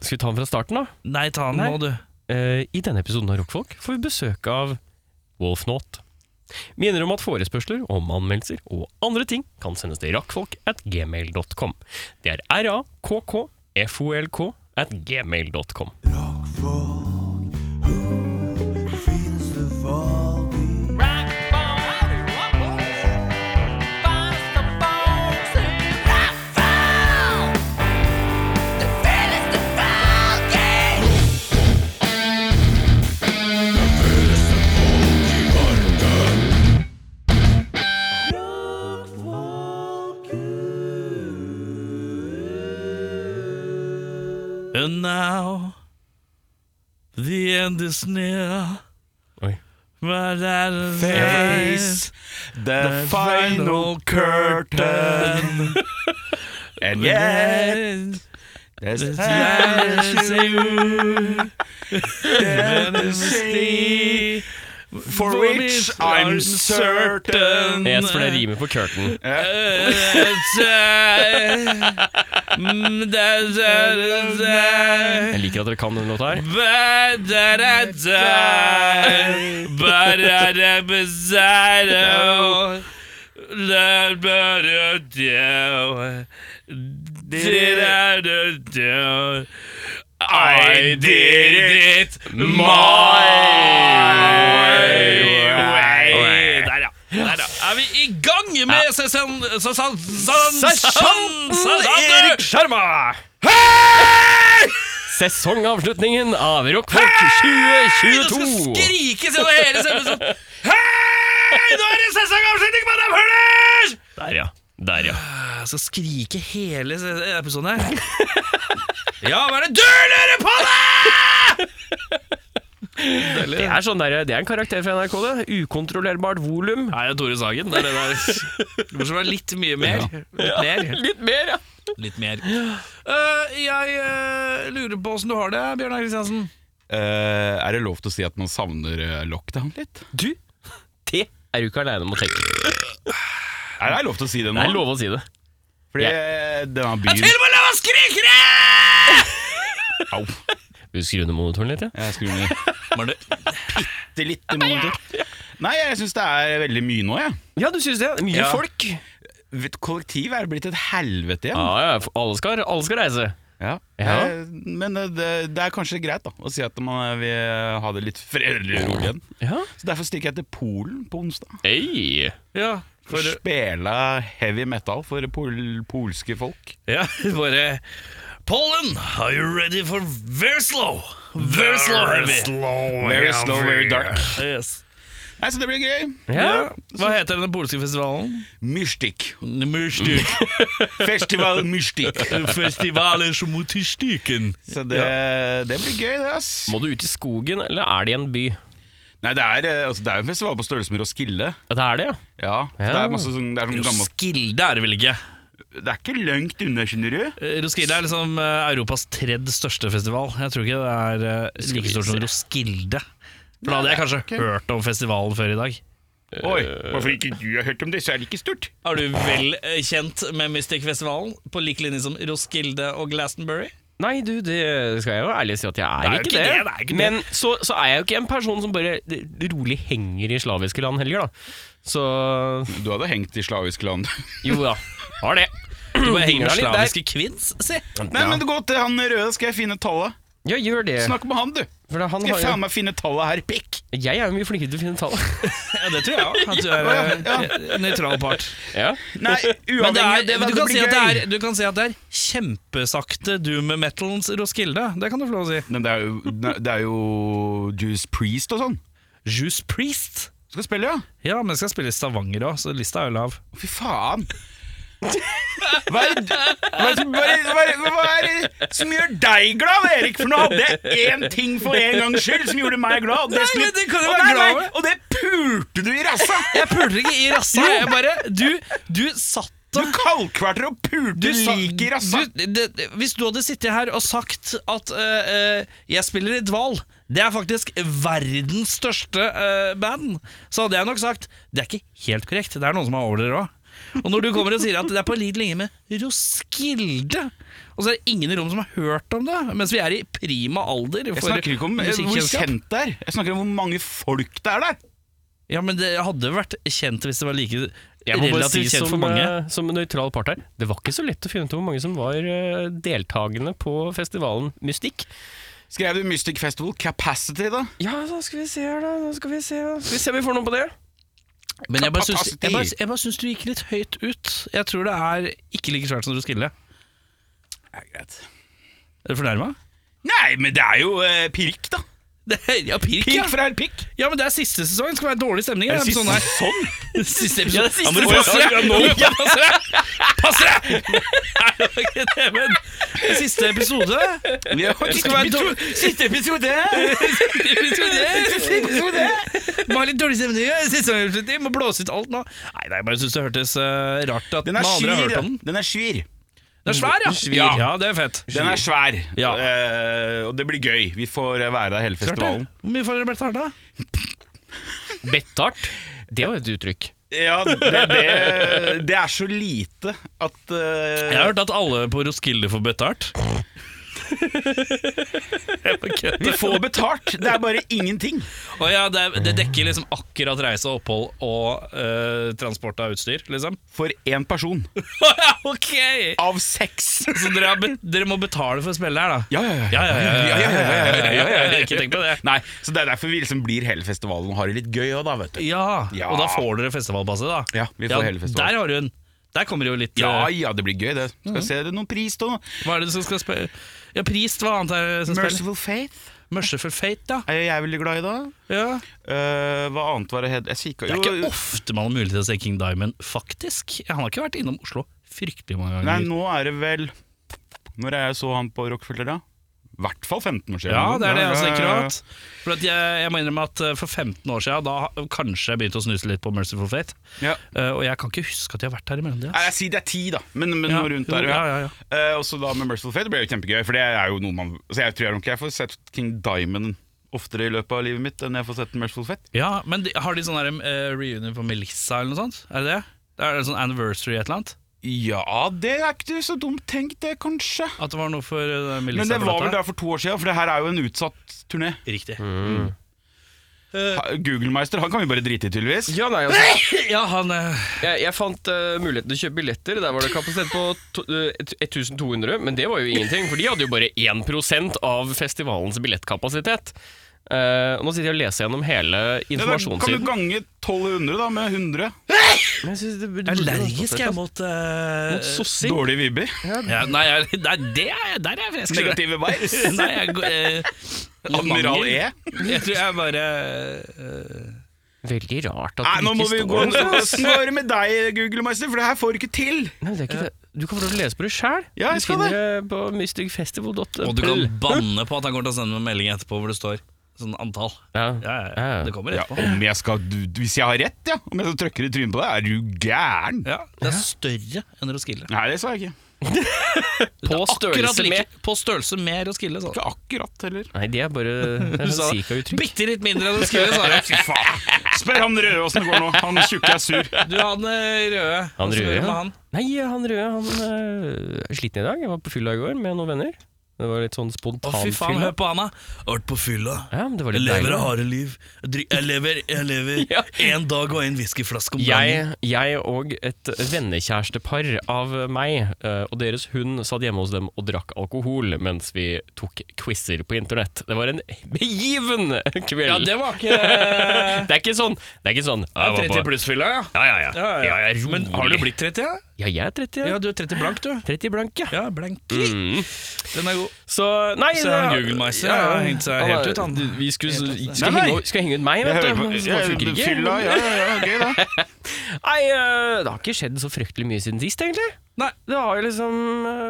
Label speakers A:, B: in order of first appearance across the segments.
A: Skal vi ta den fra starten, da?
B: Nei, ta den
A: Nei.
B: nå, du.
A: Eh, I denne episoden av Rockfolk får vi besøk av Wolfnot. Minner om at forespørsler om anmeldelser og andre ting kan sendes til rakkfolk at gmail.com. Det er r-a-k-k-f-o-l-k at gmail.com.
B: And now the end is near. er
A: Oi.
B: But that is
C: Face the final curtain. And yet,
B: Yes.
C: there's
B: Yes.
C: sadness
B: Yes.
C: in the sea,
B: Yes.
C: for which I'm certain.
A: Yes, for det rimer på curtain.
B: Mm,
A: Jeg liker at dere kan denne låta her.
B: I did it my way. Der, ja. Der, ja. Er vi i gang med sesong... Sesong... Sesong...
A: Sjarma! Sesongavslutningen av Rockfolk
B: Det skal
A: 2022.
B: skrikes gjennom hele sendingen sånn Hei, nå er det sesongavslutning, madam Hurlers!
A: Der, ja. Der, ja.
B: Jeg skal skrike hele se- episoden her. Ja, hva er det du lurer på, da?!
A: Det er, sånn der, det er en karakter fra NRK, det. Ukontrollerbart volum.
B: Nei, det er Tore Sagen. Det er det der. Det må være litt mye mer. Litt mer.
A: Litt mer, ja.
B: Litt mer. Eh, jeg eh, lurer på åssen du har det, Bjørnar Kristiansen.
C: Eh, er det lov til å si at man savner eh, lockdown litt?
A: Du, det er du ikke aleine om å tenke.
C: Er det er lov til å si det nå?
A: Det er lov å si det.
C: Fordi eh, denne byen
B: og med lov å skrike det!
C: Au.
A: Vil du skru ned monitoren litt? Ja?
C: Jeg skrur ned
B: Var det
C: bitte litt i monitor. Nei, jeg syns det er veldig mye nå, jeg.
A: ja, du syns det? Mye
C: Ja.
A: folk. Ja,
C: Vet, Kollektiv er blitt et helvete igjen.
A: ja, for alle skal, alle skal reise.
C: Ja.
A: Ja.
C: Eh, Men eh, det, det er kanskje greit da å si at man eh, vil ha det litt fredelig rolig igjen.
A: Ja.
C: Så Derfor stikker jeg til Polen på onsdag.
A: Hey.
B: Ja,
C: For
B: for,
C: å spille heavy metal for pol polske folk.
B: ja, bare Pollen, are you ready for very slow? Very slow, heavy.
C: Very slow, very dark.
B: Yes.
C: Nei, Så det blir gøy.
A: Ja.
B: Hva heter den polske festivalen?
C: Mystikk.
B: Myrstik.
C: Festival Mystikk.
B: Festivalen som mot i stykken.
C: Så det, det blir gøy, det, ass.
A: Må du ut i skogen, eller er det i en by?
C: Nei, det er, eh, altså, det er jo en festival på størrelse med Roskilde.
A: Ja, det er det, ja.
C: Ja. så
A: Ja.
C: Det er masse sånn, det er sånn gammelt
B: Roskilde er det vel ikke?
C: Det er ikke langt unna, skjønner du.
B: Eh, Roskilde er liksom eh, Europas tredje største festival. Jeg tror ikke det er eh,
A: Skal vi
B: like stort som
A: se.
B: Roskilde. For da hadde jeg kanskje hørt om festivalen før i dag.
C: Oi, hvorfor ikke du har hørt om det, så er det ikke stort.
B: Er du vel eh, kjent med Mystic-festivalen på lik linje som Roskilde og Glastonbury?
A: Nei, du, det skal jeg jo ærlig si at jeg er,
B: Det er jo
A: ikke,
B: ikke
A: det.
B: det, det er ikke det.
A: Men så, så er jeg jo ikke en person som bare rolig henger i slaviske land heller, da. Så
C: Du hadde hengt i slaviske land.
A: jo da, har det.
B: Du
A: henger
B: bare henger med
A: litt der.
B: slaviske kvinns, si!
C: Nei, men gå til han røde, skal jeg finne tallet.
A: Ja, gjør det.
C: Snakk med han, du.
A: For da, han
C: Skal jeg
A: har
C: faen
A: jo,
C: meg finne tallet her, pikk?
A: jeg er jo mye flinkere til å finne tall.
B: Ja, det tror jeg òg. At du er eh, nøytral part.
A: ja.
C: Nei,
B: Men det er, du,
C: uavhengig av det, det
B: kan si
C: blir
B: at det
C: gøy.
B: er, du kan si at det er kjempesakte doom metalens Roskilde. Det kan du få lov å si.
C: Men det er jo, det er jo Juice Priest og sånn.
B: Juice Priest.
C: Skal spille, ja.
B: Ja, men jeg skal spille i Stavanger òg, så lista er jo lav.
C: Fy faen. Hva er, det, hva, er det, hva, er det, hva, er det, hva er det som gjør deg glad, Erik? For nå hadde jeg én ting for en gangs skyld som gjorde meg glad. Og det,
B: Nei,
C: skulle-
B: men det kan jeg
C: og,
B: være glad over.
C: og det pulte du i rassa!
B: Jeg puler ikke i rassa. Jeg bare Du, du satt
C: Du kalkverter og pulte
B: sa-
C: lik i rassa.
B: du- det, det- Hvis du hadde sittet her og sagt at eh, eh, jeg spiller i Dval, det er faktisk verdens største eh, band, så hadde jeg nok sagt det er ikke helt korrekt. Det er noen som har over dere òg. Og når du kommer og sier at det er på lik linje med Roskilde Og så er det ingen i rommet som har hørt om det, mens vi er i prima alder.
C: Jeg
B: for
C: snakker ikke om eh, hvor
B: musikkkunnskap.
C: kjent det er. Jeg snakker om hvor mange folk det er der.
B: Ja, men det hadde vært kjent hvis det var like
A: Jeg må bare si
B: relativt kjent
A: som,
B: for mange.
A: eh, som en nøytral part her, det var ikke så lett å finne ut hvor mange som var eh, deltakende på festivalen Mystikk.
C: Skrev du Mystic Festival Capacity, da?
A: Ja, så skal vi se her, da. Nå Skal vi se, skal vi se om vi får noe på det.
B: Men jeg bare, syns,
C: Kapasitet.
B: jeg, bare, jeg bare syns du gikk litt høyt ut. Jeg tror det er ikke like svært som Roskilde.
C: Ja, greit.
B: Er du fornærma?
C: Nei, men det er jo eh, pirk, da.
B: Ja, pirk,
C: Pirk
B: ja.
C: fra herr Pikk.
B: ja, men det er siste sesong. Det skal være dårlig stemning. i
C: Er det
B: den
C: siste
B: episoden her.
A: Ja, det er siste
B: Siste episode. Ja, må du
C: sånn?
A: episode.
B: passe deg! Må du passe deg! Pass deg! Nei, det var ikke det, men Siste episode.
C: Ja, det
B: skal være dårlig-
C: Siste episode! Siste episode!
B: Må ha litt dårlig stemning. ja. Sesongavslutning. Må blåse ut alt nå. Nei, nei, jeg bare syns det hørtes eh, rart at
C: Den er
B: man aldri har
C: svir,
B: hørt
C: ja.
B: om den.
C: Den er svir.
B: Den er svær, ja.
C: Svir.
B: ja. Ja, det er fett.
C: Den er svær,
B: Ja.
C: Eh, og det blir gøy. Vi får eh, være der hele
B: Klart det.
C: festivalen.
B: Hvor mye får dere betalt, da?
A: Bettart. Det var et uttrykk.
C: Ja, det, det, det er så lite at eh,
B: Jeg har hørt at alle på Roskilde får betalt. Jeg bare kødder.
C: Vi får betalt, det er bare ingenting.
B: Å ja, det, er- det dekker liksom akkurat reise og opphold og eh, transport av utstyr, liksom?
C: For én person.
B: Å ja, ok!
C: Av seks.
B: Så dere, har be dere må betale for å spille her, da?
C: Ja, ja,
B: Ja, ja, ja. ja, ja, ja, ja, ja, ja, ja. Ikke tenk på det.
C: Nei, så Det er derfor vi liksom blir hele festivalen og har det litt gøy òg, da. vet du
B: Ja,
C: Ja.
B: Og da får dere festivalpasset, da?
C: Ja, vi får hele festivalen.
B: Der har du den. Der kommer det jo litt
C: Ja
B: eh,
C: ja, det blir gøy, det. Skal se det noen pris, da.
B: Hva er det som skal spille? Ja, Prist, hva annet er det som spiller?
C: Merciful Faith
B: Merciful Fate, da.
C: er jeg veldig glad i, da.
B: Ja.
C: Eh, hva annet var det het Jeg kikka
B: Det
C: jo
B: er ikke ofte man har mulighet til å se King Diamond, faktisk. Han har ikke vært innom Oslo fryktelig mange
C: Nei,
B: ganger.
C: nå er det vel Når er jeg så han på Rockefeller, da? I hvert fall 15 år siden.
B: ja, det er det jeg også tenker
C: Ja, ja, ja.
B: at. For at jeg, jeg må innrømme at eh, for 15 år siden, da ha- kanskje jeg begynte å snuse litt på Merciful Fate.
C: Ja.
B: Eh, og jeg kan ikke huske at jeg har vært her i mellomtida.
C: Nei, Jeg sier det er ti, da, men, men
B: Ja.
C: noe rundt der. Ja.
B: Ja, ja, ja.
C: Eh, og så da med Merciful Fate, det ble jo kjempegøy. For det er jo noe man altså Jeg tror nok jeg får sett King Diamond oftere i løpet av livet mitt enn jeg får sett Merciful Fate.
B: Ja, men de, har de sånn der, eh, reunion for Melissa eller noe sånt? Er det det? Det er en sånn anniversary et eller annet?
C: Ja, det er ikke så dumt tenkt, det, kanskje.
B: At det var noe for eh, Melissa?
C: Men det
B: på
C: var vel
B: dette?
C: der for to år siden, for det her er jo en utsatt turné.
B: Riktig.
C: Ha- Google-meister han kan vi bare drite i, tydeligvis.
A: Ja, nei, altså,
B: Ja, han eh,
A: jeg, jeg fant eh, muligheten til å kjøpe billetter. Der var det kapasitet på to, eh, 1200, men det var jo ingenting, for de hadde jo bare 1 av festivalens billettkapasitet. Eh, og nå sitter jeg og leser gjennom hele
C: Ja, da kan du
A: informasjonssiden.
C: gange 1200 da med 100.
A: Men jeg synes det burde-
B: Allergisk jeg mot eh,
A: Mot sosser.
C: Dårlige vibber.
B: ja, Nei, jeg, nei det er, der er jeg frisk. skjønner du.
C: Negative vibes.
B: Nei, jeg, går, eh,
C: Admiral E.
B: jeg tror jeg bare eh,
A: Veldig rart at
C: Nei,
A: det
C: nå må
A: ikke
C: vi
A: står
C: gå
A: noe sånt.
C: Åssen går det med deg, Google-meister, for det her får du ikke til.
A: Nei, det er ikke det. Du kan få lov til å lese på det sjæl.
C: Ja, jeg
A: du
C: skal
A: finner det på mysticfestival.pl.
B: Og du kan banne på at han kommer til å sende meg en melding etterpå hvor det står sånn antall.
A: ja.
B: Ja, ja, ja. Det kommer
C: Ja,
B: etterpå.
C: om jeg skal, du- hvis jeg har rett, ja. Om jeg skal trykke det i trynet på deg, er du gæren?
B: Ja, det er større enn Roskilde.
C: Nei, det sa jeg ikke.
A: På
B: Akkurat
A: størrelse
B: like-
A: med
B: På størrelse med Roskilde, sa
C: Ikke akkurat heller.
A: Nei, det er bare det er
B: Du sa
A: sånn
B: det.
A: Zika-uttrykk.
B: Bitte litt mindre enn Roskilde, sa jeg.
C: Fy faen. Spør han røde åssen det går nå. Han tjukke er sur.
B: Du, han eh, røde.
A: Han
B: Hvordan går det
A: røde,
B: med
A: ja.
B: han?
A: Nei, han røde han øh, er sliten i dag. Jeg var på fylla i går med noen venner. Det var litt sånn
B: Å, fy faen,
A: spontanfylla.
B: hør på han, da. Jeg har vært på fylla.
A: Ja, men det var
B: Jeg
A: litt
B: lever
A: deilig.
B: et harde liv. Jeg dri- Jeg lever én lever
A: Ja.
B: en dag og én whiskyflaske om dagen.
A: Jeg, jeg og et vennekjærestepar av meg øh, og deres hund satt hjemme hos dem og drakk alkohol mens vi tok quizer på internett. Det var en begiven kveld.
B: Ja, det var ikke Det
A: Det er ikke sånn. Det er ikke sånn
B: er 30 pluss-fylla, ja.
A: Ja, ja, ja.
B: Ja, ja, ja. Men har du blitt 30? Ja?
A: Ja, jeg er 30.
B: ja,
A: Ja.
B: du er 30 blank, du.
A: 30 blank, ja.
B: Ja, blank.
A: Mm.
B: Den er god.
A: Så Nei,
B: Så
A: det
B: han
A: er-
B: Google-meiser
A: Ja,
B: har
A: ja.
B: hengt seg
A: Han
B: helt
A: er-
B: ut, han.
A: du, Vi skulle,
B: Helt
A: skulle,
B: ut,
C: Nei, nei.
A: henge, skal henge ut meg,
C: Jeg
A: vet du.
C: hører på
A: men så
C: jeg,
A: funker ikke.
C: Fylla, ja, ja, ja, gøy da.
A: Nei, øh, det har ikke skjedd så fryktelig mye siden sist, egentlig.
B: Nei,
A: Det har jo liksom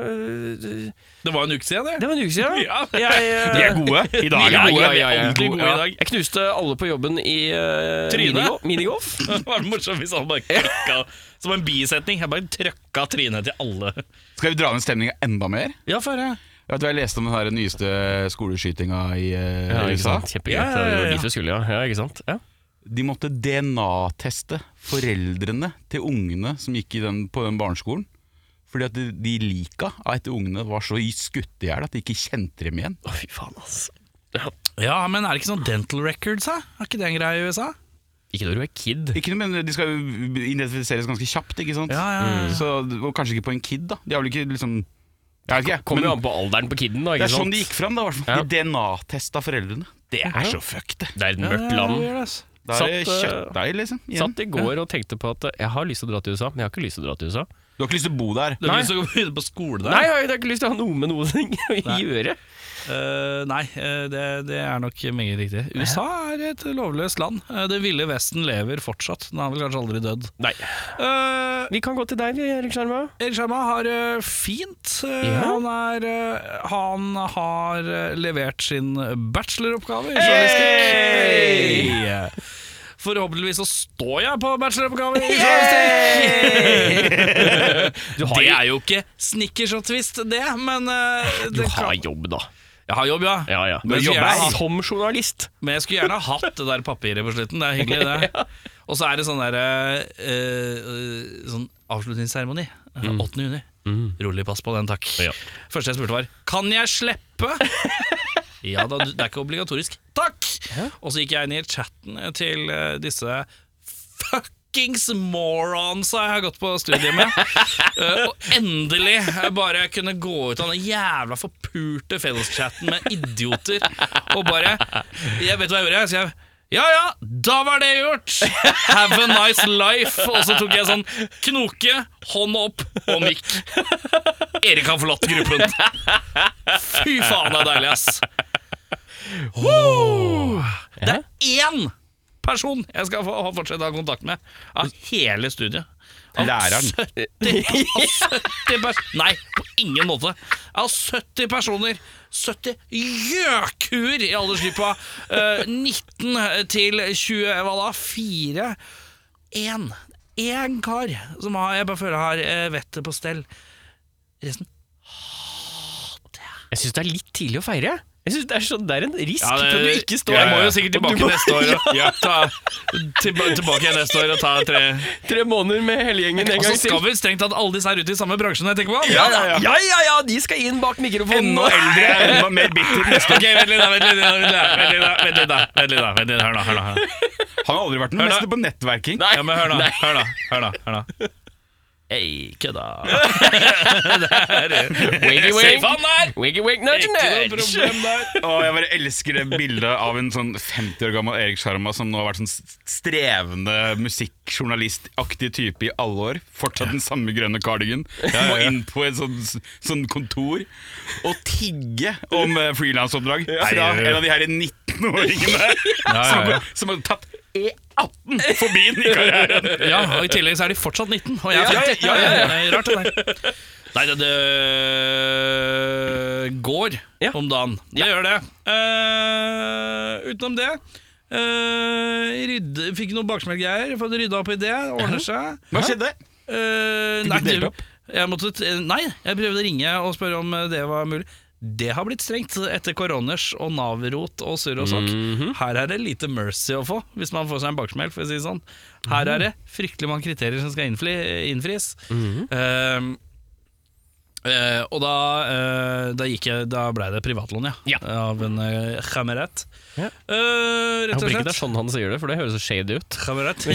A: øh,
B: det var en uke siden, det.
A: Det var en uke siden.
B: Ja.
A: Jeg, øh,
C: De er gode. I dag
A: Ja,
C: er de
A: ja,
C: gode.
A: ja, ja.
B: Ordentlig gode i dag.
A: Jeg knuste alle på jobben i øh,
B: Trynet.
A: minigo- minigolf.
B: Det var morsomt hvis han bare klikka som en bisetning. Jeg bare trøkka trynet til alle.
C: Skal vi dra ned stemninga enda mer?
B: Ja, for ja.
C: Vet du, Jeg leste om den her nyeste skoleskytinga i eh,
A: Ja, ikke
C: USA.
A: sant? Kjempegøy.
B: Ja, ja, ja,
A: Det var
B: ja.
A: dit vi skulle, ja. ja ikke sant? Ja.
C: De måtte DNA-teste foreldrene til ungene som gikk i den, på den barneskolen. Fordi at de, de lika at ungene var så skutt i hjel at de ikke kjente dem igjen.
A: Å, fy faen, ass. Ja.
B: Ja, men er det ikke sånn dental records, da? Er ikke det en greie i USA?
A: Ikke når du er kid.
C: Ikke noe, men De skal jo identifiseres ganske kjapt, ikke sant?
B: Ja, ja, ja.
C: Så, og kanskje ikke på en kid, da. De har vel ikke liksom Jeg vet ikke, jeg.
A: Kommer jo
C: men
A: an på alderen på kiden, da.
C: det
A: Ikke
C: er
A: sant?
C: sånn de gikk fram, da. i hvert fall.
A: Ja.
C: De DNA-testa foreldrene. Det er så fucked, det.
A: Det er et
B: Ja,
A: mørkt
B: ja,
A: land.
B: det gjør det, ass.
C: Da er det
A: Satt, eh,
C: kjøttdeig, liksom. igjen.
A: Satt i går og tenkte på at eh, jeg har lyst til å dra til USA, men jeg har ikke lyst til å dra til USA.
C: Du har ikke lyst til å bo der.
B: Du har lyst til å begynne på skole der?
A: Nei, jeg har ikke lyst til å ha noe med noen ting å gjøre.
B: Eh, nei eh, det, det er nok meget riktig. USA er et lovløst land. Eh, det ville Vesten lever fortsatt. Den har vel kanskje aldri dødd.
A: Nei.
B: Uh,
A: Vi kan gå til deg, vi, Erik Skjerma.
B: Erik Sharma har eh, fint. Eh,
A: Ja.
B: han, er, eh, han har eh, levert sin bacheloroppgave i
C: Hey!
B: journalistikk. Forhåpentligvis så står jeg på bacheloroppgave i journalistikk!
A: Du har,
B: det er jo ikke snickers og twist, det, men eh,
A: du
B: det
A: har
B: kan-
A: jobb, da.
B: Jeg har jobb, ja.
A: Ja, ja.
B: Men
A: Men
B: så
A: jobber
B: gjerne-
A: jeg som journalist.
B: Men jeg skulle gjerne ha hatt det der papiret på slutten. Det er hyggelig, det. Og så er det sånn der eh, eh, Sånn avslutningsseremoni. Eh, 8. juni. Rolig pass på den, takk.
A: Ja.
B: Første jeg spurte, var Kan jeg slippe? ja da, du- det er ikke obligatorisk. Takk! Og så gikk jeg inn i chatten til eh, disse fuckings moronsa jeg har gått på studiet med. Eh, og endelig eh, bare kunne gå ut av den jævla forpurte felleschatten med idioter og bare Jeg vet hva jeg gjorde. Jeg skrev ja ja, da var det gjort! Have a nice life! Og så tok jeg sånn knoke, hånd opp og mikk. Erik har forlatt gruppen. Fy faen, det er deilig, ass. Woo! Det er én person jeg skal få ha- fortsette å ha kontakt med av hele studiet. Av
C: Læreren.
B: 70, av 70 pers Nei, på ingen måte. Av 70 personer. 70 gjøkuer i aldersgruppa eh, 19 til 20, hva da, 4 Én. Én kar som har, jeg bare føler har eh, vettet på stell. Resten
A: Jeg syns det er litt tidlig å feire. Jeg synes Det er, sånn, det er en risk
B: Ja, det-
A: til at du ikke står
B: Jeg må
A: her.
B: jo sikkert tilbake
A: Du må-
B: neste år og ta, tilba, Tilbake igjen neste år og ta tre
A: Tre måneder med hele gjengen en
B: Og så
A: gang
B: altså, skal
A: til.
B: vi strengt tatt alle disse her ute i samme bransje når jeg tenker på det.
A: Ja, ja, ja, ja, de skal inn bak mikrofonen.
C: Enda eldre, enda mer bitter. neste år.
B: Ok, vent litt da, vent litt da, vent litt da, vent litt da, vent litt da, vent litt da, vent litt da, hør nå, hør nå, hør nå.
C: Han har aldri vært den
B: Hør da.
C: meste på nettverking.
A: Nei.
B: Ja, men hør nå,
A: Nei.
B: hør nå, hør nå, hør nå. Ei, kødda.
A: Wiggy
B: Se
A: wig,
B: faen der!
A: wiggy wig, nudge
B: Ikke noe
A: nudge.
B: problem der.
C: Å, jeg bare elsker det bildet av en sånn 50 år gammel Erik Sharma som nå har vært sånn s- strevende musikkjournalistaktig type i alle år. Fortsatt den samme grønne cardigan. Må inn på et sånn, sånn kontor og tigge om eh, frilansoppdrag fra
B: Ja.
C: en av de her 19-åringene
B: ja, ja.
C: som, som har tatt E18 forbi den i karrieren.
B: Ja, og i tillegg så er de fortsatt 19, og jeg er 50.
C: Ja, ja, ja,
B: Det er Rart det der. Nei, det, det går
A: Ja.
B: om dagen. Det gjør det. Eh, utenom det eh, rydde, Fikk noen baksmellgreier, fått rydda opp i det. Ordner seg.
C: Hva skjedde?
B: Eh,
C: Fikk du
B: nei,
C: delt
B: det-
C: opp?
B: Jeg måtte, t- eh, nei, jeg prøvde å ringe og spørre om eh, det var mulig. Det har blitt strengt etter koroners og Nav-rot og surr og sokk.
A: Mhm.
B: Her er det lite mercy å få, hvis man får seg en baksmell. for å si det sånn. Her er
A: Mhm.
B: det fryktelig mange kriterier som skal innfri, innfris. Eh, eh, og da, eh, da, gikk jeg, da ble det privatlån, ja.
A: Ja.
B: Av en uh, kamerat.
A: Ja.
B: Eh,
A: Jeg
B: rett og
A: håper ikke det er
B: slett.
A: sånn han sier det, for det høres så shady ut.
B: Kamerat.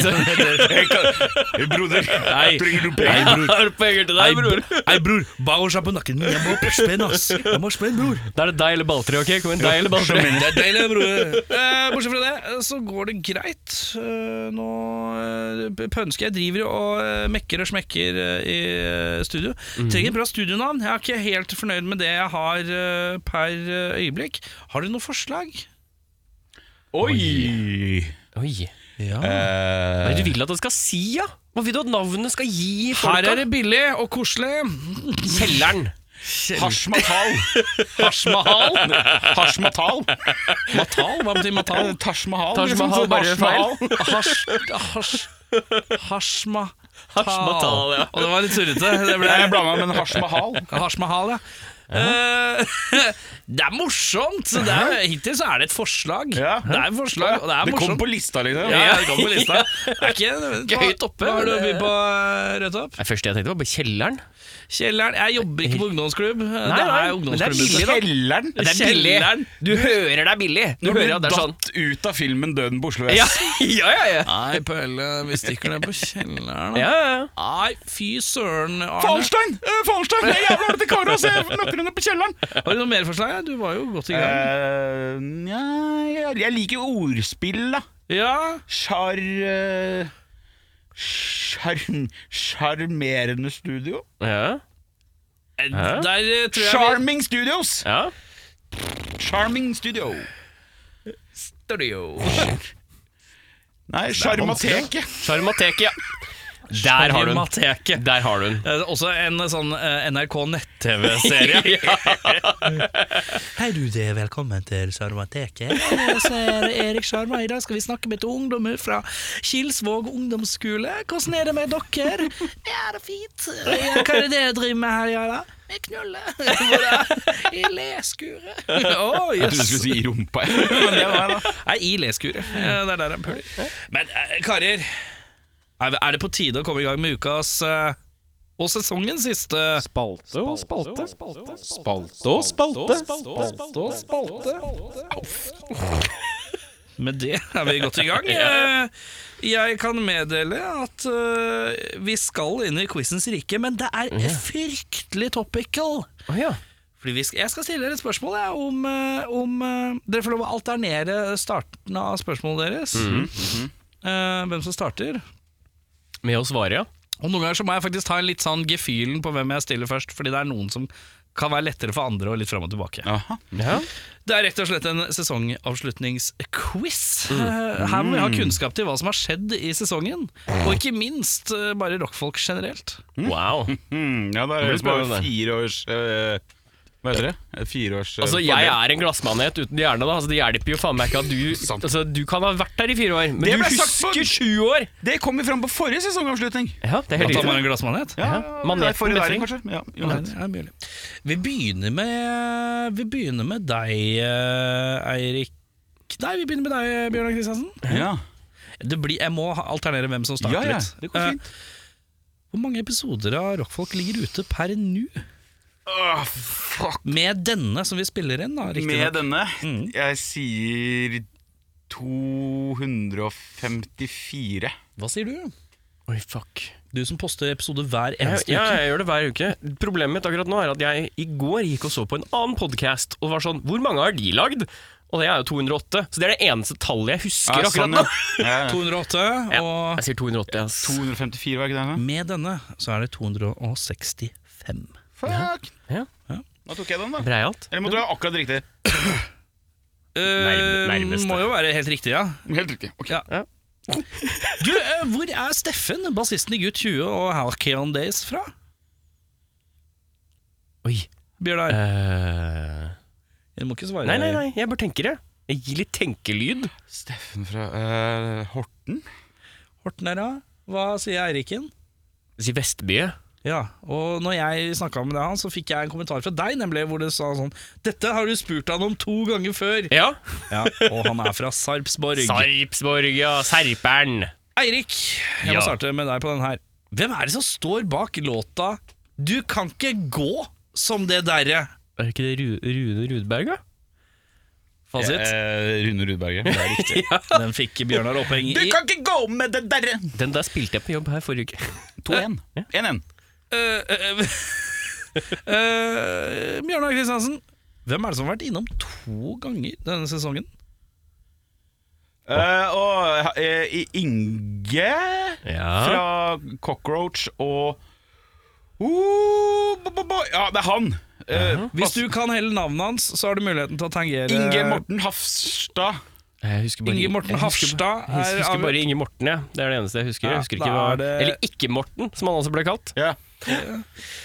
C: Broder,
B: Nei.
C: trenger du
A: Jeg
C: penger?
A: har penger til
B: Ei,
A: deg, bror.
B: bror. Ei, bror. Bare seg på nakken min. Jeg må spenne, ass. Jeg må spenne, bror.
A: Da er det deg eller balltre, ok? Kom igjen, deg eller balltre.
B: Det er deilig, bror. Eh, bortsett fra det, eh, så går det greit. Eh, nå eh, pønsker jeg driver og eh, mekker og smekker eh, i eh, studio. Trenger et bra studionavn. Jeg er ikke helt fornøyd med det jeg har eh, per eh, øyeblikk. Har dere noe forslag?
C: Oi!
A: Oi.
B: Ja.
A: Hva
C: Eh,
A: er det du vil at det skal si, ja? Hva vil du at navnet skal gi folka?
B: Her er det billig og koselig.
A: kjelleren.
C: Hasj Matal.
B: Hasj Mahal.
C: Hasj Matal.
B: Matal? Hva betyr Matal?
C: Taj Mahal.
A: Taj
C: liksom,
A: Mahal,
C: så
A: bare
C: Hasj
A: feil.
C: Mahal.
B: Hasj... Hasj... Hasjma...
A: Hashmatal, ja.
B: Og det var litt surrete. Det
C: Nei,
B: ble
C: Jeg blanda med en Hasj Mahal.
B: Hasjmahal, ja. Eh, det er morsomt! Så det er, hittil så er det et forslag.
C: Ja.
B: Det er et forslag, og det er
C: Det kom
B: morsomt.
C: på lista, liksom.
B: Ja, det kom på lista. Det er ikke
A: Ikke høyt oppe,
B: Hva har du
A: men
B: å by på, Rødtopp?
A: Det første jeg tenkte, var på kjelleren.
B: Kjelleren. Jeg jobber ikke på ungdomsklubb. det
A: nei,
B: er
A: men det er
B: ungdomsklubben.
A: billig, da. Det
C: Kjelleren!
A: er billig.
B: Kjelleren.
A: Du hører det er billig. Du
C: Nå blir
A: hører at det er sånn
C: datt ut av filmen 'Døden på Oslo S'.
A: ja, ja, ja, ja.
B: Nei, Pelle, vi stikker ned på
A: ja,
B: kjelleren. da.
A: ja, ja.
B: Nei, fy søren, Arne.
C: Falstein! Eh, Falstein! Det er jævla altså. ålreite karer å se nøklene på kjelleren!
B: Har du noe mer forslag? Du var jo godt i gang.
C: Eh, Nja, jeg- jeg liker jo ordspill, da.
B: Ja,
C: Sjar... eh, sjarm- Sjarmerende studio?
A: ja.
B: eh, der eh, tror jeg vi-
C: Charming Studios!
A: ja.
C: Charming Studio. Nei, Sjarmateket.
A: Sjarmateket, ja. Der har du den.
B: Sjarmateket.
A: Der har du den.
B: Eh, Også en eh, sånn eh, NRK nett-TV-serie. Hei du, det er velkommen til Sjarmateket. Så er det Erik Sjarma. I dag skal vi snakke med et ungdom fra Kilsvåg ungdomsskole. Hvordan er det med dere? Ja, det er fint. Ja, hva er det dere driver med her i dag? da? Jeg knuller. I leskuret. Oh,
C: Jeg trodde du skulle si i rumpa. Men det var jeg, da.
B: Nei, i leskuret. Eh, Det er der han puler. Men eh, karer, er er det på tide å komme i gang med ukas eh, og sesongens siste
D: Spalte og spalte. Spalte og spalte. Spalte og spalte.
B: Med det er vi godt i gang. Eh, Jeg kan meddele at eh, vi skal inn i quizens rike, men det er fryktelig topical.
A: Å, ja.
B: Fordi vi skal, jeg skal stille dere et spørsmål jeg, om, eh, om eh, Dere får lov å alternere starten av spørsmålet deres. Eh, hvem som starter.
A: Med å svare, ja.
B: Og noen ganger så må jeg faktisk ta en litt sånn gefühlen på hvem jeg stiller først, fordi det er noen som kan være lettere for andre og litt fram og tilbake.
C: Aha.
A: ja.
B: Det er rett og slett en sesongavslutningsquiz. Eh, Her må vi ha kunnskap til hva som har skjedd i sesongen, og ikke minst eh, bare rockfolk generelt.
A: Wow.
C: Hmm, ja, det er
A: Det blir
C: det bare
A: spennende.
C: fire års eh, Hva heter det? Eh, Fire års eh,
A: Altså,
C: fordel.
A: jeg er en glassmanet uten hjerne, da. Altså, det hjelper jo faen meg ikke at du
C: Sant.
A: altså, Du kan ha vært der i fire år,
C: Det
A: men du
C: ble sagt på-
A: husker sju år!
C: Det kom jo fram på forrige sesongavslutning.
A: Ja, det er
B: Da
A: helt
B: tar man
A: riktig.
B: en glassmanet.
A: Ja, maneten
C: nei, forrige der,
A: befring.
C: kanskje. Ja,
B: Nei,
C: uansett.
B: det er mulig. Vi begynner med, vi begynner med deg, eh, Eirik. Nei, vi begynner med deg, Bjørnar Kristiansen.
C: ja.
B: Det blir, jeg må ha- alternere hvem som starter
C: ja, ja.
B: litt.
C: Det går
B: Eh,
C: fint.
B: Hvor mange episoder av Rockfolk ligger ute per nå?
C: Åh, fuck
B: Med denne som vi spiller inn, da. riktig
C: med
B: nok.
C: denne.
B: Mm.
C: Jeg sier 254.
B: Hva sier du?
A: Oi, fuck.
B: Du som poster episoder hver
A: Jeg,
B: eneste
A: ja,
B: uke.
A: jeg gjør det hver uke. Problemet mitt akkurat nå er at jeg i går gikk og så på en annen podkast og var sånn Hvor mange har de lagd? Og det er jo 208. Så det er det eneste tallet jeg husker
C: Ja,
A: akkurat
C: sånn,
A: nå.
C: ja. Ja, ja.
B: 208,
A: Ja,
B: og
A: jeg sier 208, ass.
C: 254, var ikke det?
B: med denne så er det 265.
C: Fuck!
A: Ja.
B: Ja.
C: Da tok jeg den, da.
A: Breialt.
C: Eller måtte du ha akkurat riktig?
B: Eh,
A: nærmeste.
B: Må jo være helt riktig, ja.
C: Helt riktig. Ok.
B: Du, eh, hvor er Steffen, bassisten i Gutt 20 og Halcyon Days fra?
A: Oi.
B: Bjørnar,
A: eh,
B: du må ikke svare.
A: nei, nei, nei, jeg bare tenker det. Jeg gir litt tenkelyd.
C: Steffen fra eh, Horten?
B: Horten her, ja. Hva sier Eiriken?
A: Jeg sier Vestbye.
B: Ja, og når jeg snakka med deg, han, så fikk jeg en kommentar fra deg, nemlig, hvor det sa sånn Dette har du spurt han om to ganger før!
A: Ja.
B: Ja, og han er fra Sarpsborg.
A: Sarpsborg, ja. Serpern.
B: Eirik, jeg må
A: Ja.
B: starte med deg på den her. Hvem er det som står bak låta 'Du kan ikke gå som det derre'?
A: Er ikke det Ru- Rune Rudberg, da?
B: Fasit.
C: Eh, Rune Rudberget. Det er riktig.
B: eh, Den fikk Bjørnar oppheng i.
C: ikke gå med det derre!
A: Den der spilte jeg på jobb her forrige uke.
C: 2-1. 1-1.
B: Eh, eh, eh, Bjørnar Kristiansen, hvem er det som har vært innom to ganger denne sesongen?
C: Eh, og eh, I- Inge
A: Ja.
C: fra Cockroach og oh, bo, bo, bo. Ja, det er han! Eh,
B: Hvis du kan hele navnet hans, så har du muligheten til å tangere
C: Inge Morten Hafstad.
A: Jeg husker bare
B: Inge Morten
A: jeg husker bare-
B: Hafstad er
A: Jeg
B: av-
A: husker bare Inge Morten, ja. Det er det eneste jeg husker. Jeg
B: Ja,
A: husker
B: da
A: ikke hva,
B: er det-
A: Eller Ikke-Morten, som han også ble kalt.
C: Ja.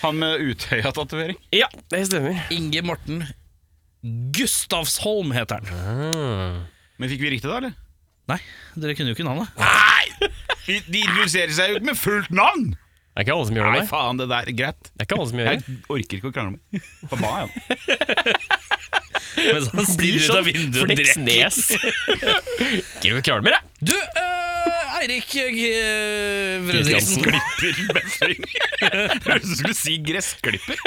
C: Han med Utøya-tatovering.
A: Ja, det stemmer.
B: Inge Morten Gustavsholm heter han.
C: Men fikk vi riktig da, eller?
B: Nei, dere kunne jo ikke navnet.
C: De de introduserer seg jo ikke med fullt navn!
A: Det er ikke alle som gjør det.
C: Nei,
A: Nei.
C: faen, det der er greit.
A: Det er ikke alle som gjør
C: Jeg
A: det.
C: orker ikke å krangle med Hva er det?
B: Mens han stirrer ut av vinduet og drikker.
A: Fleksnes. Ikke noe kvalmer, jeg.
B: Du, eh, Eirik eh, Fredriksen.
C: Gressklipperbefring. Høres ut som du skulle si gressklipper.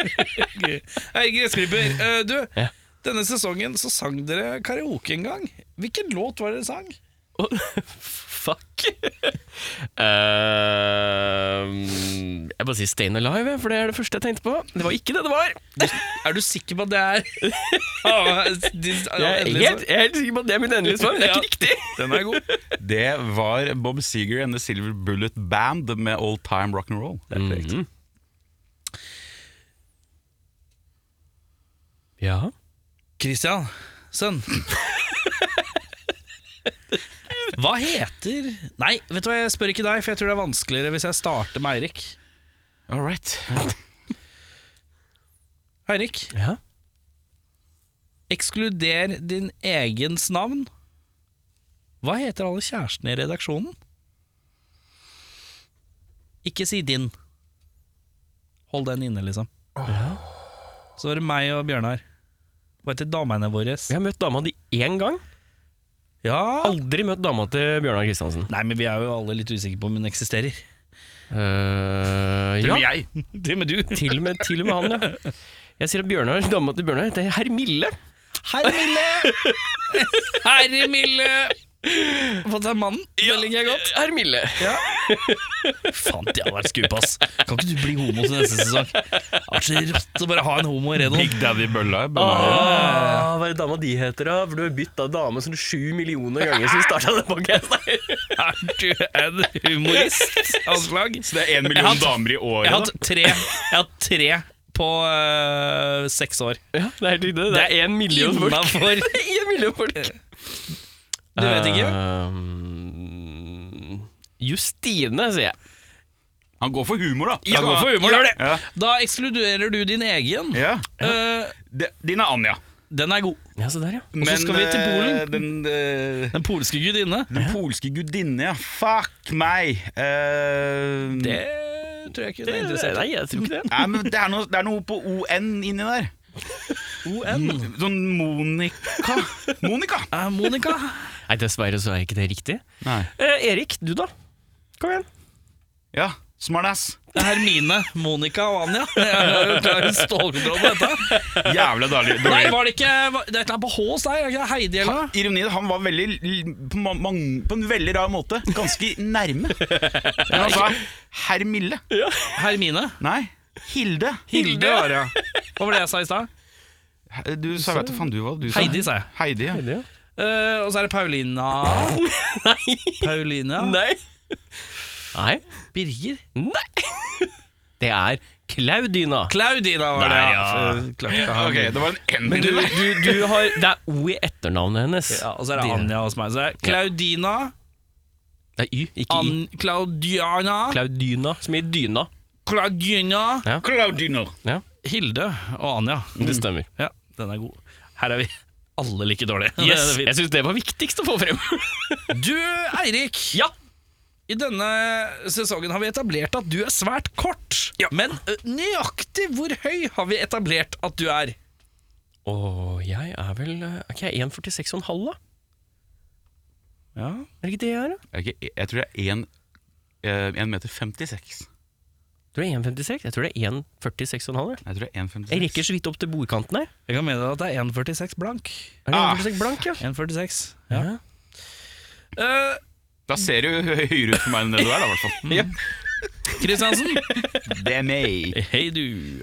B: Eirik Gressklipper. eh, du,
A: Ja.
B: denne sesongen så sang dere karaoke en gang. Hvilken låt var det dere sang?
A: Fuck. Ehm, jeg bare sier Stayin' Alive, jeg, for det er det første jeg tenkte på. Det var ikke det det var.
B: Er du sikker på at det er Ah, de-
A: Jeg er
B: endelig så-
A: helt, jeg er helt sikker på at det er mitt endelige svar, men det er ikke riktig.
B: Den er god.
C: Det var Bob Seger and The Silver Bullet Band med All Time Rock'n'Roll.
A: Mhm. Ja
B: Christian, sønn. Hva heter Nei, vet du hva, jeg spør ikke deg, for jeg tror det er vanskeligere hvis jeg starter med Eirik.
C: All right.
B: Eirik,
A: Ja
B: ekskluder din egens navn. Hva heter alle kjærestene i redaksjonen? Ikke si din. Hold den inne, liksom. Så var det meg og Bjørnar. Hva heter damene våre?
A: Jeg har møtt dama di én gang.
B: Ja
A: Aldri møtt dama til Bjørnar Kristiansen.
B: Nei, men vi er jo alle litt usikre på om hun eksisterer.
A: Eh,
C: Det
A: ja,
C: blir jeg.
B: Det med du.
A: til og, med, til og med han, ja. Jeg sier at Bjørnar, dama til Bjørnar heter Hermille.
B: Herre Mille! Herre Mille! Fått seg mannen? Det liker jeg godt.
A: Hermille.
B: Faen, det hadde vært skup, ass. Kan ikke du bli homo til neste sesong? Det hadde vært så rått å bare ha en homo i redoen.
C: Big Daddy Bølla.
A: Ah, hva er det dama di heter, da? For du har bytta dame sånn sju millioner ganger siden vi starta den podkasten.
B: Er du en humorist, Aslag?
C: Så det er én
B: Jeg har
C: million
B: hatt-
C: damer
B: Jeg
C: i
B: har
C: året.
B: hatt tre, jeg har hatt tre på øh, seks år.
A: Ja, det er helt riktig. Det er én million folk.
B: Innafor
A: Én million folk.
B: Eh, Du vet ikke?
A: Eh, Justine, sier jeg.
C: da. Han går for humor, da.
B: Ja, gå for humor, gjør det.
C: Ja.
B: Da ekskluderer du din egen.
C: Ja.
B: Eh,
C: Det- Din er Anja.
B: den er god.
A: Ja, se der, ja.
B: Og så skal vi til Polen.
C: eh, Den, eh,
B: Den polske gudinne.
C: den polske gudinne, ja. Fuck meg! Eh,
B: Det tror jeg ikke det er interessert
A: Nei, jeg tror ikke det.
C: Nei, men det er, noe, det er noe på ON inni der.
B: ON.
C: Sånn Monica. Monica!
B: Eh, Monica.
A: Nei, dessverre så er ikke det riktig.
C: Nei.
A: Eh, Erik, du da? Kom igjen.
C: Ja, smartass.
B: Hermine, Monica og Anja. Jeg klarer stålkontroll på dette.
C: Jævla dårlig.
B: Nei,
C: dårlig.
B: var det ikke var- Det er et eller annet på H hos deg? Er det ikke det Heidi eller noe?
C: Han, ironi, han var veldig, l- på, ma- mang- på en veldig rar måte ganske nærme. Men han sa Hermille.
B: Hermine.
C: Nei, Hilde.
B: Hilde var det. Hva var det jeg sa i stad?
C: He- Du sa, vet du faen du hva du sa?
B: Heidi, sa jeg.
C: Heidi, ja.
B: Eh, og så er det Paulina.
A: Nei.
B: Paulina.
A: Nei. Nei.
B: Birger.
A: Nei. Det er Claudina.
B: Claudina var det.
A: Der,
B: Eh, Claudina.
C: Ah, Ok, det var en N.
A: Men du, du, du har Det er O i etternavnet hennes.
B: Ja, og så er det Anja hos meg. Så er det Claudina.
A: Det er Y, ikke I.
B: An Claudiana.
A: Claudina, som i dyna.
B: Claudina.
C: Claudino.
A: Ja,
B: Hilde og Anja.
A: det stemmer.
B: Mm. Ja, den er god. Her er vi alle like dårlige.
A: Yes,
B: Det er
A: Jeg syns det var viktigst å få frem.
B: fint. Du, Eirik.
A: Ja.
B: I denne sesongen har vi etablert at du er svært kort. Men ø, nøyaktig hvor høy har vi etablert at du er?
A: Og jeg er vel eh, Er ikke jeg 1,46,5, da?
B: Ja.
A: Er det ikke det jeg er, da?
C: Ok, jeg tror det er 1, eh, 1 meter 56.
A: Du er 1,56? Jeg tror det er 1,46,5. jeg.
C: Jeg tror det er 1,56.
A: Jeg rekker så vidt opp til bordkanten her.
B: Jeg kan mene deg at det er 1,46 blank.
A: Er det
C: Ah.
A: 1,46 blank, ja?
B: 1,46.
A: ja.
B: Eh,
C: Da ser du høyere ut for meg enn det du er, da, i hvert fall.
B: Kristiansen.
C: Det er meg.
B: Hei, du.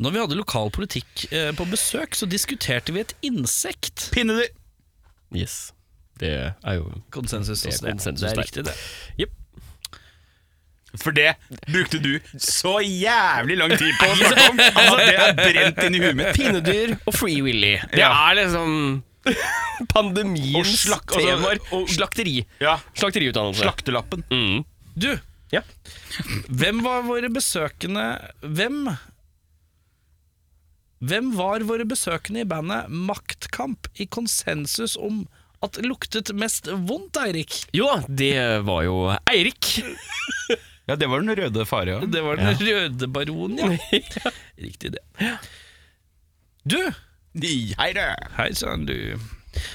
B: Når vi hadde lokal politikk eh, på besøk, så diskuterte vi et insekt.
C: Pinne du.
A: Yes. Det er jo
B: Konsensus.
A: Det er
B: også,
A: konsensus
B: det er
A: der.
B: riktig, det.
C: For det brukte du så jævlig lang tid på å snakke om. Altså, det er brent inn i huet mitt.
A: Pinnedyr og Free Willy. Det
C: Ja.
A: er liksom
C: Og
A: pandemiens
C: slak- altså,
A: temaer. slakteri.
C: Ja,
A: Slakteriutdannelse.
C: Slaktelappen.
A: Mm.
B: Du,
A: Ja.
B: hvem var våre besøkende Hvem Hvem var våre besøkende i bandet Maktkamp i konsensus om at det luktet mest vondt, Eirik?
A: Jo da, det var jo Eirik.
C: Ja, det var den røde fare, ja.
B: Det var den røde baronen, ja. Riktig det. Du,
C: Hei, det!
B: hei sann, du.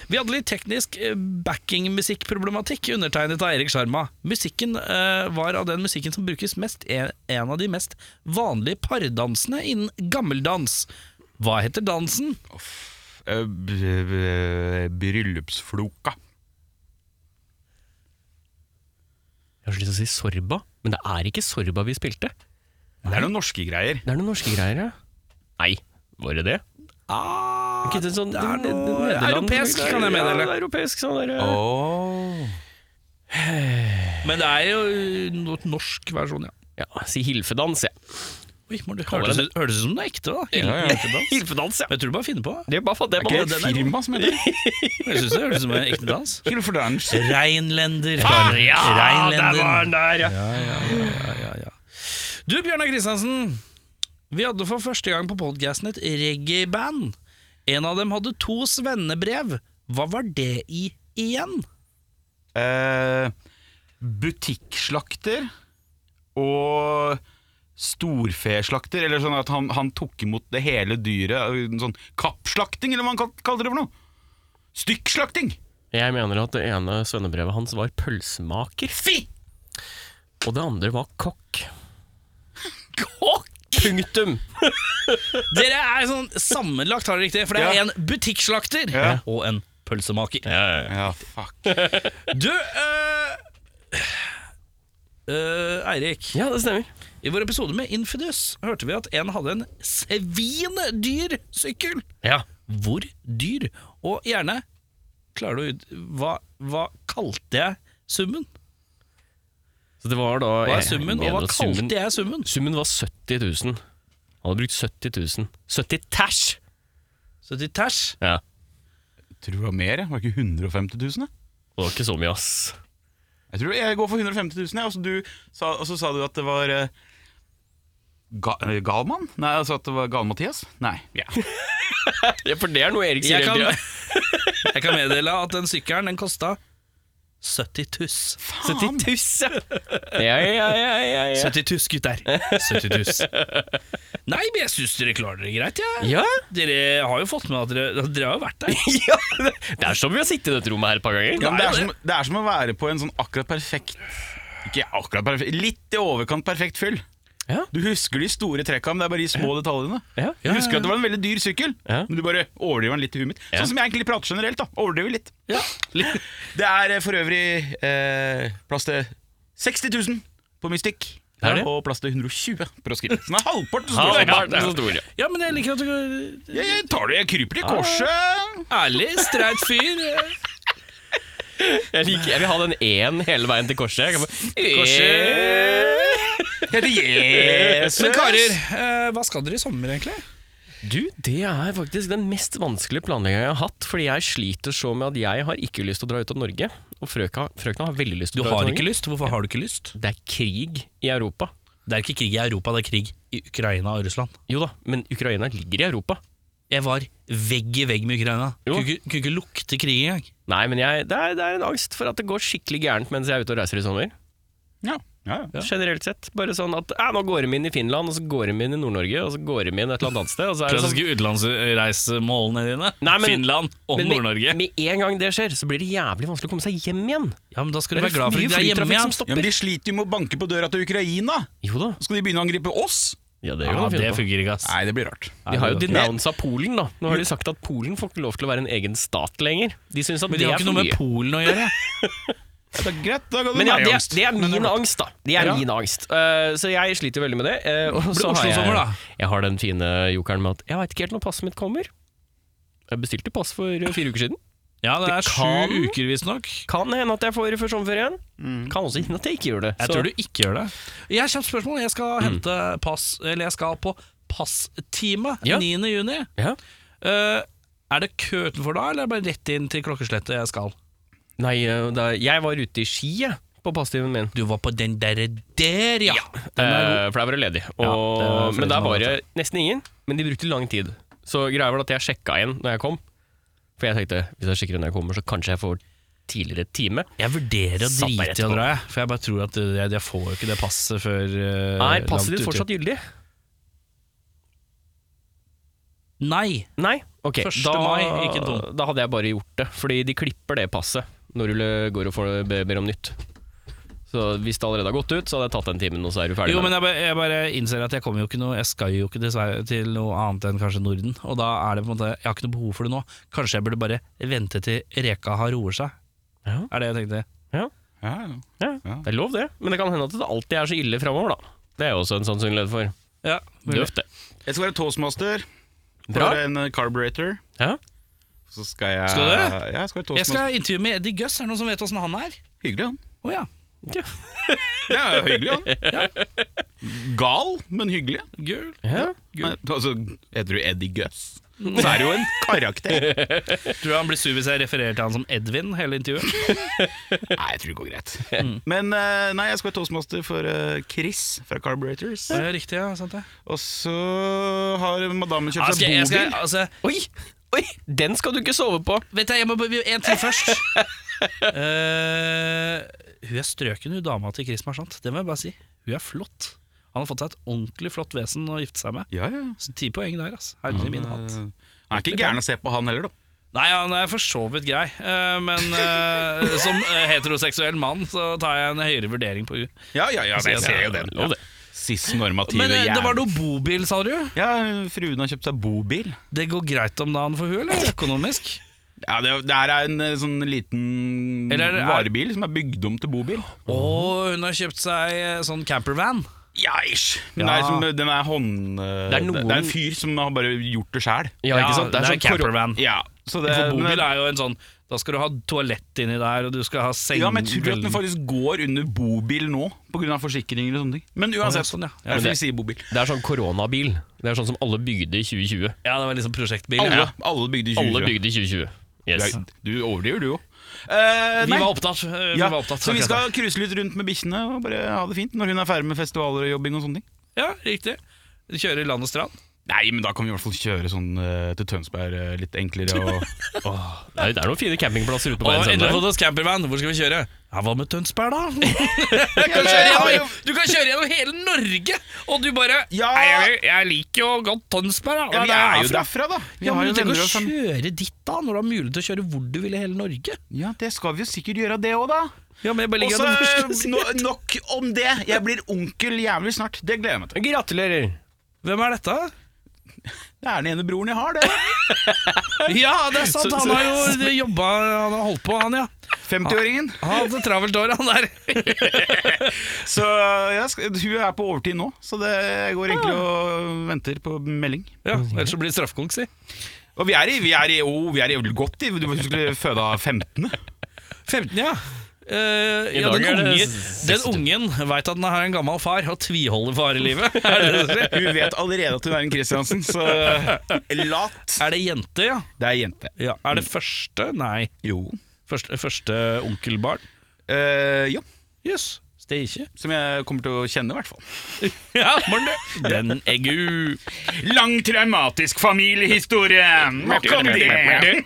B: Vi hadde litt teknisk eh, backingmusikkproblematikk undertegnet av Erik Sjarma. Musikken eh, var av den musikken som brukes mest, en, en av de mest vanlige pardansene innen gammeldans. Hva heter dansen?
C: Eh, b- b- Bryllupsfloka.
A: Jeg har så lyst til å si Sorba, men det er ikke Sorba vi spilte.
C: Det er noen norske greier.
A: Det er noen norske greier, ja. Nei, var det det?
B: Ah,
A: Ikke det, sånn,
B: det er
A: det- det-
B: noe
A: Nederland-
B: europeisk, kan jeg mene,
A: Ja,
B: eller?
A: det er europeisk, sånn der, ja.
C: Oh.
B: Men det er jo eh, no- norsk versjon, ja.
A: ja, si Hilfedans, jeg.
B: Oi, må du, hørtes, ut- hørtes ut som det er ekte, da.
A: Ja,
C: ja.
B: Hilfedans.
A: Hilfedans, ja.
B: Jeg tror du bare finner på det.
A: Det er bare for det.
C: Er ikke
A: bare-
C: det
A: den
C: et
A: er god.
C: firma som heter det?
B: Jeg synes det hørtes ut som en ekte dans.
C: Hilferdans?
B: Reinlender.
A: Ah, ja,
B: Rheinländer.
A: der var den der, ja.
B: Ja, ja, ja. Du, Bjørnar Kristiansen. Vi hadde for første gang på podcasten et reggae-band. En av dem hadde to svennebrev. Hva var det i igjen?
C: Eh, butikkslakter og storfeslakter. Eller sånn at han, han tok imot det hele dyret. En sånn kappslakting, eller hva han kal- kalte det for noe. Stykkslakting!
A: Jeg mener at det ene svennebrevet hans var pølsemaker. Fy! Og det andre var kokk. Kokk? Punktum.
B: Dere er sånn sammenlagt, har dere riktig? For det er
C: Ja.
B: en butikkslakter
C: Ja.
B: og en pølsemaker.
C: Ja, fuck.
B: Du, øh, øh, Eirik.
A: Ja, det stemmer.
B: I vår episode med Infidus hørte vi at en hadde en svindyr sykkel.
A: Ja.
B: Hvor dyr? Og gjerne Klarer du ut Hva, hva kalte jeg summen?
A: Så det var da
B: Hva er
A: jeg
B: summen, og
A: mener
B: hva
A: at summen-
B: kalte jeg summen?
A: Summen var 70 000. Han hadde brukt 70 000. 70 tæsj!
B: 70 tæsj.
A: Ja.
C: Tror det var mer, jeg. Var det ikke 150 000? jeg?
A: Det var ikke så mye, ass.
C: Jeg tror jeg går for 150 000, jeg. Og så, Altså, du, sa, og så sa du at det var eh, ga, eh, Galman? Nei, altså at det var Gal-Mathias? Nei. Ja.
A: Ja, for det er noe Erik
B: Jeg
A: sier
B: kan,
A: hele tida.
B: jeg kan meddele at den sykkelen den kosta 70 tuss.
A: 70 000! Ja, ja, ja, ja, ja.
B: 70 tuss, gutter. 70 tuss. Nei, men jeg syns dere klarer dere greit. Ja.
A: ja.
B: Dere har jo fått med at dere Dere har jo vært der.
A: ja. Det er som vi har sittet i dette rommet her et par ganger.
C: Ja, men det, er som, det er som å være på en sånn akkurat perfekt Ikke akkurat perfekt, litt i overkant perfekt fyll.
A: Ja.
C: Du husker de store trekka, men det er bare de små detaljene.
A: Ja.
C: Du husker at det var en veldig dyr sykkel,
A: Ja.
C: men du bare overdriver den litt i huet mitt.
A: Ja.
C: Sånn som jeg egentlig prater generelt. da, Overdriver litt. Litt. Det er eh, for øvrig eh, plass til 60 000 på Mystic.
A: Det er det.
C: Og plass til 120 på Roskilde. Så den er halvparten så
A: Ja,
C: stor.
A: det er så stor, ja.
B: Ja, men jeg liker at du
C: Jeg, jeg tar det, jeg kryper i korset.
B: Ærlig, streit fyr. eh,
A: Jeg, liker, jeg vil ha den én hele veien til korset. Jeg kan bare,
C: Jeg heter Jesus.
B: Men karer, eh, hva skal dere i sommer, egentlig?
A: Du, det er faktisk den mest vanskelige planlegginga jeg har hatt. Fordi jeg sliter så med at jeg har ikke lyst til å dra ut av Norge. Og frøka, frøkna har veldig lyst til å dra ut av Norge.
B: lyst? Hvorfor har du ikke lyst?
A: Det er krig i Europa.
B: Det er ikke krig i Europa, det er krig i Ukraina og Russland.
A: Jo da, men Ukraina ligger i Europa.
B: Jeg var vegg i vegg med Ukraina.
A: Jo.
B: Kunne ikke- kunne ikke lukte krig engang.
A: Nei, men jeg, det, er, det er en angst for at det går skikkelig gærent mens jeg er ute og reiser i sommer.
C: Ja, ja, ja.
A: Generelt sett. Bare sånn at eh, nå går de inn i Finland, og så går de inn i Nord-Norge, og så går de inn et eller annet sted. Og så er det sånn,
B: utenlandsreisemålene dine.
A: Nei, men-
B: Finland og
A: men med, med en gang det skjer, så blir det jævlig vanskelig å komme seg hjem igjen.
B: Ja, men da skal
A: Det
B: du
A: er
B: være glad for
A: mye
B: at du er hjemme
A: flytrafikk
B: igjen.
A: som
C: Ja,
A: stopper.
C: men De sliter jo med å banke på døra til Ukraina!
A: Jo da.
C: Skal de begynne å angripe oss?
A: Ja, det,
B: Ja, det
A: funker.
B: funker ikke, ass.
C: Nei, det blir rart.
A: De har jo denounsa Polen, da. Nå har de sagt at Polen får ikke lov til å være en egen stat lenger. De syns at
B: Men
A: det
B: det har
A: er
B: ikke
A: for
B: noe med
A: mye.
B: Polen å gjøre.
C: Det er greit, da ga du
A: Men ja,
C: meg
A: det,
C: angst.
A: det er min
C: Men det-
A: angst, da. Det er
C: Ja.
A: min angst. Eh, så jeg sliter veldig med det. eh, og
B: Blir
A: så har jeg,
B: Oslo-sommer, da.
A: jeg har den fine jokeren med at jeg veit ikke helt når passet mitt kommer. Jeg bestilte pass for eh, fire uker siden.
B: Ja, det er
A: Det kan-
B: sju uker, visstnok.
A: Kan hende at jeg får det før sommerferien. Kan også hende at jeg ikke gjør det.
B: Mm. Jeg
A: Så-
B: tror du ikke gjør det. Mm. Jeg har kjapt spørsmål. Jeg skal hente pass Eller jeg skal på passtime
A: Ja.
B: 9. juni.
A: ja.
B: Eh, er det kø utenfor da, eller er det bare rett inn til klokkeslettet jeg skal?
A: Nei, eh, da, jeg var ute i Ski jeg, på passtimen min.
B: Du var på den derre der, ja!
A: Eh, for der var det ledig. Og,
B: Ja, det er flere
A: men der
B: som har
A: var det
B: det.
A: nesten ingen, men de brukte lang tid. Så greia var at jeg sjekka inn når jeg kom. For jeg tenkte hvis jeg sjekker inn når jeg kommer, så kanskje jeg får tidligere time.
B: Jeg vurderer å
A: Satt meg
B: drite
A: rett
B: i å
A: på.
B: dra, jeg. For jeg bare tror at eh, jeg, jeg får jo ikke det passet før eh,
A: Er passet
B: langt
A: ditt
B: uti.
A: fortsatt gyldig?
B: Nei!
A: Nei? Ok,
B: Første
A: da,
B: mai, ikke dum.
A: da hadde jeg bare gjort det. Fordi de klipper det passet når du le- går og får, ber ber om nytt. Så hvis det allerede har gått ut, så hadde jeg tatt den timen, og så er du ferdig.
B: Jo,
A: med
B: men
A: det.
B: jeg, bare- jeg bare innser at jeg kommer jo ikke noe Jeg skal jo ikke til, Sverige- til noe annet enn kanskje Norden. Og da er det på en måte Jeg har ikke noe behov for det nå. Kanskje jeg burde bare vente til reka har roet seg.
A: Ja.
B: Er det jeg tenkte.
C: Ja, ja.
A: Ja,
C: Ja.
A: Det er lov, det. Men det kan hende at det alltid er så ille framover, da. Det er jo også en sannsynlighet for.
B: Ja, mulig.
A: Døvt, det.
C: Jeg skal være toastmaster.
A: Bra.
C: Bare en eh, carburetor.
A: Ja.
C: Så skal jeg
B: Skal du det?
C: Ja, jeg skal være
B: Jeg
C: toastmaster.
B: skal intervjue med Eddie Guss. Er det noen som vet åssen han er?
C: Hyggelig, han.
B: Å ja.
C: Ja, hyggelig, han. Gal, men hyggelig.
B: Gul.
A: Ja.
C: Men, altså, heter du Eddie Guss, så er du jo en karakter.
B: Tror du han blir sur hvis jeg refererer til han som Edvin hele intervjuet?
C: Nei, jeg tror det går greit. Men eh, nei, jeg skal være toastmaster for eh, Chris fra Carburetors.
B: Det er riktig, ja. Sant det.
C: Og så har madammen
B: Ja,
C: kjøpt
B: skal
C: seg
B: jeg, jeg skal,
C: bobil.
B: altså,
A: Oi! Oi! Den skal du ikke sove på!
B: Vet du, jeg må bare En ting først. Eh, hun er strøken, hun dama til Chris Marchant. Det må jeg bare si. Hun er flott. Han har fått seg et ordentlig flott vesen å gifte seg med.
C: Ja, ja.
B: Så Ti poeng der, altså. Herlig min hatt.
C: Han er ikke gæren å se på, han heller, da.
B: Nei, han er for så vidt grei, eh, men eh, som eh, heteroseksuell mann så tar jeg en høyere vurdering på hun.
C: Ja, ja, ja, jeg ser jo den.
A: Lov det.
C: Sist normative
B: Men eh, det
C: jævel.
B: var noe bobil, sa du?
C: Ja, fruen har kjøpt seg bobil.
B: Det går greit om dagen for hun, eller? Økonomisk?
C: Ja, det, det her er en eh, sånn liten
B: Eller er det-
C: varebil som er bygd om til bobil.
B: Og hun har kjøpt seg eh, sånn campervan.
C: Ja, ish.
B: Ja.
C: Den er, som, den er hånd... eh,
A: Det er noen-
C: det er en fyr som har bare gjort det sjæl.
A: Ja, ikke sant?
B: Det er,
A: sånn korona-
B: campervan.
C: Ja, så det,
B: For
C: men-
B: bobil er jo en sånn Da skal du ha toalett inni der, og du skal ha seng
C: Ja, men jeg tror at den faktisk går under bobil nå, pga. forsikringer og sånne ting. Men
B: Å,
C: uansett,
B: ja, sånn, ja. Ja,
C: derfor
A: men
C: vi sier bobil.
A: Det er sånn koronabil. Det er sånn som alle bygde i 2020.
B: Ja, det var liksom prosjektbil. Ja.
C: Alle, alle bygde i 2020.
A: Alle bygde i 2020. Yes.
C: Du, du overdriver, du òg.
B: Vi var opptatt. eh, Vi
C: ja,
B: var opptatt
C: så vi
B: akkurat
C: skal cruise litt rundt med bikkjene og bare ha det fint når hun er ferdig med festivaler og jobbing og sånne ting.
B: da. Ja, riktig. Kjøre land og strand.
C: Nei, men da kan vi i hvert fall kjøre sånn eh, til Tønsberg eh, litt enklere og
A: Det er det er noen fine campingplasser ute på
B: Og
A: veien.
B: endelig
A: selv
B: fått
A: der.
B: oss campervan. Hvor skal vi kjøre? Ja, Hva med Tønsberg, da?
C: Jeg kan
B: Kjøre gjennom- Du kan kjøre gjennom hele Norge, og du bare
C: Ja.
B: Nei, jeg, jeg liker jo godt Tønsberg, da.
C: Ja,
B: Det
C: vi er jo
B: herfra.
C: derfra, da. Vi
B: Ja,
C: har
B: men
C: jo
B: du tenker
C: venner
B: å
C: og sånn.
B: kjøre dit, da, når du har mulighet til å kjøre hvor du vil i hele Norge.
C: Ja, det skal vi jo sikkert gjøre, det òg, da.
B: Ja, men jeg bare
C: Og
B: ligger
C: så
B: gjennom
C: eh,
B: første-
C: no, nok om det. Jeg blir onkel jævlig snart. Det gleder jeg meg til.
A: Gratulerer!
B: Hvem er dette?
C: Det er den ene broren jeg har, det.
B: Ja, det er sant! Han har jo jobba, han har holdt på, han, ja.
C: 50-åringen.
B: Han hadde travelt år, han der.
C: Så jeg skal, hun er på overtid nå, så det jeg går egentlig og venter på melding.
B: Ja, Ellers så blir det straffekonk, si.
C: Og vi er i, vi er i, oh, vi er i godt i Du skulle føde av 15.
B: 15, ja. Eh, ja,
A: dag
B: den,
A: er det
B: unge,
A: s-
B: den ungen veit at den har en gammel far og tviholder på arrelivet. Er, det det du sier?
C: Hun vet allerede at hun er en Kristiansen, så lat.
B: er det jente, ja?
C: Det er jente.
B: ja? Er det første? Nei.
C: Jo.
B: Første, første onkelbarn?
C: Eh, ja.
B: Jøss. Yes. Det er ikke.
C: Som jeg kommer til å kjenne, i hvert fall.
B: Ja, morgen, du. Den er gu.
C: Lang traumatisk familiehistorie! Nok om det!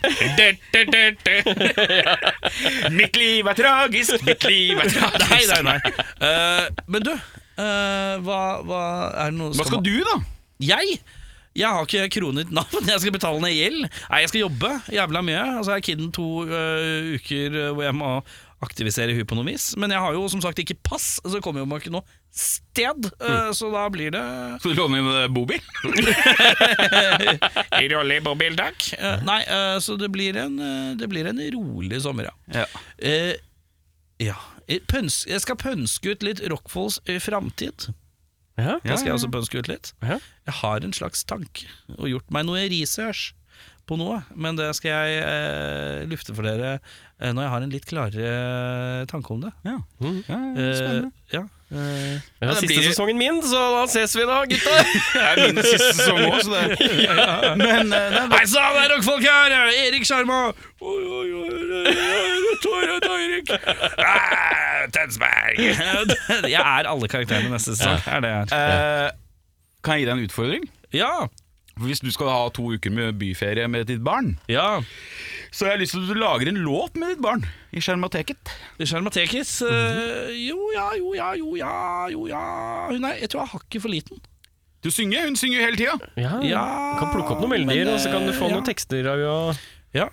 C: Mitt liv er tragisk, mitt liv er tragisk.
B: Nei, nei, nei. Eh, men du, eh, hva, hva er det noe
C: Hva skal du, da?
B: Jeg? Jeg har ikke kronet navn, jeg skal betale ned gjeld. Nei, jeg skal jobbe jævla mye. Altså, jeg er kidden to øh, uker øh, hvor jeg må aktivisere hun på noe vis. Men jeg har jo som sagt ikke pass, så kommer jo man ikke noe sted. øh, Så da blir det
C: Skal du låne inn eh, bobil?
B: Rolig bobil, takk. Nei, øh, så det blir, en, øh, det blir en rolig sommer, ja.
C: Ja.
B: Eh, ja. Jeg pøns- jeg skal pønske ut litt Rockfolds eh, framtid.
A: Ja.
B: Da skal jeg også pønske ut litt.
A: Ja.
B: Jeg har en slags tanke og gjort meg noe research på noe, men det skal jeg eh, lufte for dere eh, når jeg har en litt klarere tanke om det.
C: Ja. Mm. Ja,
B: Eh,
C: spennende.
B: ja. Eh,
A: Det er
C: det
A: siste
C: blir-
A: sesongen min, så da ses vi da, gutter!
C: Det er min siste sesong òg, så det Men eh, det er
B: Hei sann, det er rockfolk her! Erik Sjarma! Oi, oi, oi, rødt hår og Eirik.
C: Eh,
B: Ah, Tønsberg! Jeg er alle karakterene neste sesong. Er det jeg er.
C: Eh, Kan jeg gi deg en utfordring?
B: Ja.
C: For Hvis du skal ha to uker med byferie med ditt barn,
B: ja.
C: Så jeg har lyst til at du lager en låt med ditt barn i Skjermateket.
B: Sjarmatekis. eh, jo ja, jo ja, jo ja, jo ja. Hun er, jeg tror jeg er hakket for liten.
C: Du synger, hun synger jo hele tida.
A: Ja,
B: Ja,
A: Kan plukke opp noen melodier,
B: men,
A: og så kan du få
B: eh, ja.
A: noen tekster av ja.
B: Ja.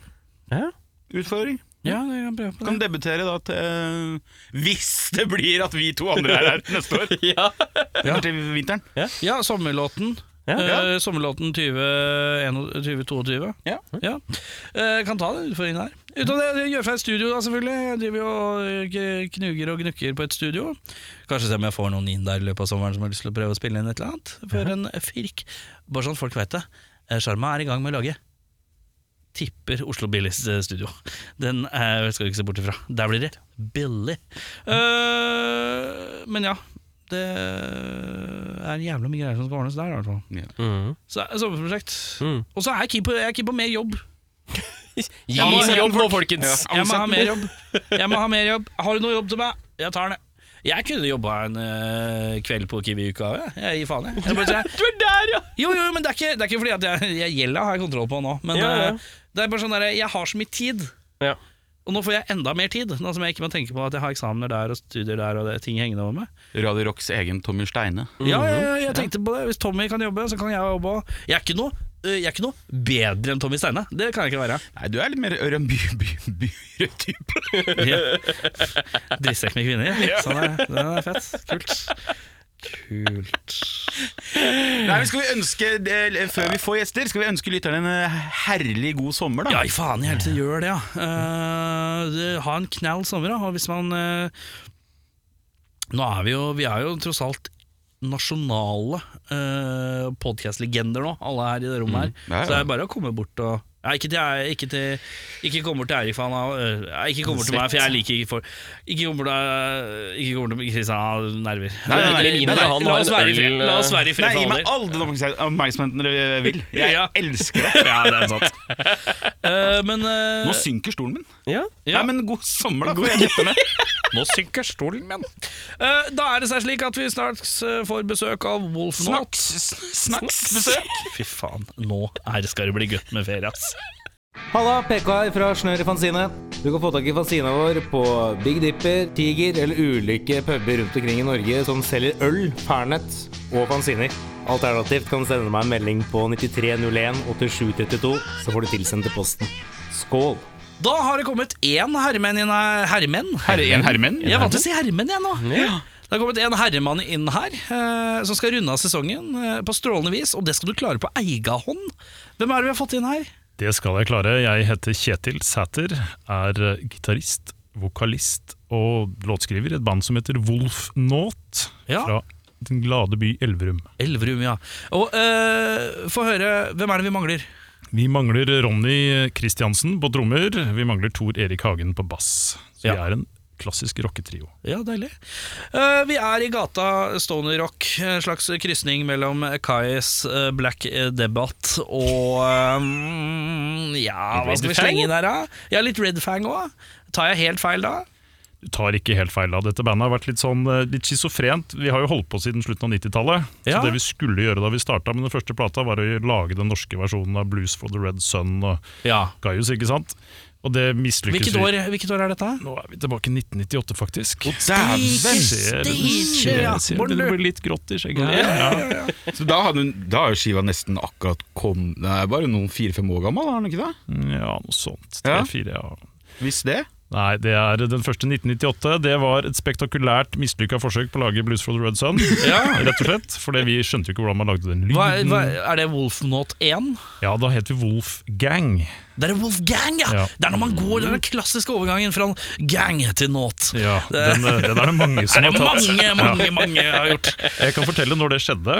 A: Ja.
C: Utfordring.
B: Ja, det kan jeg prøve på
C: Kan debutere da til eh, Hvis det blir at vi to andre er her neste år. Eller til vinteren.
B: Ja, sommerlåten.
A: Ja.
B: Eh, sommerlåten 2021-2022.
C: Ja.
B: Ja. Eh, kan ta den utfordringen her. Utenom det, jeg gjør fra et studio, da, selvfølgelig. Jeg driver jo og eh, k- knuger og gnukker på et studio. Kanskje se om jeg får noen inn der i løpet av sommeren som har lyst til å prøve å spille inn et eller annet. For en firk. Bare sånn folk veit det. Eh, Sjarma er i gang med å lage tipper Oslo Billies eh, studio. Den eh, skal du ikke se bort ifra. Der blir det billig. Eh, men ja, det er jævla mye greier som skal ordnes der, i hvert fall.
A: Mm.
B: Så det er sommerprosjekt.
A: Mm.
B: Og så er jeg keen på, jeg er keen på mer jobb.
A: Gi
B: Jeg må
A: oss
B: ha-
A: jobb nå, folkens!
C: Ja.
B: Jeg må ha
C: Ansett
B: mer jobb. Jeg må ha mer jobb. Har du noe jobb til meg? Jeg tar den. Jeg kunne jobba en eh, kveld på Kiwi-uka. Jeg. jeg gir faen, jeg. jeg bare sier,
A: Du er der, ja!
B: jo, jo, men det er ikke, det er ikke fordi at jeg, jeg gjelder har jeg kontroll på nå. Men
A: Ja, ja.
B: eh, det er bare sånn der, jeg har så mye tid.
A: Ja.
B: Og nå får jeg enda mer tid, nå som jeg ikke må tenke på at jeg har eksamener der og studier der og det, er ting hengende over meg.
C: Radio Rocks egen Tommy Steine.
A: Mhm.
B: Ja, ja, ja, jeg tenkte på det. Hvis Tommy kan jobbe, så kan jeg jobbe òg. Jeg, er ikke noe- eh, jeg er ikke noe bedre enn Tommy Steine. Det kan jeg ikke være.
C: Nei, du er litt mer Ørjan Byhre-type.
B: Drittsekk med kvinner. Sånn er, den er fett. Kult. Kult.
C: Nei, men skal vi ønske, eh, Før vi får gjester, skal vi ønske lytterne en eh, herlig god sommer,
B: Ja,
C: da.
B: i faen i helvete, gjør det, ja. Eh, det- ha en knall sommer, da. Og hvis man eh, Nå er vi jo Vi er jo tross alt nasjonale uh, podkastlegender nå, alle her i det rommet her.
C: Mm. Ja, ja.
B: Så det er bare å komme bort og Nei, ikke til, jeg- ikke til Ikke kom bort til Eirik, for han har øh, nei, Ikke kom bort til meg, for jeg liker ikke folk Ikke kom bort til eh, Ikke kom bort til Kristian, han har nerver.
C: Nei, nei, nei,
A: Eller
C: nei,
A: mindre,
C: nei.
A: han
B: La
A: har
B: oss være i fred.
A: en
B: La oss
A: øl eh,
B: være i
C: Nei,
B: fred
C: gi
B: for
C: meg
B: all del.
C: alle dere oppmerksomheten dere eh, vil. Jeg
B: Ja.
C: elsker det. Ja, det er sant.
B: Eh, men eh,
C: Nå synker stolen min.
A: Ja.
B: Ja.
C: Nei, men god sommer, da. får jeg kjefte med.
B: Nå synker stolen min. Eh, da er det seg slik at vi snart eh, får besøk av Wolfnot.
C: Snacksbesøk.
B: Fy faen, nå er skal det bli godt med ferie, ass.
E: Halla, PK her fra Snør i Fanzine. Du kan få tak i fanzina vår på Big Dipper, Tiger eller ulike puber rundt omkring i Norge som selger øl, pernett og fanziner. Alternativt kan du sende meg en melding på 9301 8732, så får du tilsendt til posten. Skål!
B: Da har det kommet én herremann inn her. Herremenn?
C: Herre, en herremenn?
B: Jeg vant til å si herremenn, jeg nå.
A: Ja.
B: Det har kommet en herremann inn her eh, som skal runde av sesongen eh, på strålende vis, og det skal du klare på eiga hånd. Hvem er det vi har fått inn her?
F: Det skal jeg klare. Jeg heter Kjetil Sæter, er eh, gitarist, vokalist og låtskriver i et band som heter Wolf Nåt,
B: Ja.
F: fra den glade by Elverum.
B: Elverum, ja. Og eh, få høre, hvem er det vi mangler?
F: Vi mangler Ronny Kristiansen på trommer, vi mangler Tor Erik Hagen på bass. Så
B: Ja.
F: vi er en klassisk rocketrio.
B: Ja, deilig. Eh, vi er i gata Stoner Rock, en slags krysning mellom Kais eh, Black Debatt og eh, Ja, hva
A: Red
B: skal vi
A: Fang?
B: slenge inn her, da? Ja, litt Red Fang òg. Tar jeg helt feil da?
F: Du tar ikke helt feil av dette bandet. har vært litt sånn eh, litt schizofrent. Vi har jo holdt på siden slutten av 90-tallet.
B: Ja.
F: Så det vi skulle gjøre da vi starta med den første plata, var å lage den norske versjonen av Blues for the Red Sun og
B: Ja.
F: Gaius, ikke sant? Og det mislykkes
B: Hvilket
F: vi-
B: år, hvilket år er dette?
F: Nå er vi tilbake i 1998, faktisk.
C: Dæven!
F: Ser du-
B: stikker, ja.
F: ser du, det blir litt grått i skjegget. Ja.
C: Så da, hadde hun, da er jo skiva nesten akkurat kom Nei, bare noen fire-fem år gammel, er den ikke det?
F: ja, noe sånt.
C: Ja.
F: Tre-fire, ja.
C: Hvis det.
F: Nei, det er den første 1998. Det var et spektakulært mislykka forsøk på å lage Blues for the Red Sun. Rett og slett, Fordi vi skjønte jo ikke hvordan man lagde den lyden.
B: Hva, hva, er det Wolfnot 1?
F: Ja, da het vi Wolf Gang.
B: Det er Wolfgang, ja!
F: Ja.
B: Det er når man går det er den klassiske overgangen fra gang til not.
F: Ja, den, eh, den er det mange som
B: Det er
F: har tatt.
B: mange, mange, mange har gjort.
F: Jeg kan fortelle når det skjedde.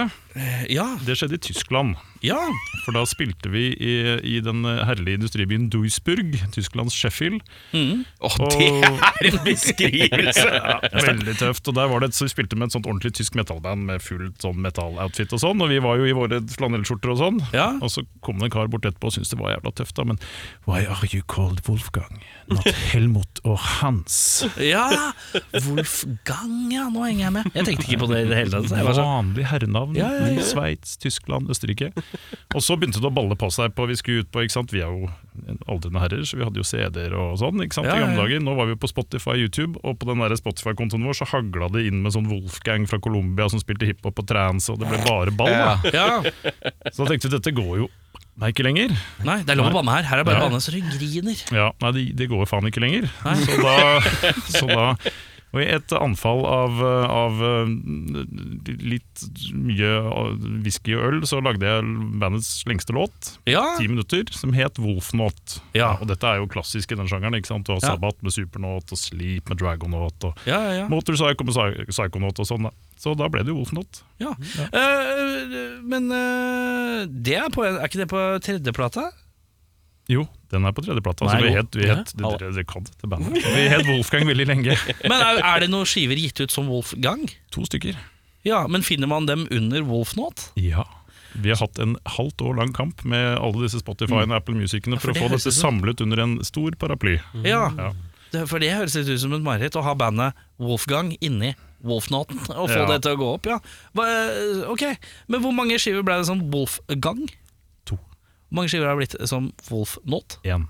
B: Ja,
F: Det skjedde i Tyskland.
B: ja.
F: For da spilte vi i, i den herlige industribyen Duisburg, Tysklands Sheffield.
C: Å, det
F: Og
C: er en beskrivelse!
F: Ja, veldig tøft. Og der var det, så Vi spilte med et sånt ordentlig tysk metallband med fullt sånn metalloutfit og sånn. Og vi var jo i våre flanellskjorter og sånn.
B: Ja.
F: Og så kom det en kar bort etterpå og syntes det var jævla tøft, da. Men Why are you called Wolfgang? Not Helmut or Hans.
B: Ja, Wolfgang, ja. Nå henger jeg med. Jeg tenkte ikke på det i det hele tatt. så Jeg var sånn.
F: Vanlig herrenavn
B: Ja, ja, ja, ja.
F: i Sveits, Tyskland, Østerrike. Og så begynte det å balle på seg på vi skulle ut på, ikke sant? Vi er jo aldrende herrer, så vi hadde jo CD-er og sånn ikke sant?
B: Ja,
F: i
B: ja,
F: gamle
B: ja.
F: dager. Nå var vi jo på Spotify YouTube, og på den der Spotify-kontoen vår så hagla det inn med sånn Wolfgang fra Colombia som spilte hiphop og trance, og det ble bare ball. da.
B: Ja.
F: Så da tenkte vi dette går jo Nei, ikke lenger.
B: Nei, det er lov å banne her. Her er bare
F: Ja.
B: banne så du griner.
F: Ja, nei, det, det går jo faen ikke lenger. Så da, så da og i et anfall av, eh, av eh, litt mye eh, whisky og øl, så lagde jeg bandets lengste låt,
B: Ja,
F: ti minutter, som het
B: Ah.
F: Wolfnot.
B: Ja.
F: Og dette er jo klassisk i den sjangeren. ikke sant? Du har
B: Ja. Ah.
F: Sabbat med Supernot, og Sleep med Dragonaut, og
B: ja, ja. ja.
F: Motorpsycho med Psy- Psychonaut og sånn. da. Så da ble det jo Wolfnot.
B: Ja. Eh, men eh, det er, på, er ikke det på tredjeplata?
F: Jo, den er på tredjeplata.
B: Nei,
F: Altså, vi
B: jo.
F: het, vi het,
A: Ja.
F: dere, dere kan dette bandet. Vi het Wolfgang veldig lenge.
B: Men er, er det noen skiver gitt ut som Wolfgang?
F: To stykker.
B: Ja, men finner man dem under Wolfnot?
F: Ja. Vi har hatt en halvt år lang kamp med alle disse Spotify- og Apple Musicene for,
B: Mm. for det
F: å få
B: høres ut
F: dette
B: som-
F: samlet under en stor paraply.
B: Ja,
F: Ja.
B: det- for det høres litt ut som et mareritt å ha bandet Wolfgang inni Wolfnoten og få
F: Ja.
B: det til å gå opp, ja. Hva, eh, ok, men hvor mange skiver ble det som Wolfgang?
F: To.
B: Hvor mange skiver har det blitt som Wolfnot?
F: En.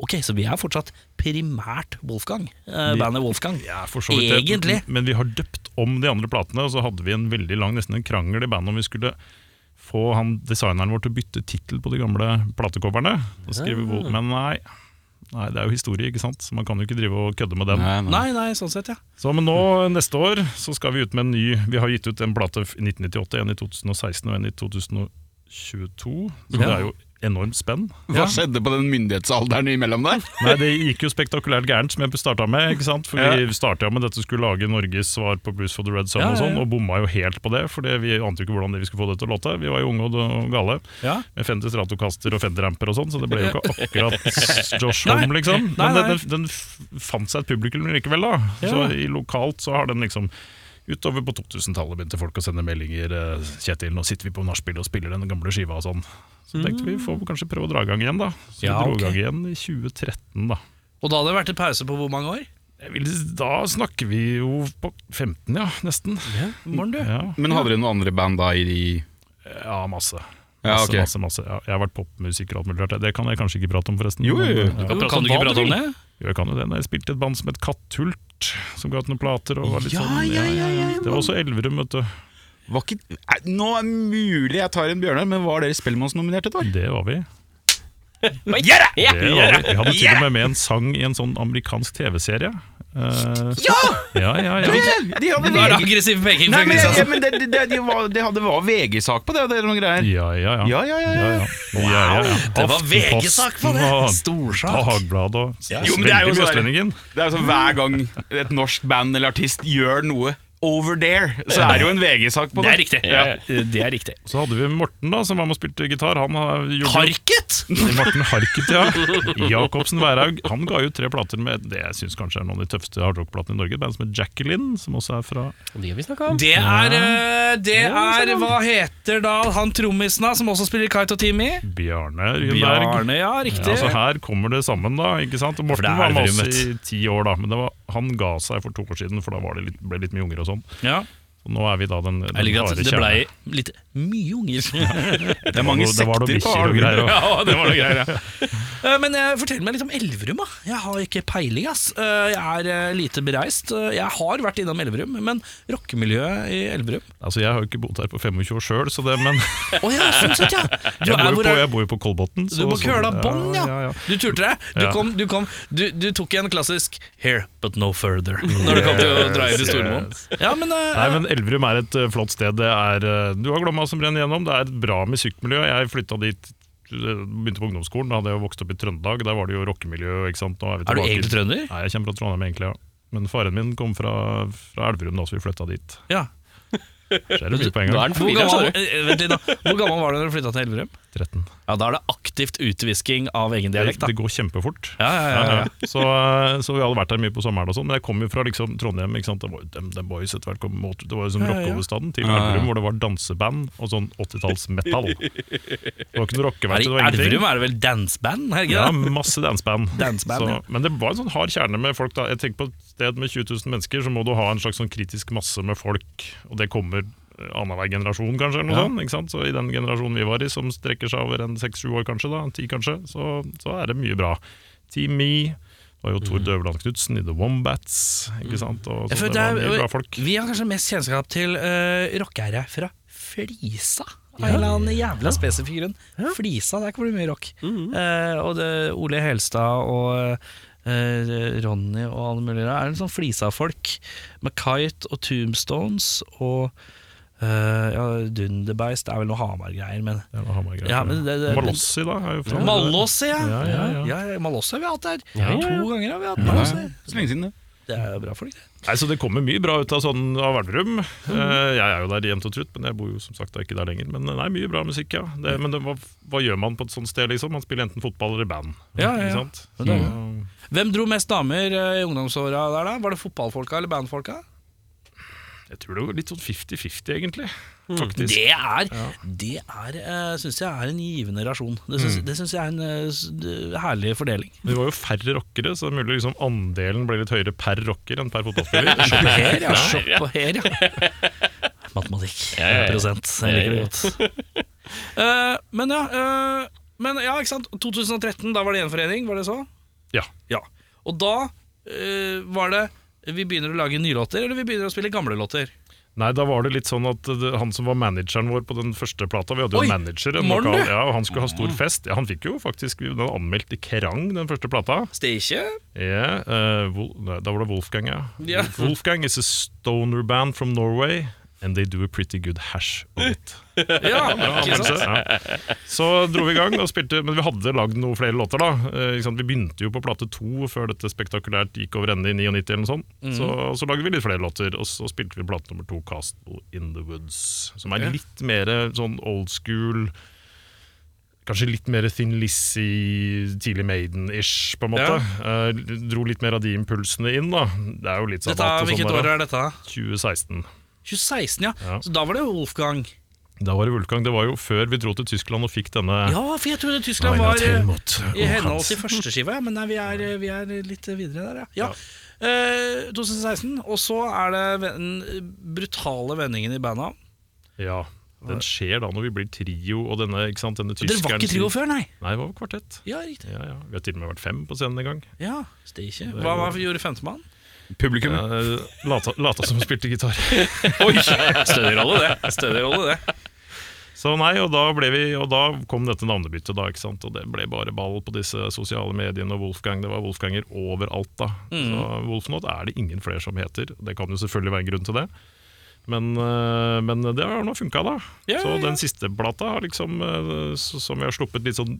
B: Ok, så vi er fortsatt primært Wolfgang. eh,
F: Vi-
B: bandet Wolfgang.
F: Ja, for så vidt. det.
B: Egentlig.
F: Men vi har døpt om de andre platene, og så hadde vi en veldig lang nesten en krangel i bandet om vi skulle få han, designeren vår til å bytte tittel på de gamle platecoverne. Og skrive
B: Ah.
F: Wol- Men nei. Nei, det er jo historie, ikke sant? Så man kan jo ikke drive og kødde med den.
B: Nei, nei, sånn sett, ja.
F: Så men nå, neste år, så skal vi ut med en ny Vi har gitt ut en plate i 1998, en i 2016 og en i 2022. Så det er jo enormt spenn.
C: Hva skjedde på den myndighetsalderen imellom der?
F: Nei, det gikk jo spektakulært gærent, som jeg starta med. ikke sant? For vi starta med dette skulle lage Norges svar på Blues for the Red Sun
B: Ja,
F: og
B: ja,
F: sånn,
B: ja.
F: og bomma jo helt på det, for det- vi ante jo ikke hvordan det vi skulle få det til å låte. Vi var jo unge og, og gale,
B: Ja.
F: med Fender Stratocaster og Fender-ramper og sånn, så det ble jo ikke akkurat Josh
B: Nei.
F: Home, liksom.
B: Nei,
F: Men
B: nei.
F: den, den f- fant seg et publikum likevel, da.
B: Ja.
F: Så i lokalt så har den liksom Utover på 2000-tallet begynte folk å sende meldinger. eh, 'Kjetil, nå sitter vi på nachspielet og spiller den gamle skiva' og sånn. Så tenkte vi får vi kanskje prøve å dra i gang igjen, da. Så
B: Mm. Ja,
F: vi dro i
B: ok.
F: gang igjen i 2013, da.
B: Og da hadde det vært en pause på hvor mange år?
F: Jeg vil, da snakker vi jo på 15, ja. Nesten.
B: Morgen, du.
F: Ja,
C: Men hadde dere noen andre band da i de
F: ja masse.
C: Ja,
F: Masse,
C: ok.
F: masse, masse. Ja, jeg har vært popmusiker og alt mulig rart. Det kan jeg kanskje ikke prate om, forresten.
C: Jo, jo, jo.
F: Men, ja.
B: Jo,
A: prate om
B: Kan du
A: hva
B: ikke
A: du
B: prate om
A: vil.
B: det?
F: jo, jeg kan jo det. Jeg spilte i et band som het Katthult, som ga ut noen plater. Og var litt sånn, ja, Det var også Elverum, vet du.
C: Var ikke, Nei, nå er det mulig jeg tar en Bjørnar, men var dere Spellemannsnominert et år?
F: Det var vi.
A: Gjør det!
F: Det var vi. vi hadde til og med med en sang i en sånn amerikansk TV-serie. Eh,
C: Ja!
F: ja, ja,
C: De,
F: ja.
C: de hadde
B: Nå er det
C: VG.
B: aggressiv peking altså.
C: Nei,
B: fra
C: men, jeg- ja,
B: Kristiansen.
C: men det, det, det, de var, det hadde, var VG-sak på det, det er noen greier.
F: Ja, ja, ja.
C: Ja, ja, ja, ja.
F: Ja, ja, ja.
B: Det var VG-sak på det!
F: Aftenposten og
B: Storsak.
F: Dagbladet og
C: Jo, men det er jo
F: veldig mye
C: sånn der-
F: Østlendingen.
C: Det er jo sånn hver gang et norsk band eller artist gjør noe over there, så er det jo en VG-sak på
B: Det
C: det.
B: er riktig.
C: Ja.
B: Det er riktig.
F: Så hadde vi Morten da, som var med og spilte gitar. Han har gjort
B: Harket!
F: Morten Harket, ja. Jacobsen Wærhaug. Han ga ut tre plater med det jeg syns kanskje er noen av de tøffeste hardrockplatene i Norge. Et band som heter Jacqueline, som også er fra
A: Og det har vi snakka om.
B: Det er, eh, det
A: Ja,
B: er
A: sånn.
B: Hva heter da han trommisen da, som også spiller Kite og Timmy?
F: Bjarne Ryenberg.
B: Bjarne, ja,
F: Ja, altså,
B: riktig.
F: så her kommer det sammen, da. ikke sant? Og
B: For det
F: Morten
B: er
F: var med
B: Elverum,
F: oss i ti år, da. Men det var, han ga seg for to år siden, for da var det litt, ble det litt mye unger og sånn.
B: Ja.
F: Så nå er vi da den, den
B: Jeg liker at
F: harde
B: det
F: kjerne.
B: blei litt mye unger.
C: Det er mange
F: Det var noe-
C: sekter
F: det
C: på
F: var noe bikkjer og greier. også.
B: Ja, det var noe greier, ja. Eh, Men eh, fortell meg litt om Elverum. da Jeg har ikke peiling. ass Eh, Jeg er eh, lite bereist. Eh, Jeg har vært innom Elverum, men rockemiljøet i Elverum
F: Altså, Jeg har jo ikke bodd her på 25 år sjøl, så det, men
B: Å ja, sånn sett, ja! Du
F: jeg bor,
B: er,
F: jo
B: hvor
F: på,
B: er,
F: jeg bor jo på Kolbotn.
B: du
F: så-
B: på
F: så-
B: køla bånd, ja.
F: ja, ja.
B: Du turte deg. Du,
F: Ja.
B: kom, du, kom, du, du tok en klassisk 'here but no further' når det kom til å dra inn i
F: Yes,
B: Stormoen.
F: yes.
B: Ja, men, eh,
F: Nei, men Elverum er et eh, flott sted. Det er, eh, du har Glomma som renner gjennom. Det er et bra musikkmiljø. Jeg flytta dit eh, begynte på ungdomsskolen, da hadde jeg jo vokst opp i Trøndelag. Der var det jo rockemiljø. ikke sant? Nå er, vi
B: Er du
F: tilbake-
B: egentlig trønder?
F: Nei, jeg kommer fra Trondheim egentlig, ja. Men faren min kom fra, fra Elverum da, så vi flytta dit.
B: Ja.
F: Skjer det mye på
A: Nå er
F: en gang.
A: den
B: Hvor
A: forvirra,
B: gammel,
A: sa du.
B: eh, vent litt nå. Hvor gammel var du da du flytta til Elverum?
F: 13.
B: Ja, Da er det aktivt utvisking av egen
F: Det,
B: dialekt. da
F: det går kjempefort.
B: ja, ja, ja, ja.
F: Så, eh, så vi hadde vært der mye på sommeren, og sånn men jeg kom jo fra liksom, Trondheim. Ikke sant? Det var jo Dem- Dem Boys etter hvert kom mot, Det var jo sånn rockehovedstaden til Elverum, hvor det var danseband og sånn 80-talls-metall. Det var ikke noe
B: Er
F: rockeverksted,
B: det
F: det var ingenting.
B: Elverum er det vel danseband? er det ikke
F: Ja,
B: det?
F: masse danseband.
B: Danseband,
F: Så-
B: ja.
F: Men det var en sånn hard kjerne med folk. da Jeg tenker på et sted med 20 000 mennesker, så må du ha en slags sånn kritisk masse med folk. Og det kommer eh, annenhver generasjon, kanskje. Eller noe sånt, ikke sant? Så i den generasjonen vi var i, som strekker seg over en seks-sju år, kanskje, da, ti kanskje, så, så er det mye bra. Team Me det var jo Tor Døveland Knutsen i The Wombats. Ikke sant? Og,
B: Mm. Jeg
F: så
B: føler
F: det var
B: det er-
F: mye bra folk.
B: Vi har kanskje mest kjennskap til uh, rockere fra Flisa. Av en eller annen jævla spesifikk grunn. Flisa, der kommer det mye rock. Eh, og det, Ole Helstad og eh, Ronny og alle mulige der er en sånn Flisa-folk. Med Kite og Tombstones og eh, ja, Dunderbeist er vel noe Hamar-greier, men
F: Det var Hamar-greier.
B: Ja, men det- det-
F: Malossi, da. Er jo fra,
B: Malås, ja.
F: Ja, ja, ja.
B: Malås har vi hatt her.
A: Ja, ja, ja.
B: To ganger har vi hatt
C: Ja,
B: Malås. her.
C: så lenge siden, det.
B: Det er jo bra folk, det.
F: Nei, så Det kommer mye bra ut av sånn av Elverum.
B: Mhm.
F: Eh, jeg er jo der jevnt og trutt, men jeg bor jo som sagt ikke der lenger. Men eh, nei, mye bra musikk, ja. Det,
B: Mm.
F: men det, hva, hva gjør man på et sånt sted, liksom? Man spiller enten fotball eller band.
B: Ja, ja, ja.
F: Ikke sant?
B: det er Hvem dro mest damer eh, i ungdomsåra der, da? Var det fotballfolka eller bandfolka?
F: Jeg tror det var litt sånn 50-50, egentlig. Faktisk.
B: Mm. Det er, det er uh, syns jeg er en givende rasjon. Det syns, det syns jeg er en eh, s- d- herlig fordeling.
F: Men Vi var jo færre rockere, så det er mulig liksom andelen ble litt høyere per rocker enn per fotballspiller.
B: Her, ja. Shop og her, ja. Matematikk. Prosent. Jeg liker det godt. Eh, men ja, eh, men ja, ikke sant. 2013, da var det gjenforening, var det så?
F: ja.
B: Ja. Og da eh, var det vi begynner å lage nye låter, eller vi begynner å spille gamle låter?
F: Nei, da var det litt sånn at det, han som var manageren vår på den første plata Vi hadde jo
B: Oi,
F: en manager, en
B: morgen,
F: lokal,
B: du.
F: ja, og han skulle ha
B: Ah.
F: stor fest. Ja, han fikk jo faktisk den var anmeldt i Kerrang, den første plata.
B: Stekje?
F: Ja, eh, Wol- nei, da var det Wolfgang, ja.
B: Ja.
F: Wolfgang is a stoner band from Norway, and they do a pretty good hash of it.
B: Ja, ikke sant?
F: Ja. Så dro vi i gang og spilte, men vi hadde lagd noen flere låter da. Eh, ikke sant? Vi begynte jo på plate to før dette spektakulært gikk over ende i 99 eller noe sånt.
B: Mhm.
F: Så, så lagde vi litt flere låter, og så spilte vi plate nummer to, Castle in the Woods, som er litt mer sånn old school, Kanskje litt mer Thin Lizzie, tidlig Maiden-ish, på en måte. Eh, dro litt mer av de impulsene inn, da. Det er jo litt sånn
B: Dette,
F: at det
B: hvilket
F: sånn
B: år
F: der,
B: er dette?
F: 2016.
B: 2016, ja.
F: Ja.
B: Så da var det Wolfgang.
F: Da var det Vulkan. Det var jo før vi dro til Tyskland og fikk denne
B: Ja, for jeg trodde Tyskland var eh, i henhold til første skive, men nei, vi er, eh, vi er litt videre der, ja. ja. Eh, 2016, og så er det ve- den brutale vendingen i bandet.
F: Ja, den skjer da når vi blir trio og denne, ikke sant, denne
B: Dere
F: tyskeren
B: var ikke trio før, nei?
F: Nei, det var kvartett.
B: Ja, riktig.
F: Ja, ja. Vi har til og med vært fem på scenen en gang.
B: Ja, Stekje. Hva var gjorde femtemann?
C: Publikum.
F: Eh, lata, lata som hun spilte gitar.
B: Oi! Stødig rolle, det. Stødig rolle, det.
F: Så nei, og da, ble vi, og da kom dette navnebyttet, da, ikke sant? og det ble bare ball på disse sosiale mediene. og Wolfgang, Det var Wolfganger overalt, da.
B: Mm.
F: Så Wolfnot er det ingen flere som heter. Det kan jo selvfølgelig være en grunn til det. Men, øh, men det har nå funka, da.
B: Ja,
F: så
B: ja, ja.
F: den siste plata, har liksom, øh, s- som vi har sluppet litt sånn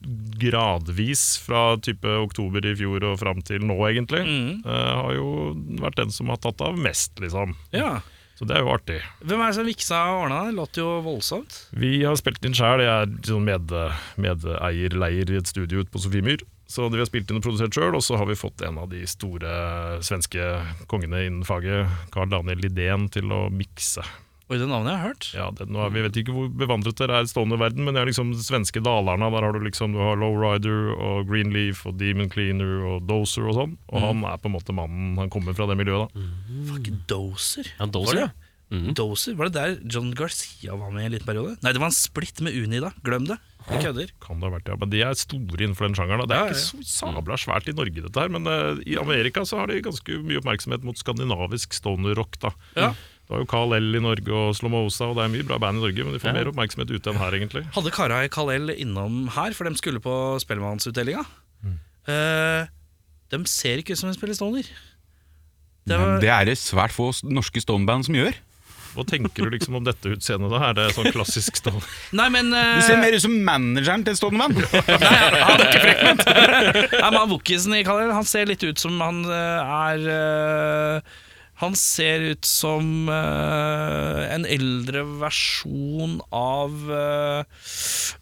F: gradvis fra type oktober i fjor og fram til nå, egentlig,
B: Mm.
F: øh, har jo vært den som har tatt av mest, liksom.
B: Ja.
F: Så det er jo artig.
B: Hvem er det som viksa og ordna det? Låt jo voldsomt.
F: Vi har spilt inn sjøl. Jeg er sånn med, medeier, leier i et studio ute på Sofiemyr. Så vi har spilt inn og produsert sjøl, og så har vi fått en av de store svenske kongene innen faget, Carl Daniel Lidén, til å mikse.
B: Oi, det navnet jeg har hørt.
F: Ja, det, nå er, vi vet ikke hvor bevandret dere er i stående verden, men det er liksom svenske Dalarna. Der har du liksom du har Lowrider og Greenleaf og Demon Cleaner og Dozer og sånn. Og han er på en måte mannen. Han kommer fra det miljøet, da.
B: Fuck, Dozer.
A: Ja, Dozer,
B: Var det?
A: Mm.
B: Dozer, Var det der John Garcia var med i en liten periode? Nei, det var en splitt med Unida. Glem det. Jeg kødder.
F: Kan det ha vært det, ja. Men de er store innenfor den sjangeren. da. Det
B: Ja, ja,
F: er ikke så sabla svært i Norge, dette her, men eh, i Amerika så har de ganske mye oppmerksomhet mot skandinavisk stoner-rock. da.
B: Ja.
F: Det var jo Carl L i Norge og Slomosa, og det er mye bra band i Norge, men de får mer oppmerksomhet ute enn her, egentlig.
B: Hadde kara i Kalel innom her, for de skulle på Spellemannsutdelinga.
A: Mm.
B: Eh, de ser ikke ut som en spiller stoner. Det
C: Men
B: var,
C: Det er det svært få s- norske stoneband som gjør.
F: Hva tenker du liksom om dette utseendet, da? Er det sånn klassisk stoner?
B: nei, men
C: Du ser
B: eh,
C: mer ut som manageren til et stoneband.
B: nei, men han Wokisen i Kalel, han ser litt ut som han eh, er eh, Han ser ut som eh, en eldre versjon av eh,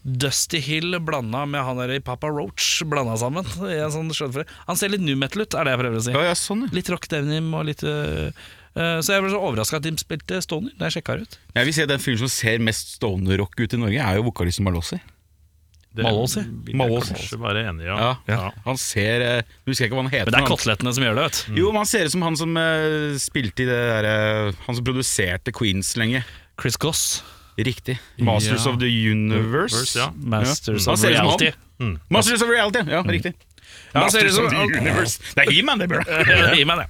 B: Dusty Hill blanda med han der i Papa Roach blanda sammen. I en sånn skjønnfri- Han ser litt new metal ut, er det jeg prøver å si.
C: Ja, ja, sånn, ja.
B: Litt rock denim og litt eh, eh, Så jeg ble så overraska at de spilte Stoner da jeg sjekka det ut.
C: Jeg vil si at Den fyren som ser mest stoner-rock ut i Norge, er jo vokalisten Malossi. Malåsi.
F: Vil jeg
C: Malåsi.
F: kanskje være enig i, ja.
C: Ja, Han ser eh, Nå husker jeg ikke hva han heter.
B: Men det
C: men
B: er
C: han-
B: kotelettene som gjør det, vet du.
C: Jo, men han ser ut som han som eh, spilte i det derre Han som produserte Queens lenge.
B: Chris Goss.
C: Riktig. Masters
F: Ja.
C: of the Universe.
F: Verse, ja.
B: Masters
C: Ja.
B: of
C: Han ser ut som han.
B: Reality. Mm.
C: Masters of Reality, ja, riktig.
B: Ja, han ser ut
C: Masters
B: som-
C: of the Universe. Det er He-Man, det, Bjørn.
B: Gi meg det.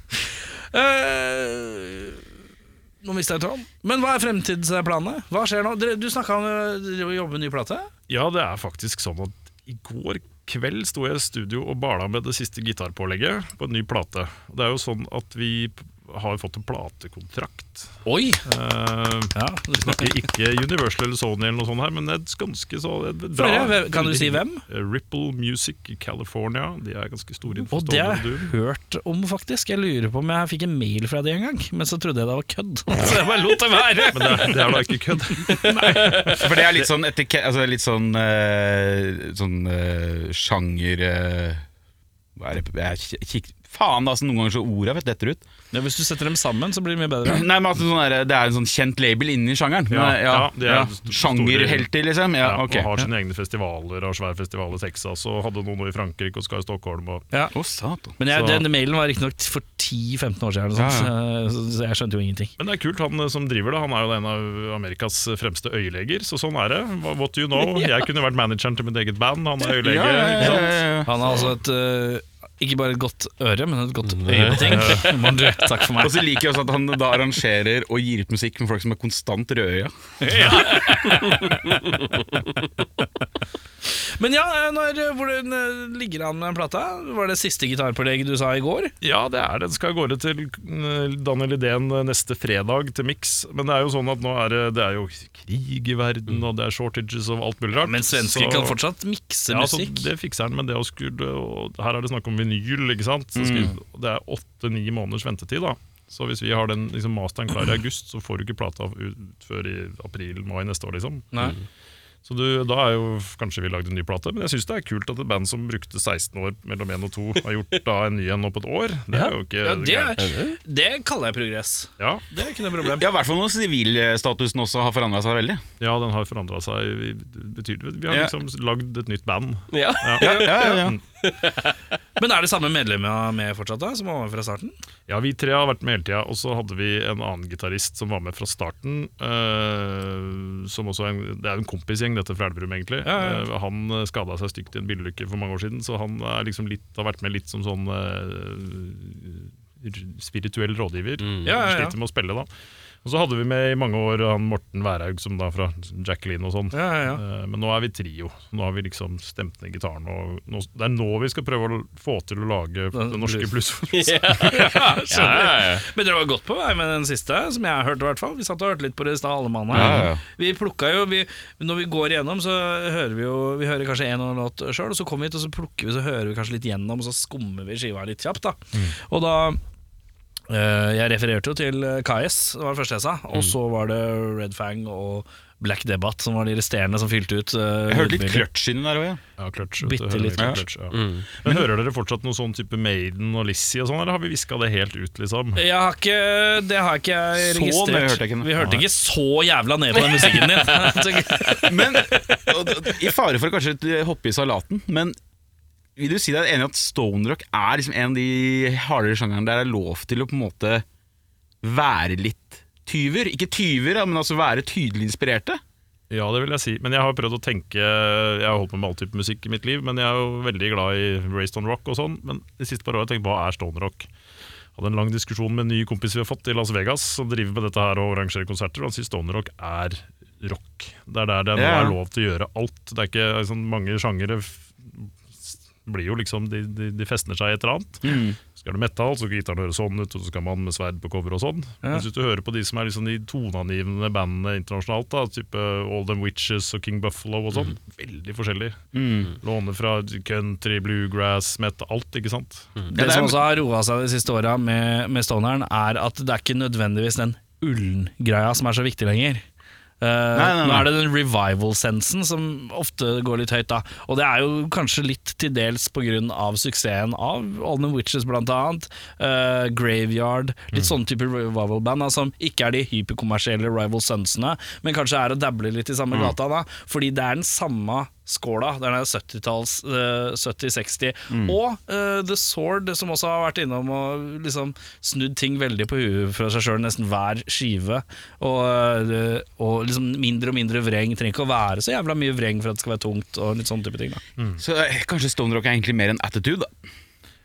B: Eh, nå mista jeg tråden. Men hva er fremtidsplanene? Hva skjer nå? Dere- Du snakka om eh, dere jobber med ny plate.
F: Ja, det er faktisk sånn at i går kveld sto jeg i studio og bala med det siste gitarpålegget på en ny plate. Det er jo sånn at vi p- har fått en platekontrakt.
B: Oi!
F: Eh,
B: Ja.
F: vi snakker ikke Universal eller Sony eller noe sånt her, men et ganske så et bra-
B: Flere, hvem- kan du si hvem?
F: Eh, Ripple Music i California. De er ganske store innenfor
B: Og det har
F: stående
B: jeg
F: doom.
B: hørt om, faktisk. Jeg lurer på om jeg fikk en mail fra det en gang, men så trodde jeg det var kødd. Så jeg bare lot det være.
F: Men det er, det er da ikke kødd.
C: For det er litt sånn, etike, altså litt sånn, eh, sånn eh, sjanger eh, Hva er det jeg, kikk, Faen, altså, noen ganger så orda vet detter ut.
B: Ja, hvis du setter dem sammen, så blir det mye bedre.
C: Nei, men altså, sånn der, Det er en sånn kjent label inni sjangeren.
F: Ja,
C: Men,
F: ja, det er st-
C: Sjangerhelter, liksom. Ja,
F: Ja,
C: ok.
F: Og har sine egne festivaler, har svær festival i Texas, og hadde noen nå i Frankrike og skal i Stockholm. Og
B: Ja.
C: Å, satan.
B: Men jeg,
F: Så-
B: den mailen var riktignok for 10-15 år siden, eller noe sånt, Eh, så- så jeg skjønte jo ingenting.
F: Men det er kult, han eh, som driver det, han er jo en av Amerikas eh, fremste øyeleger, så sånn er det. Hva- What do you know? Jeg kunne vært manageren til mitt eget band, han er øyelege.
C: Ja, ja,
F: ikke
C: ja,
F: sant?
C: ja, ja.
B: Han har altså et eh, Ikke bare et godt øre, men et godt øye på ting. Man, du, takk for
C: Og
B: meg.
C: så liker jeg også at han da arrangerer og gir ut musikk med folk som er konstant rødøya.
B: Men ja, eh, når, eh, hvordan eh, ligger han med plata? Var det siste gitarpålegg du sa i går?
F: Ja, det er det. Den skal av gårde til eh, Daniel Idén neste fredag, til Mix. Men det er jo sånn at nå er det, det er jo krig i verden, og det er shortages og alt mulig rart.
B: Mm. Men svensker
F: så-
B: kan fortsatt mikse
F: ja, så
B: musikk.
F: det fikser han, men det å skulle og Her er det snakk om vinyl, ikke sant.
B: Mm.
F: Så skulle, Det er åtte-ni måneders ventetid, da. Så hvis vi har den liksom, masteren klar i august, så får du ikke plata ut før i april-mai neste år, liksom.
B: Nei.
F: Så du, da er jo kanskje vi lagd en ny plate, men jeg syns det er kult at et band som brukte 16 år mellom 1 og 2, har gjort da en ny en nå på et år. Det er jo ikke
B: Ja, det,
F: gærent.
B: er- det kaller jeg progress.
F: ja,
B: Det er ikke noe problem.
C: Ja, I hvert fall når sivilstatusen også har forandra seg veldig.
F: ja, den har forandra seg i- betydelig. Vi har
C: Ja.
F: liksom lagd et nytt band.
A: Ja.
C: Ja, ja, ja.
B: Men er det samme medlemmer med fortsatt, da? Som var med fra starten?
F: Ja, vi tre har vært med hele tida, og så hadde vi en annen gitarist som var med fra starten. eh, som også er en, det er jo en kompisgjeng, dette fra Elverum, egentlig. Eh, han skada seg stygt i en bilulykke for mange år siden, så han er liksom litt, har vært med litt som sånn eh, r- spirituell rådgiver.
B: Ja, ja, ja.
F: Sliter med å spille, da. Og så hadde vi med i mange år han Morten Wærhaug, som da fra Jacqueline og sånn.
B: Ja, ja, ja.
F: Eh, Men nå er vi trio. Nå har vi liksom stemt ned gitaren. Og nå, det er nå vi skal prøve å få til å lage det norske blues.
B: Men dere var godt på vei med den siste, som jeg har hørt i hvert fall. Vi satt og hørte litt på det i stad, alle mann her.
C: Ja, ja.
B: Vi plukka jo vi, Når vi går igjennom, så hører vi jo Vi hører kanskje en og en låt sjøl, og så kommer vi hit, og så plukker vi, så hører vi kanskje litt gjennom, og så skummer vi skiva litt kjapt, da.
C: Mm.
B: Og da eh, Jeg refererte jo til eh, Kais, det var det første jeg sa, og
C: Mm.
B: så var det Red Fang og Black Debate, som var de resterende som fylte ut. eh,
C: Jeg hørte litt
B: lydbilder.
C: clutch inni der òg, ja.
F: Ja, clutch,
B: Bitte
F: vet du, hører
B: litt Mm.
F: vi clutch, ja. Men hører dere fortsatt noe sånn type Maiden og Lizzie og sånn, eller har vi viska det helt ut, liksom?
B: Jeg har ikke, det har ikke jeg
C: Så
B: registrert.
C: nøye hørte jeg ikke den.
B: Vi hørte ikke så jævla ned på den musikken din.
C: Men og- og- I fare for å kanskje litt hoppe i salaten, men vil du si deg enig i at stonerock er liksom en av de hardere sjangerne der det er lov til å på en måte være litt tyver? Ikke tyver, da, men altså være tydelig inspirerte?
F: Ja, det vil jeg si. Men jeg har prøvd å tenke Jeg har holdt på med all type musikk i mitt liv, men jeg er jo veldig glad i Raised on Rock og sånn. Men de siste par årene har jeg tenkt hva er stone rock? Hadde en lang diskusjon med en ny kompis vi har fått i Las Vegas, som driver med dette her og arrangerer konserter. og Han sier stone rock er rock. Det er der det nå
C: Ja.
F: er lov til å gjøre alt. Det er ikke altså,
C: Mm.
F: liksom, Mange sjangere f- blir jo liksom de, de, de festner seg i et eller annet. Skal du metal, så skal gitaren høre sånn ut, og så skal man med sverd på cover og sånn. Men hvis du hører på de som er liksom de toneangivende bandene internasjonalt, da, type All Them Witches og King Buffalo og sånn,
C: Mm.
F: veldig forskjellig. Låner fra country, bluegrass, metal, alt, ikke sant?
C: Mm.
B: Det som også har roa seg de siste åra med, med stoneren, er at det er ikke nødvendigvis den ullengreia som er så viktig lenger. Eh,
C: nei, nei.
B: Nå er det den revival-sensen som ofte går litt høyt, da. Og det er jo kanskje litt til dels pga. suksessen av All the Witches, blant annet. eh, Graveyard.
C: Mm.
B: Litt sånne type revival-band da, som ikke er de hyperkommersielle rival sonsene, men kanskje er å dable litt i samme
C: Mm.
B: gata. da Fordi det er den samme skåla. Det er den 70-talls, eh, 70-60. Og eh, The Sword, som også har vært innom og liksom snudd ting veldig på huet fra seg sjøl, nesten hver skive. Og, eh, og liksom mindre og mindre vreng. Trenger ikke å være så jævla mye vreng for at det skal være tungt. Og litt sånne type ting da
C: Så eh, kanskje Stone Rock er egentlig mer en attitude, da.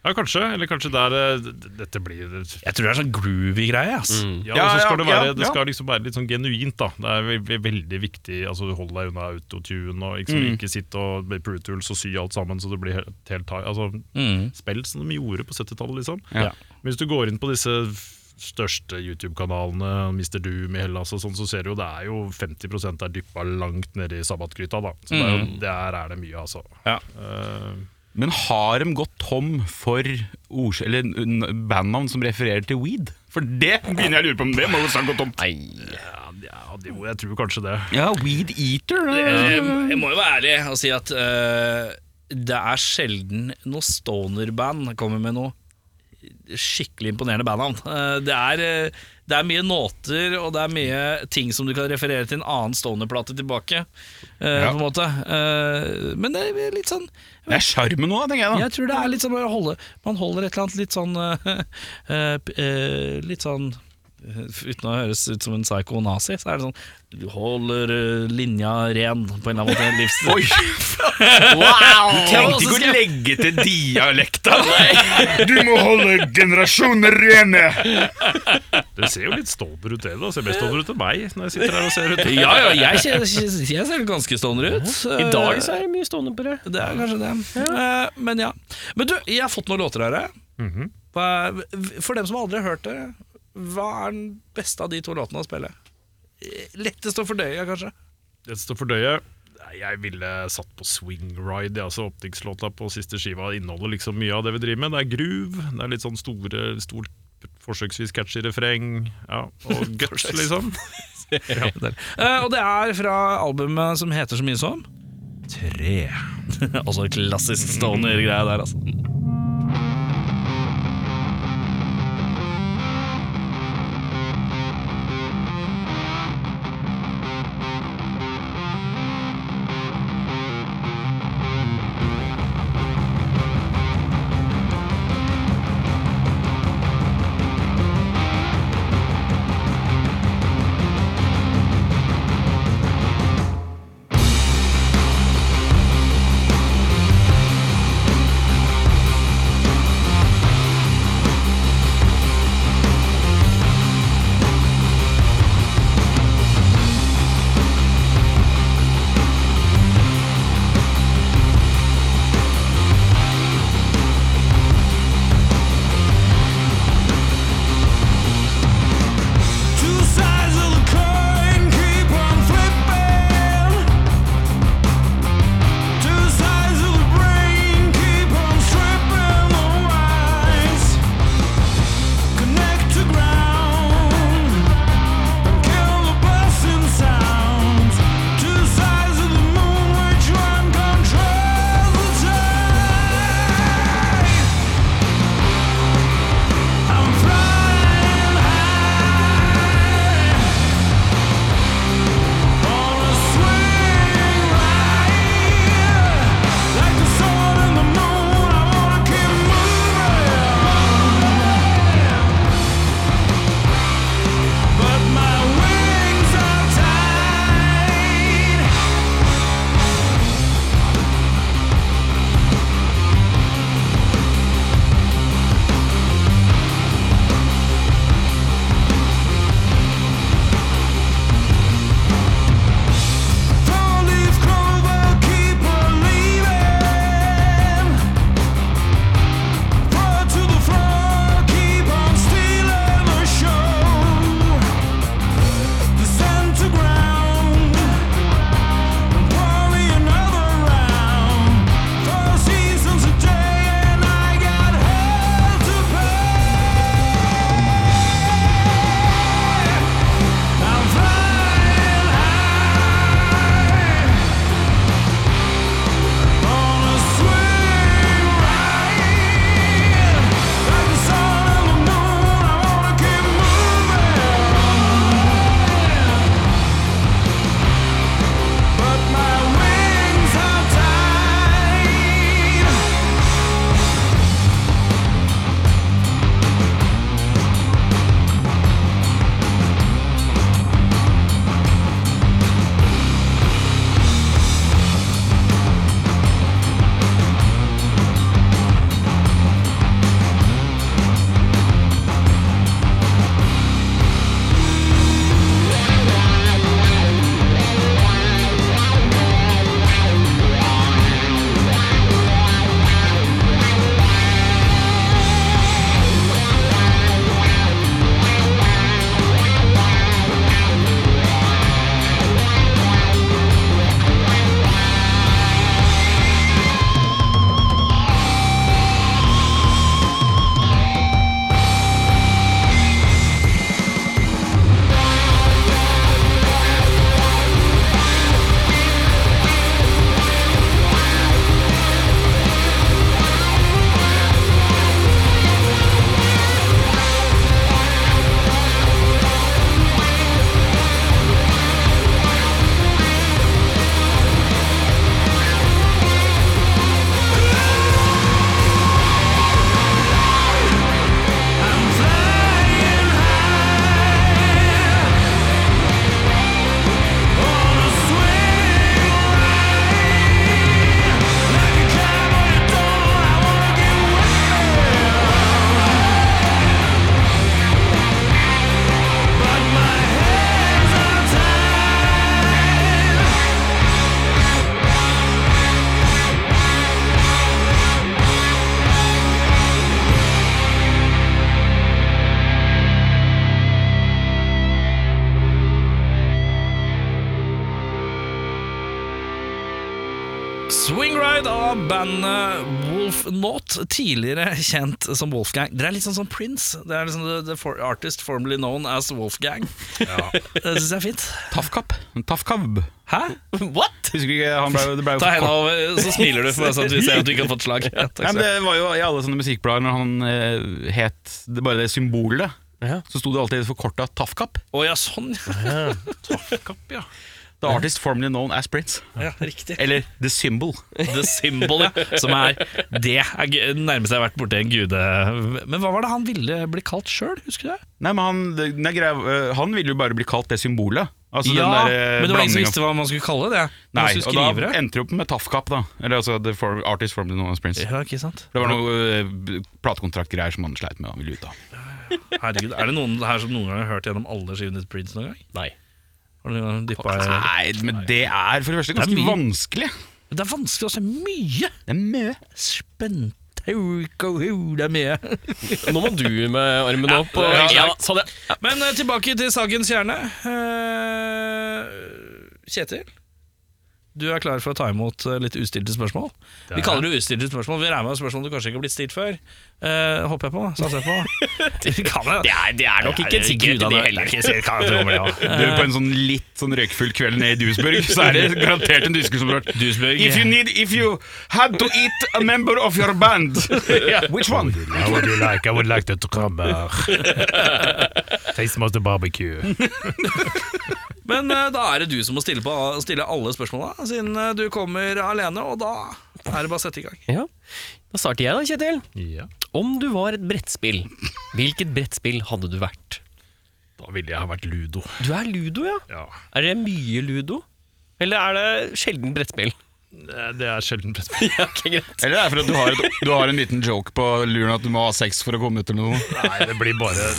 F: Ja, kanskje. Eller kanskje der eh, d- Dette blir
B: Jeg tror det er sånn groovy greie. ass
F: Ja,
C: Ja,
F: og så
C: ja,
F: skal det, være,
C: ja,
F: det skal liksom være litt sånn genuint, da. Det er ve ve veldig viktig. Altså, Hold deg unna autotune, og liksom,
C: Mm.
F: ikke sitt og med Pro Tools og sy alt sammen så det blir helt, helt high. Altså,
B: Mm.
F: Spill som de gjorde på 70-tallet, liksom.
C: Ja.
F: Hvis du går inn på disse f- største YouTube-kanalene, Mr. Doom i Hellas og sånn, så ser du jo det er jo 50 er dyppa langt nede i sabbatgryta, da. Så det er jo,
C: Mm.
F: der er det mye, altså.
B: Ja.
F: Eh,
C: Men har de gått tom for ords- eller n- bandnavn som refererer til weed? For det begynner jeg å lure på om det må jo snart gå tomt.
F: ja, ja, jo, jeg tror kanskje det.
C: Ja, Weed Eater.
B: Eh, Jeg må jo være ærlig og si at eh, det er sjelden noe stoner-band kommer med noe skikkelig imponerende bandnavn. Eh, det, er, eh, det er mye nåter, og det er mye ting som du kan referere til en annen stoner-plate tilbake. eh, På en måte Eh, Men det er litt sånn
C: Det er sjarmen nå, tenker jeg da.
B: Jeg tror det er litt sånn å holde Man holder et eller annet litt sånn eh, eh, p- eh, Litt sånn eh, Uten å høres ut som en psyko-nazi, så er det sånn Du holder eh, linja ren på en eller annen måte. Livs,
C: Oi! Wow! Du
B: trengte ikke å
C: legge til dialekta. Du må holde generasjoner rene.
F: Det ser jo litt ståber ut, det. da Ser mest ståber ut enn meg når jeg sitter her og ser ut.
B: Ja, ja, jeg, kje- kje- jeg ser ganske stoner ut.
A: I dag så er det mye stående på det.
B: Det er kanskje det. Eh, Men ja. Men du, jeg har fått noen låter her. jeg. Hva er- For dem som aldri har hørt det, hva er den beste av de to låtene å spille? Eh, Lettest å fordøye, kanskje.
F: Det står for døye. Nei, Jeg ville satt på swing ride. ja, Altså Åpningslåta på siste skiva inneholder liksom mye av det vi driver med. Det er groove, det er litt sånn store, stort forsøksvis catchy refreng. Ja, og guts, liksom.
B: Eh, Og det er fra albumet som heter så mye som Tre. altså klassisk stoner-greie der, altså.
G: Thank
B: Destroyed av bandet Wolf Not, tidligere kjent som Wolfgang. Dere er litt sånn som Prince. Det er liksom the, the for artist formerly known as Wolfgang. Det syns jeg er fint.
C: Tafkap. Tafkab.
B: Hæ?
A: What?!
C: Husker du ikke han ble, det ble jo
B: Ta henda over, så smiler du for meg, sånn at vi ser at du ikke har fått slag. Ja, takk
C: Nei,
B: skal
C: men
B: du ha.
C: det var jo I alle sånne musikkblader når han eh, het det, bare det symbolet,
A: Ja.
C: så sto det alltid forkorta Tafkap.
B: Å ja, sånn, ja. Tafkapp, ja.
C: The artist formerly known as Prince.
B: ja. Riktig.
C: Eller The Symbol.
B: The Symbol, ja. Som er Det er gu- nærmest jeg har vært borti en gude... Men hva var det han ville bli kalt sjøl, husker du det?
C: Nei, men han, det- nei, greia, eh, han ville jo bare bli kalt det symbolet. Altså
B: ja,
C: den der, eh,
B: men det var ingen som
C: blandingen-
B: visste hva man skulle kalle det. Man
C: Nei,
B: skulle
C: og
B: skrive
C: da
B: det.
C: endte det opp med Tafkap, da. Eller altså The for, Artist formerly known as Prince.
B: Ja, ikke sant?
C: Det var noe eh, b- platekontraktgreier som han sleit med. Han ville ut av
B: Herregud, Er det noen her som noen gang har hørt gjennom alle skivene til Prince noen gang?
A: Nei.
B: Har du noen gang dyppet i-
C: Nei, men det er for det første ganske
B: Det er mye.
C: vanskelig.
B: Det er vanskelig å se mye
C: Det er mye.
B: spentauk og hu, det er mye.
A: Nå må du med armen opp. Og,
B: Ja,
A: ja,
B: ja.
A: sa det.
B: Men eh, tilbake til sakens kjerne. Eh, Kjetil, du er klar for å ta imot eh, litt ustilte spørsmål? Vi kaller det ustilte spørsmål. Vi regner med spørsmål du kanskje ikke har blitt stilt før. Eh, håper jeg på. Satser jeg på. Vi kan det.
A: Det er, det er nok ikke en sikkerhet i det heller.
C: Du, på en sånn litt sånn røykfull kveld nede i Duesburg, så er det garantert en dusker som har hørt If you need, if you had to eat a member of your band Which one?
G: How would you like? I would like the trummer. Taste of the barbecue.
B: Men eh, da er det du som må stille, på, stille alle spørsmåla, siden eh, du kommer alene, og da er det bare å sette i gang.
A: Ja. Da starter jeg da, Kjetil. Om du var et brettspill, hvilket brettspill hadde du vært?
F: Da ville jeg ha vært ludo.
A: Du er ludo, ja?
F: Ja.
A: Er det mye ludo? Eller er det sjelden brettspill?
F: Det er sjelden brettspill.
A: Ja, ok, greit.
C: Eller det er for at du har, et, du har en liten joke på luren at du må ha sex for å komme ut eller noe.
F: Nei, det blir bare,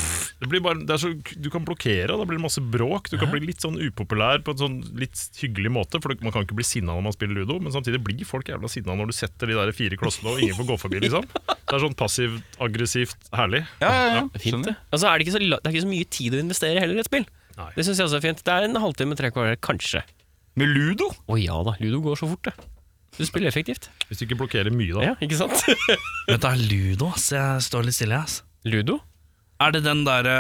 F: det blir bare det er så, Du kan blokkere, og da blir det masse bråk. Du kan bli litt sånn upopulær på en sånn litt hyggelig måte. For Man kan ikke bli sinna når man spiller ludo, men samtidig blir folk jævla sinna når du setter de der fire klossene og ingen får gå forbi. liksom Det er sånn passivt, aggressivt, herlig.
C: Ja, ja, ja.
A: Fint,
C: Skjønner.
A: det. Altså, er det, ikke så, la- det er ikke så mye tid å investere heller i et spill.
F: Nei.
A: Det synes jeg også er fint. Det er en halvtime, tre kvarter, kanskje.
C: Med ludo?
A: Å ja da, ludo går så fort, det. Du spiller effektivt.
F: Hvis du ikke blokkerer mye, da.
A: Ja, ikke sant?
B: Vent, det er ludo, ass. Jeg står litt stille, ass.
A: Ludo?
B: Er det den derre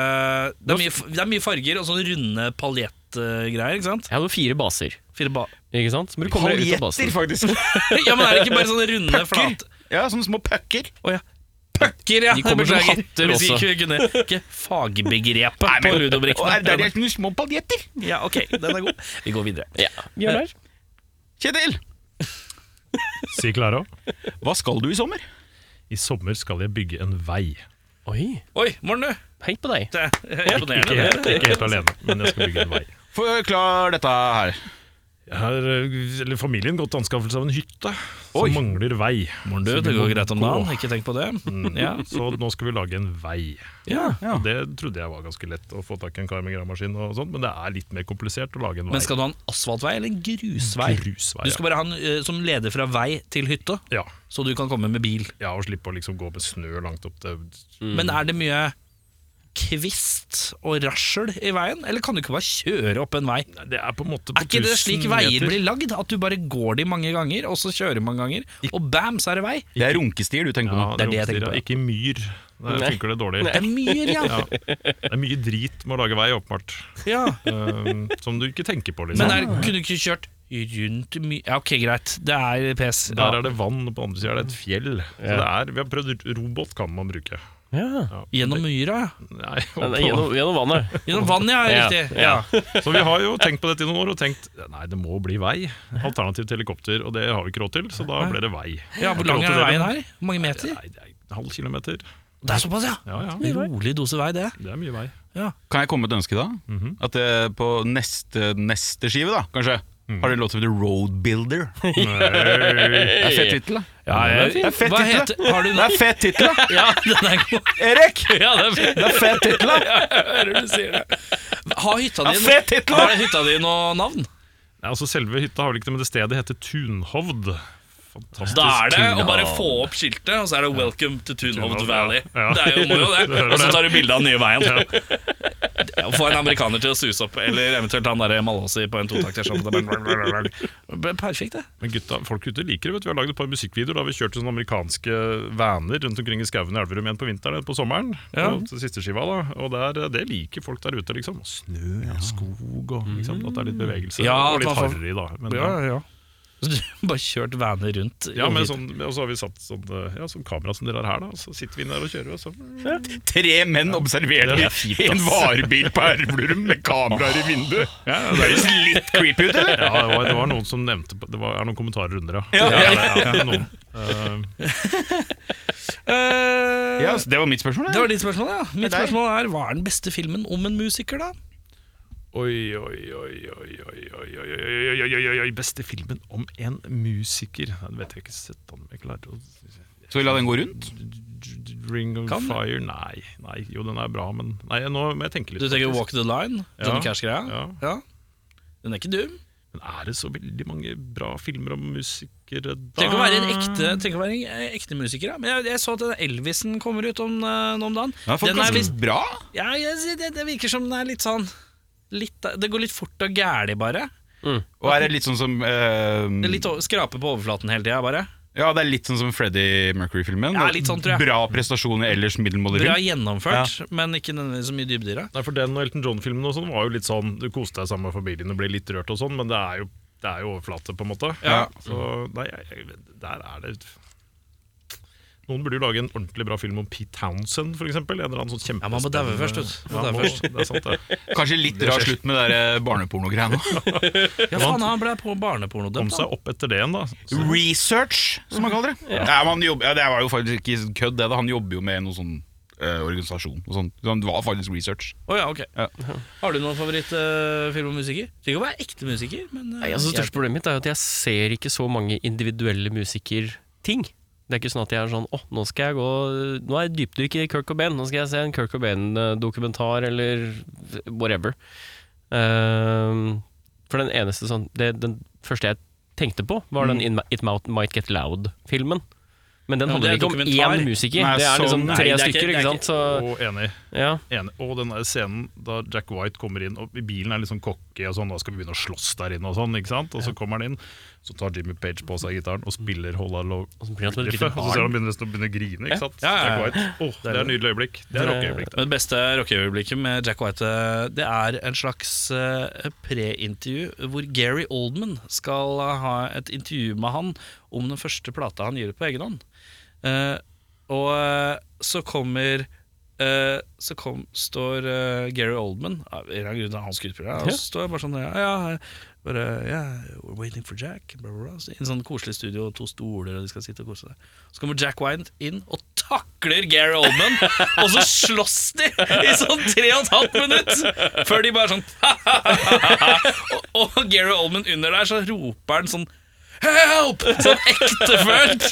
B: det, er mye f- det er mye farger og sånne runde paljettgreier, ikke sant?
A: Jeg hadde fire baser,
B: Fire ba
A: ikke sant? Så må du komme deg ut av
C: Paljetter,
A: basen.
C: faktisk.
B: ja, men er det ikke bare sånne runde flat...
C: Ja, sånne små pucker.
B: Å ja. Pucker, ja.
A: De kommer som
B: Beklager.
A: hatter
B: Hvis
A: også.
B: Ikke, kunne, ikke fagbegrepet på
C: Og er det
B: ludobrikkene.
C: er noen små paljetter.
B: Ja, ok, den er god. Vi går videre.
A: Ja. Bjørnar?
C: Kjetil,
F: Si Klara.
C: hva skal du i sommer?
F: I sommer skal jeg bygge en vei.
A: Oi,
B: Oi, morgen, du.
A: hei på deg.
B: Det er
F: Ikke
B: imponerende.
F: helt, ikke helt alene, men jeg skal bygge en vei.
C: Forklar dette her.
F: Jeg har eh, eller familien gått til anskaffelse av en hytte som
C: Oi.
F: mangler vei.
B: Morgen, du.
F: Så vi
B: Det
F: må
B: går greit om
F: gå.
B: dagen. Ikke tenk på det. Ja.
F: Så nå skal vi lage en vei.
B: ja.
C: Ja.
F: Det trodde jeg var ganske lett å få tak i en kar med gravemaskin, og sånt, men det er litt mer komplisert å lage en vei.
B: Men skal du ha en asfaltvei eller en grusvei?
F: Grusvei, ja.
B: Du skal bare ha en eh, som leder fra vei til hytte,
F: ja.
B: så du kan komme med bil.
F: ja, og slippe å liksom gå med snø langt opp til
B: Men er det mye kvist og rasjel i veien, eller kan du ikke bare kjøre opp en vei?
F: Nei, Det er på en måte på
B: Er ikke det
F: 1000
B: slik veier
F: meter.
B: blir lagd? At du bare går de mange ganger, og så kjører du mange ganger, og bam, så er det vei?
C: Det er runkestier du tenker på
F: Ja,
C: nå.
F: det er det
B: jeg tenker på, ja.
F: Ikke i myr. Der funker det dårlig.
B: Det er myr, ja.
F: Ja. Det er mye drit med å lage vei, åpenbart.
B: ja.
F: Um, som du ikke tenker på, liksom.
B: Men er, kunne du ikke kjørt rundt myr Ja, ok, greit. Det er pes.
F: Der
B: Ja.
F: er det vann, og på andre siden er det et fjell. Så det er, vi har prøvd Robåt kan man bruke.
A: Ja.
B: Gjennom myra, ja.
F: Nei, og
A: Men
F: på-
A: Gjennom, gjennom vannet.
B: Gjennom vann, ja.
A: Ja,
B: Riktig. Ja.
A: ja.
F: Så vi har jo tenkt på dette i noen år og tenkt Nei, det må bli vei. Alternativ til helikopter, og det har vi ikke råd til, så da ble det vei.
B: ja, Hvor lang er veien her? Hvor mange meter?
F: Nei, det er en halv kilometer.
B: Det er såpass, ja.
F: Ja, ja.
B: Rolig dose vei, det.
F: Det er mye vei.
C: Kan jeg komme med et ønske da? At eh, på neste, neste skive da, kanskje Har dere lov til å bli Road Builder? Det er fett tittel da
B: Ja, jeg,
C: Det er fett
B: Hva
C: tittel, da.
B: heter Har du
C: Det er fett tittel da
B: Ja, den er god.
C: Erik,
B: Ja, det er
C: det er fett tittel da Det
B: Hører du sier det. Har hytta
C: er
B: di,
C: fett tittel da
B: har hytta di noe navn?
F: Nei, altså Selve hytta har vel ikke det, men det stedet heter Tunhovd. Fantastisk.
B: Da er det å bare få opp skiltet, og så er det 'Welcome to Tunhovd Valley'.
F: Ja.
B: Det er jo moro, det. Og så tar du bilde av den nye veien. Ja, få en amerikaner til å suse opp, eller eventuelt han derre Malåsi på en totakter. sånn at det bare- Perfekt, det.
F: Men gutta, folk ute liker det. vet du Vi har lagd et par musikkvideoer da vi kjørte sånne amerikanske vaner rundt omkring i skauen i Elverum igjen på vinteren eller på sommeren.
B: Ja.
F: på siste skiva da Og der, eh, Det liker folk der ute. liksom Snø og skog og liksom, at det sånn- er litt bevegelse.
B: Ja,
F: og litt
B: at man får-
F: harry, da. Men,
B: ja. Så du har bare kjørt vaner rundt?
F: ja, men sånn, og så har vi satt sånn, eh, ja, sånn kamera som dere har her, da. og Så sitter vi inn der og kjører. Og så,
C: Tre menn observerer i en varebil på Elverum med kameraer i vinduet. Det
F: ja, det,
C: høres litt creepy ut, eller?
F: ja, det, var, det var noen som nevnte på- Det var, er noen kommentarer under, ja.
C: Ja.
F: det er noen. Eh,
B: Eh,
C: Ja, så det var mitt spørsmål.
B: Det
C: Det
B: var ditt spørsmål, ja. Mitt
C: Det er deg.
B: spørsmål er hva er den beste filmen om en musiker, da?
F: Oi, oi, oi, oi, oi, oi, oi, oi, oi, oi, oi, oi, oi, beste filmen om en musiker. Nei, Det vet jeg ikke, sett han jeg klarer å...
C: Så vi la den gå rundt?
F: Ring of
B: Kan det?
F: Fire, nei, nei, jo den er bra, men... Nei, nå må jeg tenke litt.
B: Du tenker
F: faktisk.
B: Walk the Line? Johnny
F: Ja.
B: Cash-greia?
F: Ja.
B: Den er ikke dum.
F: Men er det så veldig mange bra filmer om musikere da?
B: Tenk å være en ekte, tenk å være en eh, ekte musiker. Ja. Men jeg, jeg så at den Elvisen kommer ut om, eh, nå om dagen.
C: Den har fått
B: den er
C: ganske
B: visst-
C: bra.
B: ja, jeg, sier det, det virker som den er litt sånn litt, Det går litt fort og gæli, bare.
C: Og er det litt sånn som
B: Det
C: eh,
B: er litt over, Skraper på overflaten hele tida, bare.
C: Ja, det er litt sånn som Freddie Mercury-filmen.
B: Ja, litt sånn, tror jeg.
C: Bra prestasjon i ellers middelmådig
B: Bra
C: film.
B: gjennomført, men ikke nødvendigvis så mye dybde i det.
F: Nei, for den og Elton John-filmen og sånn var jo litt sånn, du koste deg sammen med familien og ble litt rørt og sånn, men det er jo, det er jo overflate på en måte.
C: Ja.
F: Så, nei, jeg, jeg, der er det... Noen burde jo lage en ordentlig bra film om Pete Townsend, for eksempel. En eller annen sånn
B: Ja, man må daue
F: kjempespennende-
B: først, vet du. Man
F: Ja,
B: må daue
F: må,
B: først.
F: det er sant, det.
C: Kanskje litt rar slutt med det der eh, barnepornogreiene.
B: Ja, faen, han ble på
F: Kom
B: barnepornodømt. da.
F: seg opp etter det igjen, da. Så,
C: Research, som man kaller det. Ja. man jobb, ja, det var jo faktisk ikke kødd, det. da Han jobber jo med noen sånn eh, organisasjon. Og sånn. Så han var faktisk research.
B: Å ja, ok.
C: Ja.
B: Har du noen favorittfilm om musiker? Trenger ikke å være ekte musiker, men eh,
A: Nei, altså, største problemet mitt er jo at jeg ser ikke så mange individuelle musikerting. Det er ikke sånn at jeg er sånn Å, nå skal jeg gå Nå er jeg dypdykk i Kirk Cobain. Nå skal jeg se en Kirk Cobain-dokumentar eller whatever. Ehm, for den eneste sånn det, Den første jeg tenkte på, var den In- It Mou- Might Get Loud-filmen. Men den
B: Ja,
A: handler
B: det er
A: ikke om
B: dokumentar.
A: én musiker.
C: Nei,
A: det er liksom
C: sånn- Nei,
A: tre
B: det er ikke-
A: stykker,
B: det er
A: ikke, sant? Så,
F: og enig.
A: ja.
F: enig. Og den der scenen da Jack White kommer inn, og bilen er litt sånn cocky og sånn, da skal vi begynne å slåss der inne og sånn, ikke sant. Og så kommer han inn, så tar Jimmy Page på seg gitaren og spiller Hold on Low.
A: Og så blir han som et lite
F: Riffet, Og så ser han altså, begynner nesten å begynne å grine, ikke sant.
B: Ja, ja, ja.
F: Jack White. Åh, det er et nydelig øyeblikk. Det er rockeøyeblikk.
B: Men Det beste rockeøyeblikket med Jack White eh, Det er en slags eh, pre-intervju hvor Gary Oldman skal ha et intervju med han om den første plata han gir ut på egen hånd. Eh, og eh, så kommer eh, så kom, står eh, Gary Oldman av en eller annen grunn er han skuespiller, og så står jeg bare sånn Ja, ja bare, yeah, we're waiting for Jack bla, bla, bla. Så I en sånn koselig studio, to stoler, og de skal sitte og kose seg. Så kommer Jack Wyant inn og takler Gary Oldman, og så slåss de i sånn tre og et halvt minutt! Før de bare sånn og, og Gary Oldman under der, så roper han sånn Help! Sånn ektefølt!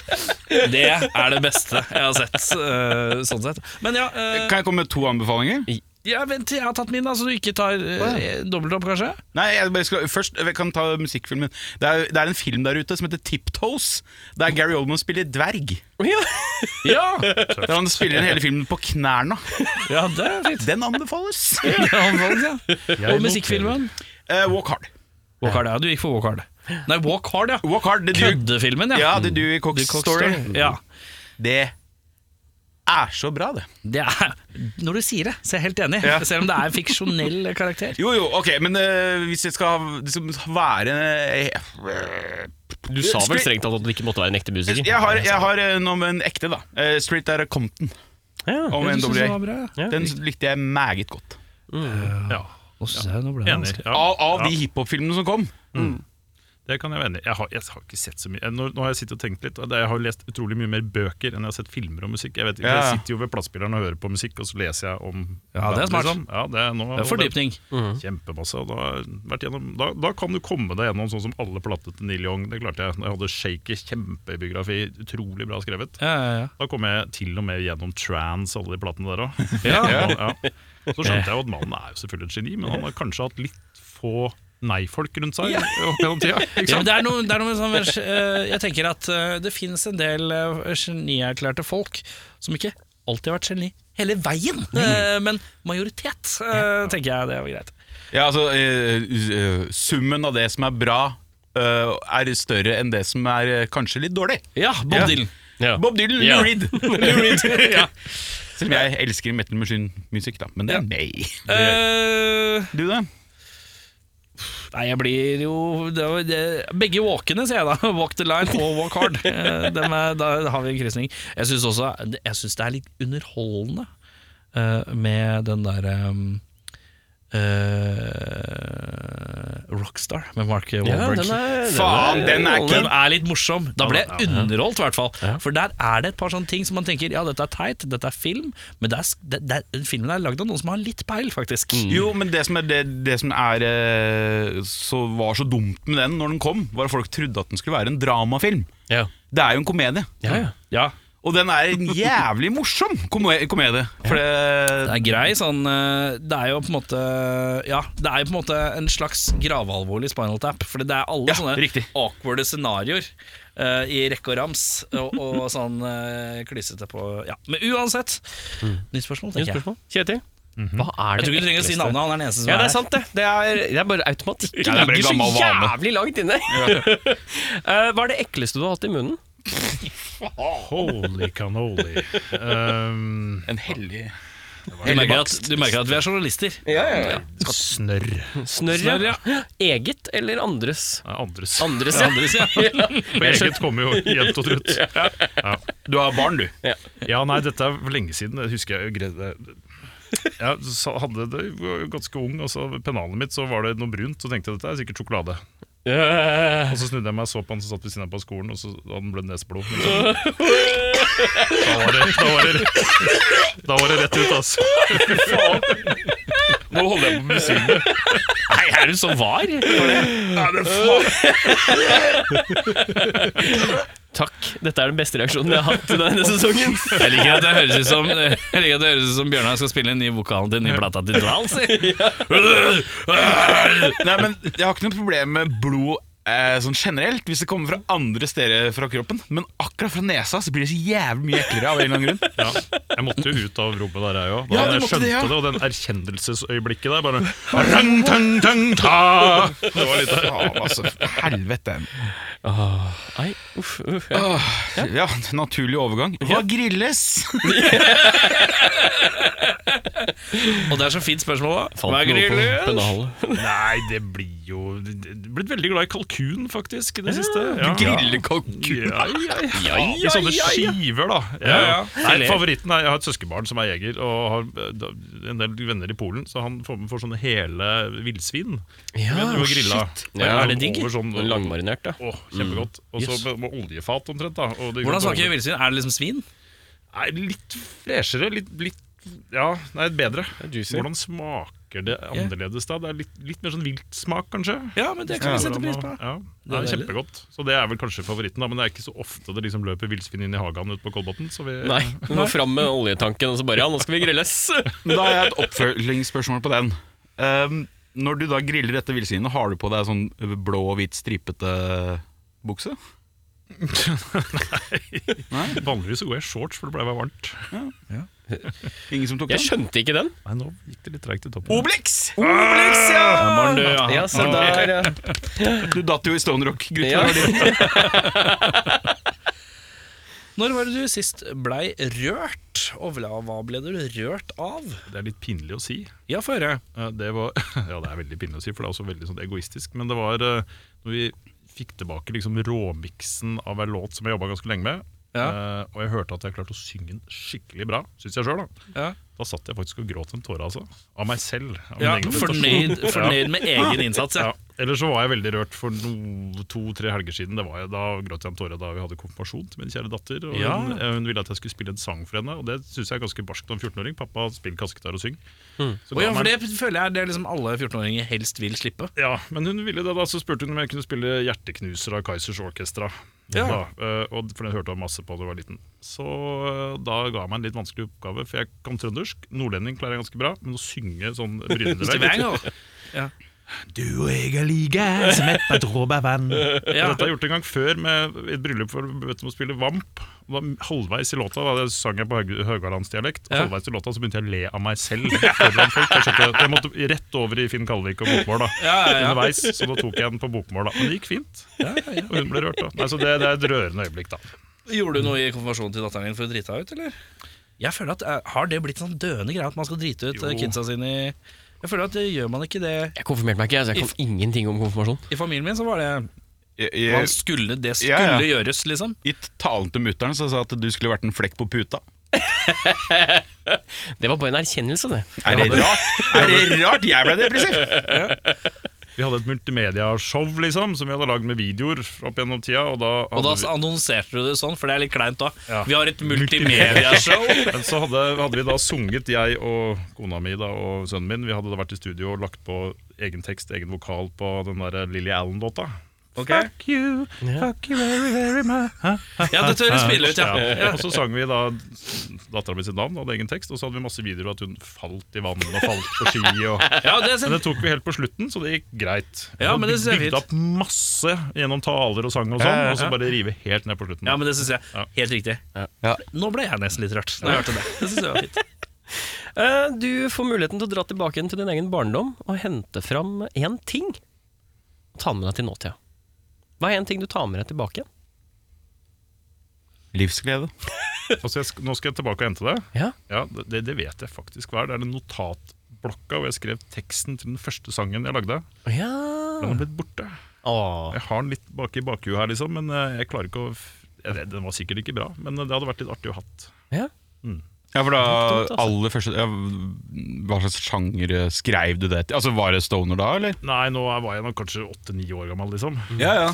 B: Det er det beste jeg har sett. eh, sånn sett. Men ja, eh,
C: Kan jeg komme med to anbefalinger?
B: ja vent til jeg har tatt min, da, så du ikke tar uh, dobbeltdopp, kanskje?
C: Nei, jeg bare skal, Først jeg kan ta musikkfilmen. Det er, det er en film der ute som heter Tiptoes. Der Gary Oldman spiller dverg.
B: Ja!
C: Der han spiller den hele filmen på knærne.
B: ja det er fint.
C: Den anbefales.
B: Og musikkfilmen?
C: Eh, walk Hard.
B: Walk Hard, ja. Du gikk for Walk Hard. Nei, Walk Hard, ja.
C: Walk Hard, The Duke.
B: Køddefilmen, ja.
C: Ja, The Dewey Cox
B: The Cox
C: Story.
B: Ja.
C: Det er så bra, det.
B: Det er, når du sier det, så er jeg helt enig.
C: Ja.
B: Selv om det er en fiksjonell karakter.
C: Jo, jo, ok, men eh, hvis det skal liksom, være eh,
A: Du sa vel
C: Street-
A: strengt tatt at du ikke måtte være en ekte musiker?
C: Jeg har, jeg har eh, noe med en ekte, da. Eh, Street Out of Compton
A: Ja.
C: om
B: Jeg synes det var
C: NWA.
B: bra, ja.
A: Ja,
C: Den likte jeg meget godt.
F: Ja,
B: Nå synes jeg- nå ble det
F: enig.
B: vanskelig.
F: Ja.
C: Av, av
F: Ja.
C: de hiphop-filmene som kom.
F: Det kan jeg være enig i. Jeg, har- jeg har ikke sett så mye nå, nå har jeg sittet og tenkt litt og det- Jeg har jo lest utrolig mye mer bøker enn jeg har sett filmer og musikk. Jeg, vet ikke,
C: Ja.
F: jeg sitter jo ved platespilleren og hører på musikk, og så leser jeg om
B: Ja, det er smart.
F: liksom. Ja, det er, nå,
B: Det er Fordypning.
F: Kjempemasse. og Da, har jeg vært gjennom, da, da kan du komme deg gjennom sånn som alle platene til Neil Young. Det klarte jeg. Da jeg hadde Shaker, kjempebiografi, utrolig bra skrevet.
B: Ja, ja, ja.
F: Da kom jeg til og med gjennom Trans, alle de platene der òg.
B: Ja.
F: Så skjønte jeg jo at mannen er jo selvfølgelig et geni, men han har kanskje hatt litt få nei-folk rundt seg opp gjennom tida.
B: Ja,
F: Ikke
B: men
F: sant?
B: det er noe, det er noe med sånn, eh, Jeg tenker at eh, det finnes en del eh, genierklærte folk som ikke alltid har vært geni hele veien,
C: Mhm.
B: eh, men majoritet, eh, tenker jeg det var greit.
C: Ja, altså eh, s- eh, Summen av det som er bra, eh, er større enn det som er eh, kanskje litt dårlig.
B: Ja, Bob
C: Ja.
B: Dylan.
A: Ja.
C: Bob Dylan,
A: Ja.
C: Lou Reed. Lou Reed. ja. Selv om jeg elsker metal musikk, da. Men det er meg.
B: Eh,
C: Du, da?
B: nei, jeg blir jo det, var- det, Begge walkene, sier jeg da. Walk the line og walk hard. Eh, dem er, da har vi en krysning. Jeg syns også Jeg synes det er litt underholdende eh, med den um, derre Rockstar med Mark Wahlberg.
A: er,
C: Faen, den er
B: Den
C: ikke
B: er litt morsom. Da ble jeg underholdt, i hvert fall. For der er det et par sånne ting som man tenker Ja, dette er teit, dette er film, men det er, det, det, den filmen er lagd av noen som har litt peil, faktisk.
A: Mm.
C: Jo, men det som, er det, det som er, eh, så var så dumt med den når den kom, var at folk trodde at den skulle være en dramafilm.
A: Ja.
C: Det er jo en komedie.
A: Ja, ja.
B: Ja.
C: Og den er en jævlig morsom kome- komedie. For
B: Det
C: det,
B: er grei sånn eh, Det er jo på en måte Ja, det er jo på en måte en slags gravalvorlig Spinal Tap. Fordi det er alle
C: Ja,
B: sånne
C: riktig.
B: awkwarde scenarioer eh, i rekke og rams. Og, og sånn uh, klissete på Ja. Men uansett, nytt spørsmål,
A: Mm. Nytt
B: tenker jeg.
A: spørsmål. Kjetil, hva er
B: Mhm. Jeg
A: det
B: tror ikke du trenger å si
A: ekleste-
B: navnet, han er den eneste som
A: Ja, det er
B: her.
A: sant, det. Det er, det er bare automatikk. Det
C: Ja, det er bare
A: ligger
C: gammel
A: så
C: vane.
A: jævlig langt inne. Eh, hva er det ekleste du har hatt i munnen?
F: Holy cannoli. Um,
C: en hellig
B: Du merker, at, du merker at vi er journalister.
A: Eh,
F: snørr.
A: Snørr,
B: Snørr,
A: ja. Eget eller andres?
F: Nei, Andres.
A: Andres, ja.
F: For eget kommer jo jevnt og trutt.
C: Du har barn, du.
F: Ja, nei, dette er for lenge siden. Jeg husker jeg greide Jeg sa- hadde det jeg var ganske ung, og så pennalet mitt så var det noe brunt. Og tenkte jeg dette er sikkert sjokolade.
B: Eh.
F: Og så snudde jeg meg og så på han som satt ved siden av på skolen, og så hadde han blødd neseblod. Men så- Da var, det, da, var det, da var det rett ut, altså.
C: Nå holder jeg på med musikken.
A: Nei, er du så var? Takk. Dette er den beste reaksjonen jeg har hatt denne sesongen.
B: Jeg liker at det høres ut som, jeg liker at det høres ut som Bjørnar skal spille en ny vokalen til den nye plata til Dals.
C: Nei, men Jeg har ikke noe problem med blod eh, sånn generelt, hvis det kommer fra andre steder fra kroppen. Men akkurat fra nesa så blir det så jævlig mye eklere av en eller annen grunn.
F: Ja, jeg måtte jo ut av rommet der, jeg
C: Ja,
F: òg. Da
C: du
F: jeg
C: måtte
F: skjønte
C: det,
F: det,
C: ja.
F: og den erkjennelsesøyeblikket der bare rang, tang, tang, ta. Det var litt
C: Faen, altså. Helvete.
A: Nei, uff, uff. Ja.
C: Åh, ja, naturlig overgang. Hva grilles?
B: Og det er så fint spørsmål, da.
A: Fant
B: Hva er
A: noe på
B: grillen?
A: pennalet.
F: Nei, det blir jo det- det- Blitt veldig glad i kalkun, faktisk, i det siste. Ja.
C: Grillekalkun.
F: Ja, ja, ja, I sånne skiver, da.
B: Ja, ja.
F: Nei, favoritten er Jeg har et søskenbarn som er jeger, og har eh, da- en del venner i Polen, så han får, får sånne hele villsvin.
A: Ja,
F: du grilla.
A: Ja, er det digg?
F: Over sånn,
A: Langmarinert, ja.
F: Åh, kjempegodt. Og så med, med oljefat, omtrent. da og det-
B: Hvordan smaker villsvin? Er det liksom svin?
F: Nei, litt freshere, litt, litt Ja, nei, bedre. Hvordan smaker det annerledes da? Det er litt, litt mer sånn viltsmak, kanskje?
B: Ja, men det kan vi sette pris på.
F: Ja, det er kjempegodt. Så det er vel kanskje favoritten, da, men det er ikke så ofte det liksom løper villsvin inn i hagen ute på Kolbotn. Så vi,
A: Nei, du må fram med oljetanken, og så bare ja, nå skal vi grilles.
C: Men da har jeg et oppfølgingsspørsmål på den. Ehm, når du da griller dette villsvinet, har du på deg sånn blå og hvit stripete bukse?
F: Vanligvis så går jeg i shorts, for det pleier å være varmt.
C: Ingen som tok
A: Jeg
C: den? Ah!
A: skjønte ikke den.
F: Nei, nå gikk det litt treigt i toppen.
C: Obelix!
F: eh,
A: Ja, se der, ja.
C: Du datt jo i Stone Rock, gutter.
A: Ja.
B: Når var det du sist blei rørt? Og hva ble du rørt av?
F: Det er litt pinlig å si.
B: Ja, få høre.
F: Eh, Det var, ja, det er veldig pinlig å si, for det er også veldig sånn egoistisk. Men det var eh, når vi fikk tilbake liksom råmiksen av en låt som jeg jobba ganske lenge med, eh, og jeg hørte at jeg klarte å synge den skikkelig bra, syns jeg sjøl, da.
B: Ja.
F: Da satt jeg faktisk og gråt en tåre, altså. Av meg selv. Av min
B: Ja,
F: egen prestasjon.
B: fornøyd, fornøyd med egen innsats, ja.
F: Ja. Eller så var jeg veldig rørt for no, to-tre helger siden. Det var jeg, da gråt jeg en tåre da vi hadde konfirmasjon til min kjære datter. Og
B: Ja.
F: hun, eh, hun ville at jeg skulle spille en sang for henne, og det syns jeg er ganske barskt av en 14-åring. Pappa spiller kassegitar og syng. Så
B: Og Mm.
F: ga
B: ja,
F: meg-
B: for det føler jeg det er liksom alle 14-åringer helst vil slippe.
F: ja, men hun ville det da, så spurte hun om jeg kunne spille Hjerteknuser av Kaizers Orkestra. Da, eh, og for den hørte jeg masse på da jeg var liten. Så eh, da ga jeg meg en litt vanskelig oppgave, for jeg kan trøndersk. Nordlending klarer jeg ganske bra, men å synge sånn brynende
B: Hvis det
F: vei
B: er en gang.
F: Du og jeg er like som et par dråper vann.
B: Ja.
F: Dette har jeg gjort en gang før med et bryllup for vet du, å spille Vamp. Og da, halvveis i låta da sang jeg på høg- Haugalandsdialekt.
B: Ja.
F: Halvveis i låta så begynte jeg å le av meg selv. foran folk. Jeg, skjønte, at jeg måtte rett over i Finn Kalvik og bokmål da
B: Ja, ja, ja.
F: underveis, så da tok jeg den på bokmål. da Men det gikk fint. Og hun ble rørt. da Nei, Så det, det er et rørende øyeblikk, da.
B: Gjorde du noe i konfirmasjonen til datteren din for å drite henne ut, eller? Jeg føler at, eh, Har det blitt en sånn døende greie at man skal drite ut eh, kidsa sine i Jeg føler at det gjør man ikke det
A: Jeg konfirmerte meg ikke, så jeg kan ingenting om konfirmasjon.
B: I familien min så var det
C: Jeg,
B: man
C: jeg,
B: skulle, Det skulle
C: Ja, ja.
B: gjøres, liksom.
C: I talen til mutter'n sa jeg at du skulle vært en flekk på puta.
A: Det var bare en erkjennelse, det.
C: Er det rart? Er det rart jeg ble depressiv?
F: Vi hadde et multimediashow liksom, som vi hadde lagd med videoer opp gjennom tida. Og da
B: Og da
F: hadde vi-
B: annonserte du det sånn, for det er litt kleint da. Vi har et multimediashow.
F: Men så hadde, hadde vi da sunget, jeg og kona mi da, og sønnen min. Vi hadde da vært i studio og lagt på egen tekst, egen vokal på den der Lilly Allen-låta. Fuck you, fuck you very, very much.
B: Ja, dette høres spille ut, ja.
F: Og så sang vi da dattera mi sitt navn, hadde egen tekst, og så hadde vi masse videoer av at hun falt i vannet og falt på ski. Og...
B: ja det er
F: Men det
B: sånn.
F: tok vi helt på slutten, så det gikk greit.
B: Ja, men det synes jeg er
F: Bygde opp masse gjennom taler og sang og sånn, og så bare rive helt ned på slutten.
B: Ja, men det syns jeg.
F: Ja.
B: Helt riktig.
C: Ja.
B: Nå ble jeg nesten litt rørt. Når jeg hørte det. Det synes jeg var fint.
A: Eh, Du får muligheten til å dra tilbake igjen til din egen barndom og hente fram én ting. Ta med deg til nåtida. Hva er én ting du tar med deg tilbake igjen?
C: Livsglede.
F: Altså, jeg, sk- nå skal jeg tilbake og hente det.
A: Ja.
F: det, det vet jeg faktisk hva er. Det er den notatblokka hvor jeg skrev teksten til den første sangen jeg lagde.
A: ja.
F: Den har blitt borte.
A: Åh.
F: Jeg har den litt bak i bakhuet her, liksom, men eh, jeg klarer ikke å f- jeg vet, Den var sikkert ikke bra, men eh, det hadde vært litt artig å hatt.
A: ja.
C: Ja, for da
A: dumt, altså.
C: aller første ja, Hva slags sjanger eh, skrev du det til? Altså, Var det stoner da, eller?
F: Nei, nå er- var jeg nok kanskje åtte-ni år gammel, liksom.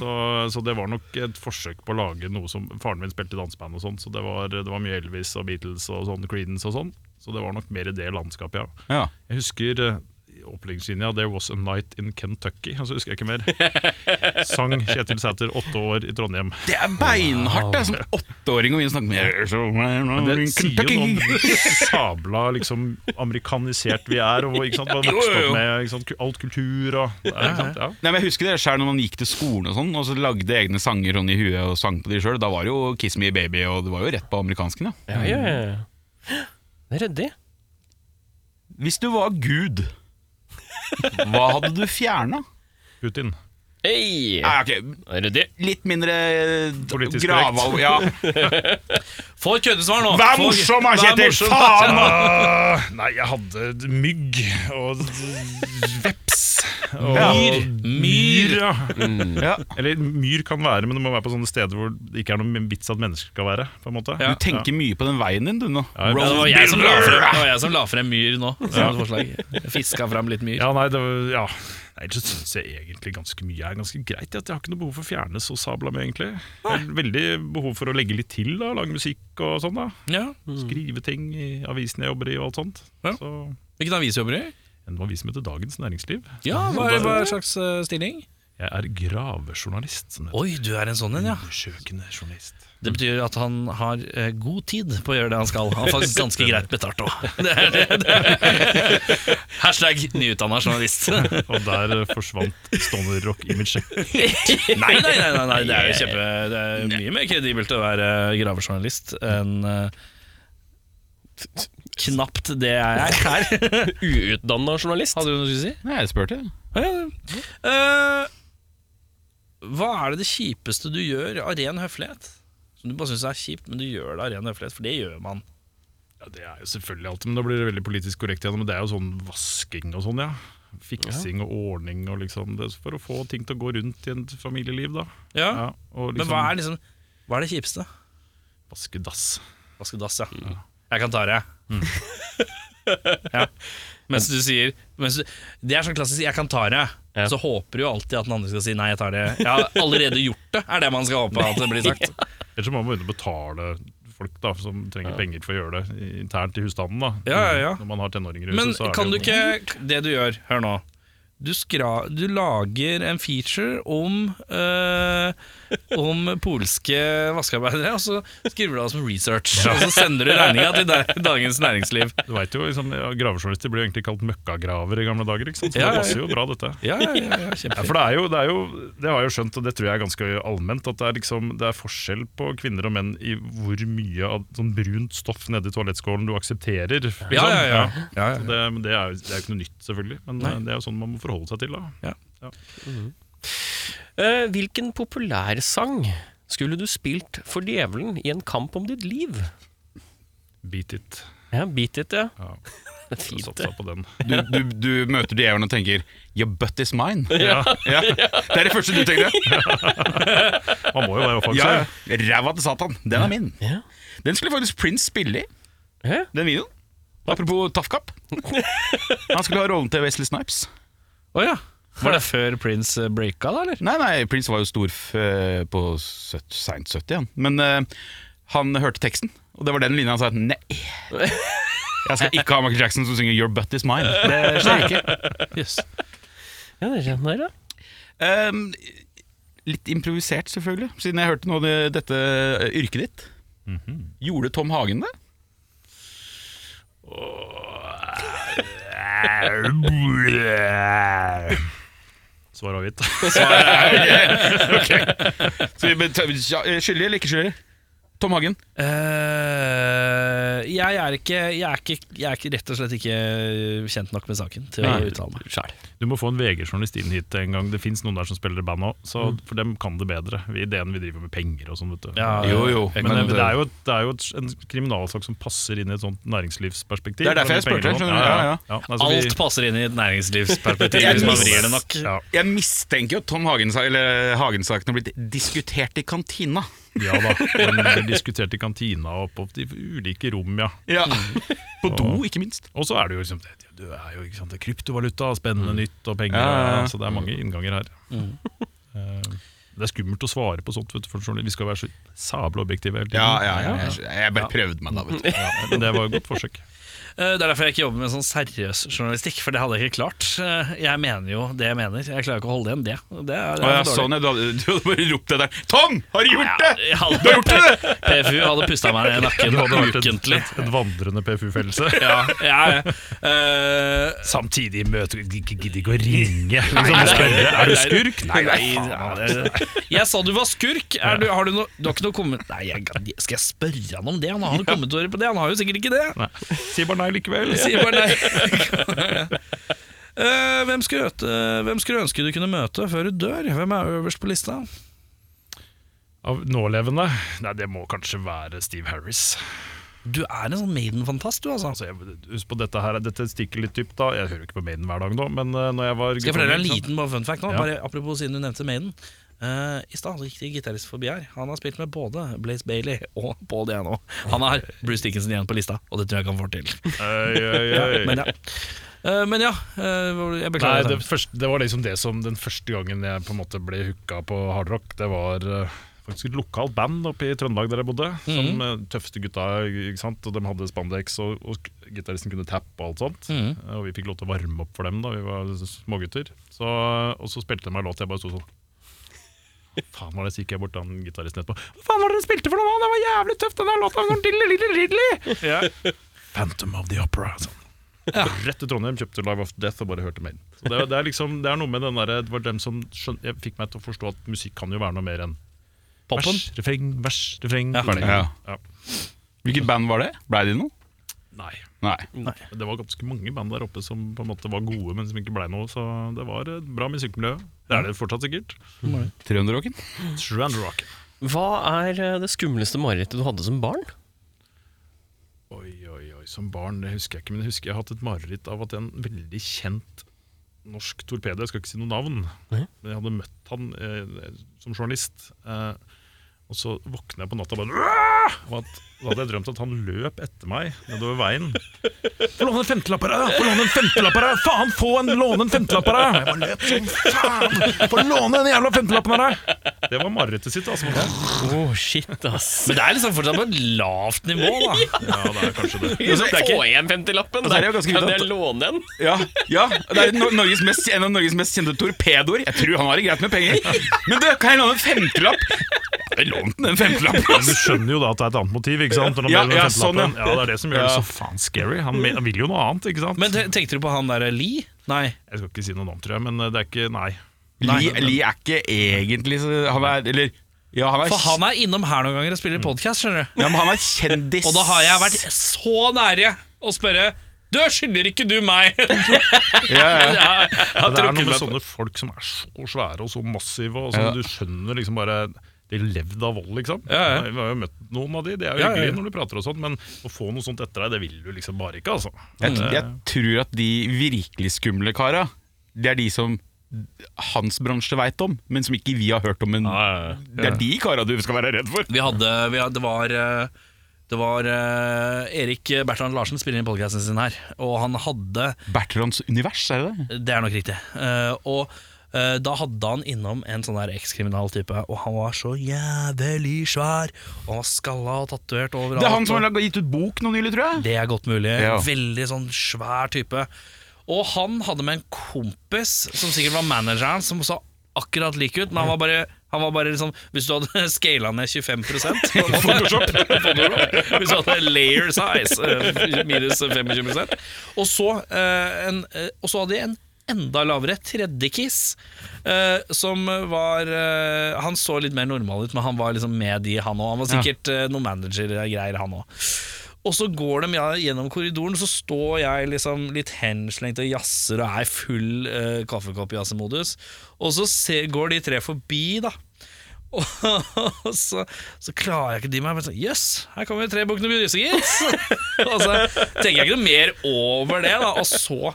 F: Så, så det var nok et forsøk på å lage noe som Faren min spilte i danseband og sånn, så det var, det var mye Elvis og Beatles og sånn, Creedence og sånn. Så det var nok mer i det landskapet, ja.
C: Ja.
F: Jeg husker eh, i åpningslinja 'There was a night in Kentucky'. Og så husker jeg ikke mer. Sang Kjetil Sæter, åtte år i Trondheim.
C: Det er beinhardt! Det er som åtteåring å begynne å snakke
F: Men
C: med
F: det sier jo noe om hvor sabla liksom, amerikanisert vi er, og hvor, ikke sant, hva vokst opp med ikke sant, ku- alt kultur og det er, ikke sant, ja.
C: Nei, men Jeg husker det selv når man gikk til skolen og sånn Og så lagde egne sanger sånn i huet og sang på de sjøl. Da var det jo 'Kiss Me Baby', og det var jo rett på amerikansken. Ja.
A: Ja, ja, ja, ja. Det er ryddig.
C: Hvis du var Gud, hva hadde du fjerna?
F: Putin.
A: Hey. Ryddig.
C: Litt mindre eh,
F: Politisk
C: gravalv... Ja.
B: Få et køddesvar nå!
C: Vær
B: Få-
C: morsom, da,
B: Vær
C: Kjetil!
B: morsom.
C: Faen! da!
F: Ah, nei, jeg hadde d- mygg og d- veps. Og
B: Myr. Myr.
F: ja. Eller myr kan være, men det må være på sånne steder hvor det ikke er noen vits at mennesker skal være. på en måte
B: Ja.
C: Du tenker mye på den veien din, du nå.
F: Ja,
B: Ja, det, var jeg som la frem, det var jeg som la frem myr nå. Som et forslag. Fiska frem litt myr.
F: Ja, nei, det var, ja. Nei, så syns jeg egentlig ganske mye er ganske greit. At jeg har ikke noe behov for å fjerne så sabla mye, egentlig. Jeg har veldig behov for å legge litt til, da, lage musikk og sånn. da
B: Ja.
C: Mm.
F: Skrive ting i avisen jeg jobber i og alt sånt.
B: Ja.
F: Så
B: Hvilken avis jobber du i?
F: En avis som heter Dagens Næringsliv.
B: Ja, hva er, hva er slags eh, stilling?
F: Jeg er gravejournalist. Som det heter.
B: Oi, du er en sånn en, ja.
F: Undersøkende journalist.
B: Det betyr at han har eh, god tid på å gjøre det han skal. Han har faktisk ganske greit betalt òg. Hashtag nyutdanna journalist. nei,
F: Og der eh, forsvant stonerrock-imaget.
B: nei, nei, nei, nei, det er jo kjempe Det er mye mer kredibelt å være gravejournalist enn eh, knapt det jeg er her.
A: Uutdanna journalist.
B: Hadde du noe du skulle si?
C: Nei, jeg spurte.
B: Eh, hva er det det kjipeste du gjør av ren høflighet? Som du bare syns er kjipt, men du gjør det av ren høflighet, for det gjør man.
F: Ja, det er jo selvfølgelig alt, men da blir det veldig politisk korrekt igjen. Men det er jo sånn vasking og sånn, ja. Fiksing og ordning og liksom det, For å få ting til å gå rundt i et familieliv, da.
B: Ja,
F: Ja, og liksom,
B: Men hva er, liksom, hva er det kjipeste?
F: Vaske dass.
B: Vaske dass, ja. Mm. Jeg kan ta det, jeg. ja. Mens du sier mens du, Det er sånn klassisk 'jeg kan ta det'.
A: Ja.
B: Så håper du jo alltid at den andre skal si 'nei, jeg tar det'. Jeg har allerede gjort det, er det man skal håpe at det blir sagt.
F: Ellers så må man begynne å betale folk da, som trenger penger for å gjøre det i- internt i husstanden. da
B: Ja, ja, ja.
F: Når man har tenåringer i
B: Men
F: huset. så er
B: kan du
F: det jo-
B: ikke Det du gjør, hør nå Du, skra, du lager en feature om eh, om polske vaskearbeidere, og så skriver du det som research. Og så sender du regninga til da- Dagens Næringsliv.
F: Du vet jo, liksom, ja, Gravejournalister ble jo egentlig kalt møkkagraver i gamle dager. ikke sant? Så
B: Ja, ja.
F: det passer jo bra, dette.
B: Ja, ja, ja, ja,
F: Ja,
B: kjempefint.
F: for det er, jo, det er jo, det har jeg jo skjønt, og det tror jeg er ganske allment, at det er, liksom, det er forskjell på kvinner og menn i hvor mye av sånn brunt stoff nedi toalettskålen du aksepterer. Liksom.
B: Ja, ja, ja.
F: Ja. Så Det, men det, er jo, det er jo ikke noe nytt, selvfølgelig, men eh, det er jo sånn man må forholde seg til. da.
A: Eh, hvilken populær sang skulle du spilt for djevelen i en kamp om ditt liv?
F: Beat it.
A: Ja, Beat it, ja.
F: Ja.
A: Det er fint, det.
F: Satsa på den.
C: Du, du, du møter djevelen og tenker 'your butt is mine'. Ja. Det er det første du tenker.
F: Man må jo være offensiv.
C: Ja, ja. Ræva til Satan. Den er min.
A: Ja.
C: Den skulle faktisk Prince spille i,
A: Hæ?
C: den videoen. Apropos Tafkap. Han skulle ha rollen til Wesley Snipes.
B: Å ja. Var det før Prince eh, breaka, da? eller?
C: Nei, nei, Prince var jo stor f eh, på søt- seint 70, han. Men eh, han hørte teksten, og det var den linja han sa at nei. Jeg skal ikke ha Michael Jackson som synger 'Your butt is mine'. Det skjer ikke.
B: Yes.
A: Ja, det er den der, ja.
C: Ehm, litt improvisert, selvfølgelig, siden jeg hørte noe av det- dette eh, yrket ditt. Mhm. Gjorde Tom Hagen det?
F: Svar avgitt.
C: Så vi bet- ja, eh, Skyldig eller ikke skyldig? Tom Hagen.
B: Eh, jeg, er ikke, jeg, er ikke, jeg er ikke rett og slett ikke kjent nok med saken til å uttale meg.
F: Du må få en VG-journalist inn hit en gang. Det fins noen der som spiller i band òg, så for dem kan det bedre. Vi- Ideen vi driver med penger og sånn, vet du.
C: Jo, jo.
F: Men det, det er jo, det er jo et, en kriminalsak som passer inn i et sånt næringslivsperspektiv.
C: Det er derfor jeg spurte, skjønner du. Ja, ja.
F: nei, så
B: Alt
F: vi-
B: passer inn i et næringslivsperspektiv
C: Jeg
B: hvis man
C: mister-
B: vrir det nok.
F: Ja,
C: Jeg mistenker jo at Tom Hagen, eller Hagen-saken har blitt diskutert i kantina.
F: ja da. Den blir diskutert i kantina og på de ulike rom, ja.
C: Ja. Mm. På do, ikke minst.
F: Og så er det jo liksom det, du er jo ikke sant, det er kryptovaluta, spennende nytt og
C: Mm.
F: penger.
C: Ja, Mm. ja, ja.
F: og- Så det er mange innganger her. Eh, Det er skummelt å svare på sånt. Vet du, for journal- vi skal være så sabla objektive hele tiden.
C: Ja, ja, ja. Jeg, jeg bare prøvde meg da, vet du.
F: Ja, men det var et godt forsøk.
B: Eh, Det er derfor jeg ikke jobber med sånn seriøs journalistikk, for det hadde jeg ikke klart. Eh, Jeg mener jo det jeg mener. Jeg klarer ikke å holde igjen det. Det er, det
C: Å
B: er
C: ja,
B: for
C: sånn, ja. Du hadde, du hadde bare ropt det der. Tom, har du gjort
B: Ja,
C: det?!
B: jeg hadde-
C: Du har gjort det!
B: PFU hadde pusta meg ned i
F: Du hadde
B: nakken
F: vært et,
B: ukentlig.
F: et, et vandrende PFU-fellelse.
B: Ja, jeg, eh,
F: Samtidig møter du ikke gidder ikke å ringe. Liksom, og spørre, er du skurk? Nei, nei,
B: jeg sa du var skurk! Er du, har du, no, du har ikke noe kommet Nei, jeg, skal jeg spørre han om det? Han har noen kommentarer på det? Han har jo sikkert ikke det.
F: nei. Si bare nei likevel.
B: Sier bare nei. Eh, hvem, skulle øte, hvem skulle ønske du kunne møte før du dør? Hvem er øverst på lista?
F: Av nålevende? Nei, det må kanskje være Steve Harris.
B: Du er en sånn Maiden-fantast, du, altså.
F: Altså, jeg, husk på dette her, dette stikker litt dypt da. Jeg hører jo ikke på Maiden hver dag nå, men eh, når jeg var
B: Skal jeg fortelle deg en
F: ikke sant?
B: liten bare fun fact nå?
F: Ja.
B: Bare Apropos siden du nevnte Maiden. Eh, I stad så gikk det en gitarist forbi her. Han har spilt med både Blaze Bailey og Paul Diano. Han har Bruce Dickinson igjen på lista, og det tror jeg ikke han får til.
F: Øy, øy, øy.
B: Men ja, Eh, men ja eh, hvor- jeg
F: Nei,
B: beklager.
F: det,
B: det.
F: første, det var liksom det som den første gangen jeg på en måte ble hooka på hardrock. Det var eh, faktisk et lokalt band oppe i Trøndelag der jeg bodde. Som eh, tøffeste gutta, ikke sant? og de hadde spandex, og, og gitaristen kunne tappe og alt sånt. Eh, Og vi fikk lov til å varme opp for dem da vi var smågutter. Så, og så spilte de meg en låt, jeg bare sto sånn. Hva faen var det så gikk jeg bort til han gitaristen etterpå. Hva faen var det dere spilte for noe? Det var jævlig tøft, den der låta! med sånn diddly, diddly, diddly!» Ja. Phantom of the Opera. Sånn. Rett til Trondheim, kjøpte Live of Death og bare hørte Maiden. Så det, er- det, er liksom, det er noe med den der, det var dem som skjøn, jeg fikk meg til å forstå at musikk kan jo være noe mer enn vers, refreng, vers, refreng.
B: Ja.
F: ferdig.
C: Ja.
F: Ja.
C: Hvilket band var det? Blei det noe?
F: Nei.
C: Nei.
F: Men Det var ganske mange band der oppe som på en måte var gode, men som ikke blei noe. Så det var et bra musikkmiljø. Det er det fortsatt sikkert.
C: 300-rocken?
F: Trand Rock.
A: Hva er eh, det skumleste marerittet du hadde som barn?
F: Oi, oi, oi, som barn, det husker jeg ikke, men jeg husker jeg har hatt et mareritt av at en veldig kjent norsk torpedo, jeg skal ikke si noe navn,
A: Nei.
F: men jeg hadde møtt han eh, som journalist, eh, og så våkner jeg på natta og bare Og at, da hadde jeg drømt at han løp etter meg nedover veien. Få låne en femtelapp her, da! Få låne en femtelapp her, da! Faen, få en låne en femtelapp her, da! Jeg bare løp som faen! Få låne den jævla femtelappen her, da! Det var marerittet sitt, altså.
A: Åh, shit, ass.
B: Men det er liksom fortsatt på et lavt nivå, da.
F: Ja, det er kanskje det.
A: Få igjen 50-lappen!
C: er det jo
A: der.
C: ganske
A: Kan
C: vidt at-
A: jeg låne den?
C: Ja, ja Det er Nor- Norges mest, en av Norges mest kjente torpedoer. Jeg tror han har det greit med penger. Men du, kan jeg låne en femtelapp? Jeg lånte den femtelappen,
F: Men du
C: altså!
F: skjønner jo da at det er et annet motiv, ikke sant? Når han
C: Ja,
F: deler den
C: ja,
F: femtelappen.
C: sånn,
F: ja.
C: ja.
F: det er det som gjør det så faen scary. Han, me- han vil jo noe annet, ikke sant?
B: Men te- tenkte du på han derre Lee? Nei.
F: jeg skal ikke si noe navn, tror jeg, men eh, det er ikke Nei.
C: Lee Lee er ikke egentlig så- Han er Eller ja, han er,
B: For han er innom her noen ganger og
F: Mm.
B: spiller podkast, skjønner du.
C: ja, men han er kjendis.
B: Og da har jeg vært så nære å spørre Du skylder ikke du meg!
C: ja, ja.
B: Jeg har trukket
F: Det er noe med
B: meg på.
F: sånne folk som er så svære og så massive, og som
C: Ja.
F: du skjønner liksom bare de levde av vold, liksom.
B: Ja, ja.
F: Vi har jo møtt noen av de, de er jo
B: Ja, ja, ja.
F: hyggelige når du prater og sånn, men å få noe sånt etter deg, det vil du liksom bare ikke, altså.
C: Jeg, jeg tror at de virkelig skumle kara, det er de som hans bransje veit om, men som ikke vi har hørt om. Men det er de kara du skal være redd for.
B: Vi hadde, vi hadde Det var eh, det var eh, Erik Bertrand Larsen spiller inn podkasten sin her, og han hadde
C: Bertrands univers, er det det?
B: Det er nok riktig. Eh, og eh, da hadde han innom en sånn der ekskriminal type, og han var så jævlig svær. Og han var skalla og tatovert overalt.
C: Det er han som
B: og-
C: har laget- gitt ut bok nå nylig, tror jeg.
B: det er godt mulig.
C: Ja.
B: Veldig sånn svær type. Og han hadde med en kompis, som sikkert var manageren, som så akkurat lik ut, men han var bare han var bare liksom, Hvis du hadde scala ned 25 på en måte- Photoshop. Hvis du hadde layer size eh, minus 25 Og så, eh, en, eh, og så hadde de en enda lavere tredje kiss, eh, som var eh, Han så litt mer normal ut, men han var liksom med de, han òg. Han var sikkert eh, noen manager-greier, han òg. Og så går de ja- gjennom korridoren, så står jeg liksom litt henslengt og jazzer og er i full uh, kaffekoppjazzemodus. Og så se, går de tre forbi, da. Og så, så klarer jeg ikke de meg. men sånn, Jøss, yes, her kommer tre bukkene Bjørnise, gitt! og så tenker jeg ikke noe mer over det, da. Og så,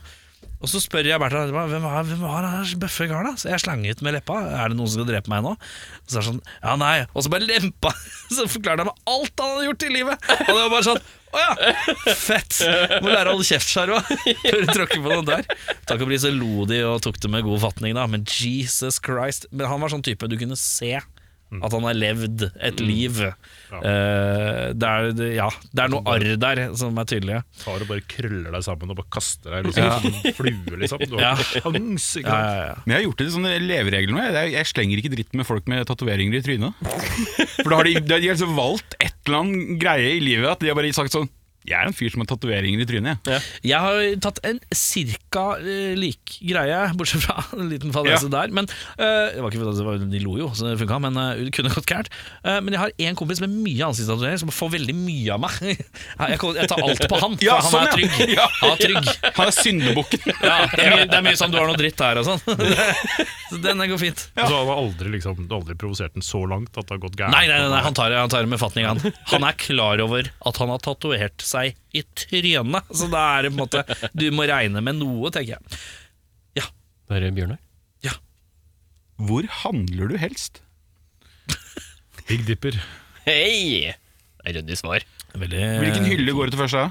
B: og så spør jeg Bertha hvem var, hvem var den her bøffe karen, da? Så jeg slang ut med leppa. Er det noen som skal drepe meg nå? Og så er det sånn Ja, nei. Og så bare lempa. Så forklarte jeg meg alt han hadde gjort i livet. Og det var bare sånn å ja, fett! Må lære å holde kjeft, skjerva. Før du tråkker på noe der. Takk og pris så lo de og tok det med god fatning, da. Men Jesus Christ. Men han var sånn type du kunne se at han har levd et liv. Eh, det, er, det- ja, det er noe arr der som er tydelige.
F: Tar og bare krøller deg sammen og bare kaster deg liksom, som en flue, liksom. Du
B: Ja.
F: har ikke sjans, ikke
B: Ja,
F: sant.
B: ja, ja.
C: Men jeg har gjort det sånn leveregel med. Jeg, jeg slenger ikke dritt med folk med tatoveringer i trynet. For da har de, de har altså valgt et eller annet greie i livet at de har bare sagt sånn Jeg er en fyr som har tatoveringer i trynet, jeg.
B: Jeg har tatt en cirka eh, lik greie, bortsett fra en liten fadese der. Men eh, det var ikke fadese, det var- de lo jo, så det funka, men eh, det kunne gått gærent. Eh, men jeg har én kompis med mye ansiktstatuering som får veldig mye av meg. Jeg, kommer- jeg tar alt på han, for
C: Ja,
B: han er
C: sånn, ja.
B: trygg.
C: Ja.
B: Han er trygg.
C: Han er syndebukken.
B: Ja, det, er mye, det er mye sånn du har noe dritt der og sånn. Så denne går fint.
F: Og Så har du aldri, liksom, du har aldri provosert den så langt at det har gått gærent.
B: Nei, nei, nei, nei han, tar, det- han tar det med fatning. Han. han er klar over at han har tatovert seg i trynet. Så da er det på en måte Du må regne med noe, tenker jeg.
A: Det er Bjørnar.
C: Hvor handler du helst?
F: Big Dipper.
A: Hei! Det er Ryddig svar.
B: Veldig
C: Hvilken hylle går du til først? da?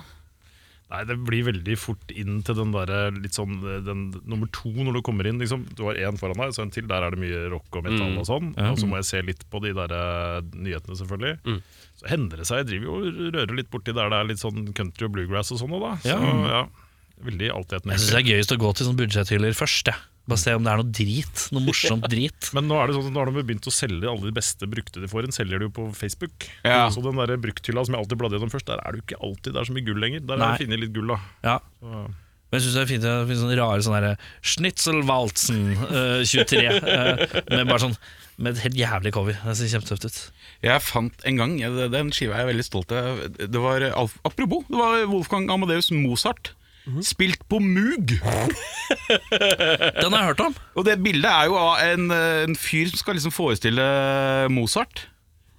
F: Nei, det blir veldig fort inn til den der litt sånn eh, den, Nummer to når du kommer inn, liksom. Du har én foran deg, så en til. Der er det mye rock og metal
B: Mm.
F: og sånn. Og så må jeg se litt på de der eh, nyhetene, selvfølgelig.
B: Mm.
F: Så hender det seg. Jeg driver jo og rører litt borti der det er litt sånn country og bluegrass og sånn òg, da. Så ja, veldig altheten.
B: Jeg syns det er gøyest å gå til sånne budsjetthyller først. Jeg. Bare se om det er noe drit. Noe morsomt drit.
F: Men nå er det sånn at nå har de begynt å selge alle de beste brukte de får inn, selger de jo på Facebook.
C: Ja.
F: Så den der brukthylla som jeg alltid bladde gjennom først, der er det jo ikke alltid det er så mye gull lenger. Der
B: Nei.
F: er det funnet litt gull, da.
B: Ja. Men jeg syns det er fint det finnes sånne rare sånne derre Schnitzelwalzen eh, 23. eh, med bare sånn Med et helt jævlig cover. Det ser kjempetøft ut.
C: Jeg fant en gang ja, det- Den skiva er jeg veldig stolt av. Det var eh, Alf, Apropos, det var Wolfgang Amadeus Mozart. Spilt på mug!
B: Den har jeg hørt om.
C: Og det bildet er jo av en, eh, en fyr som skal liksom forestille Mozart,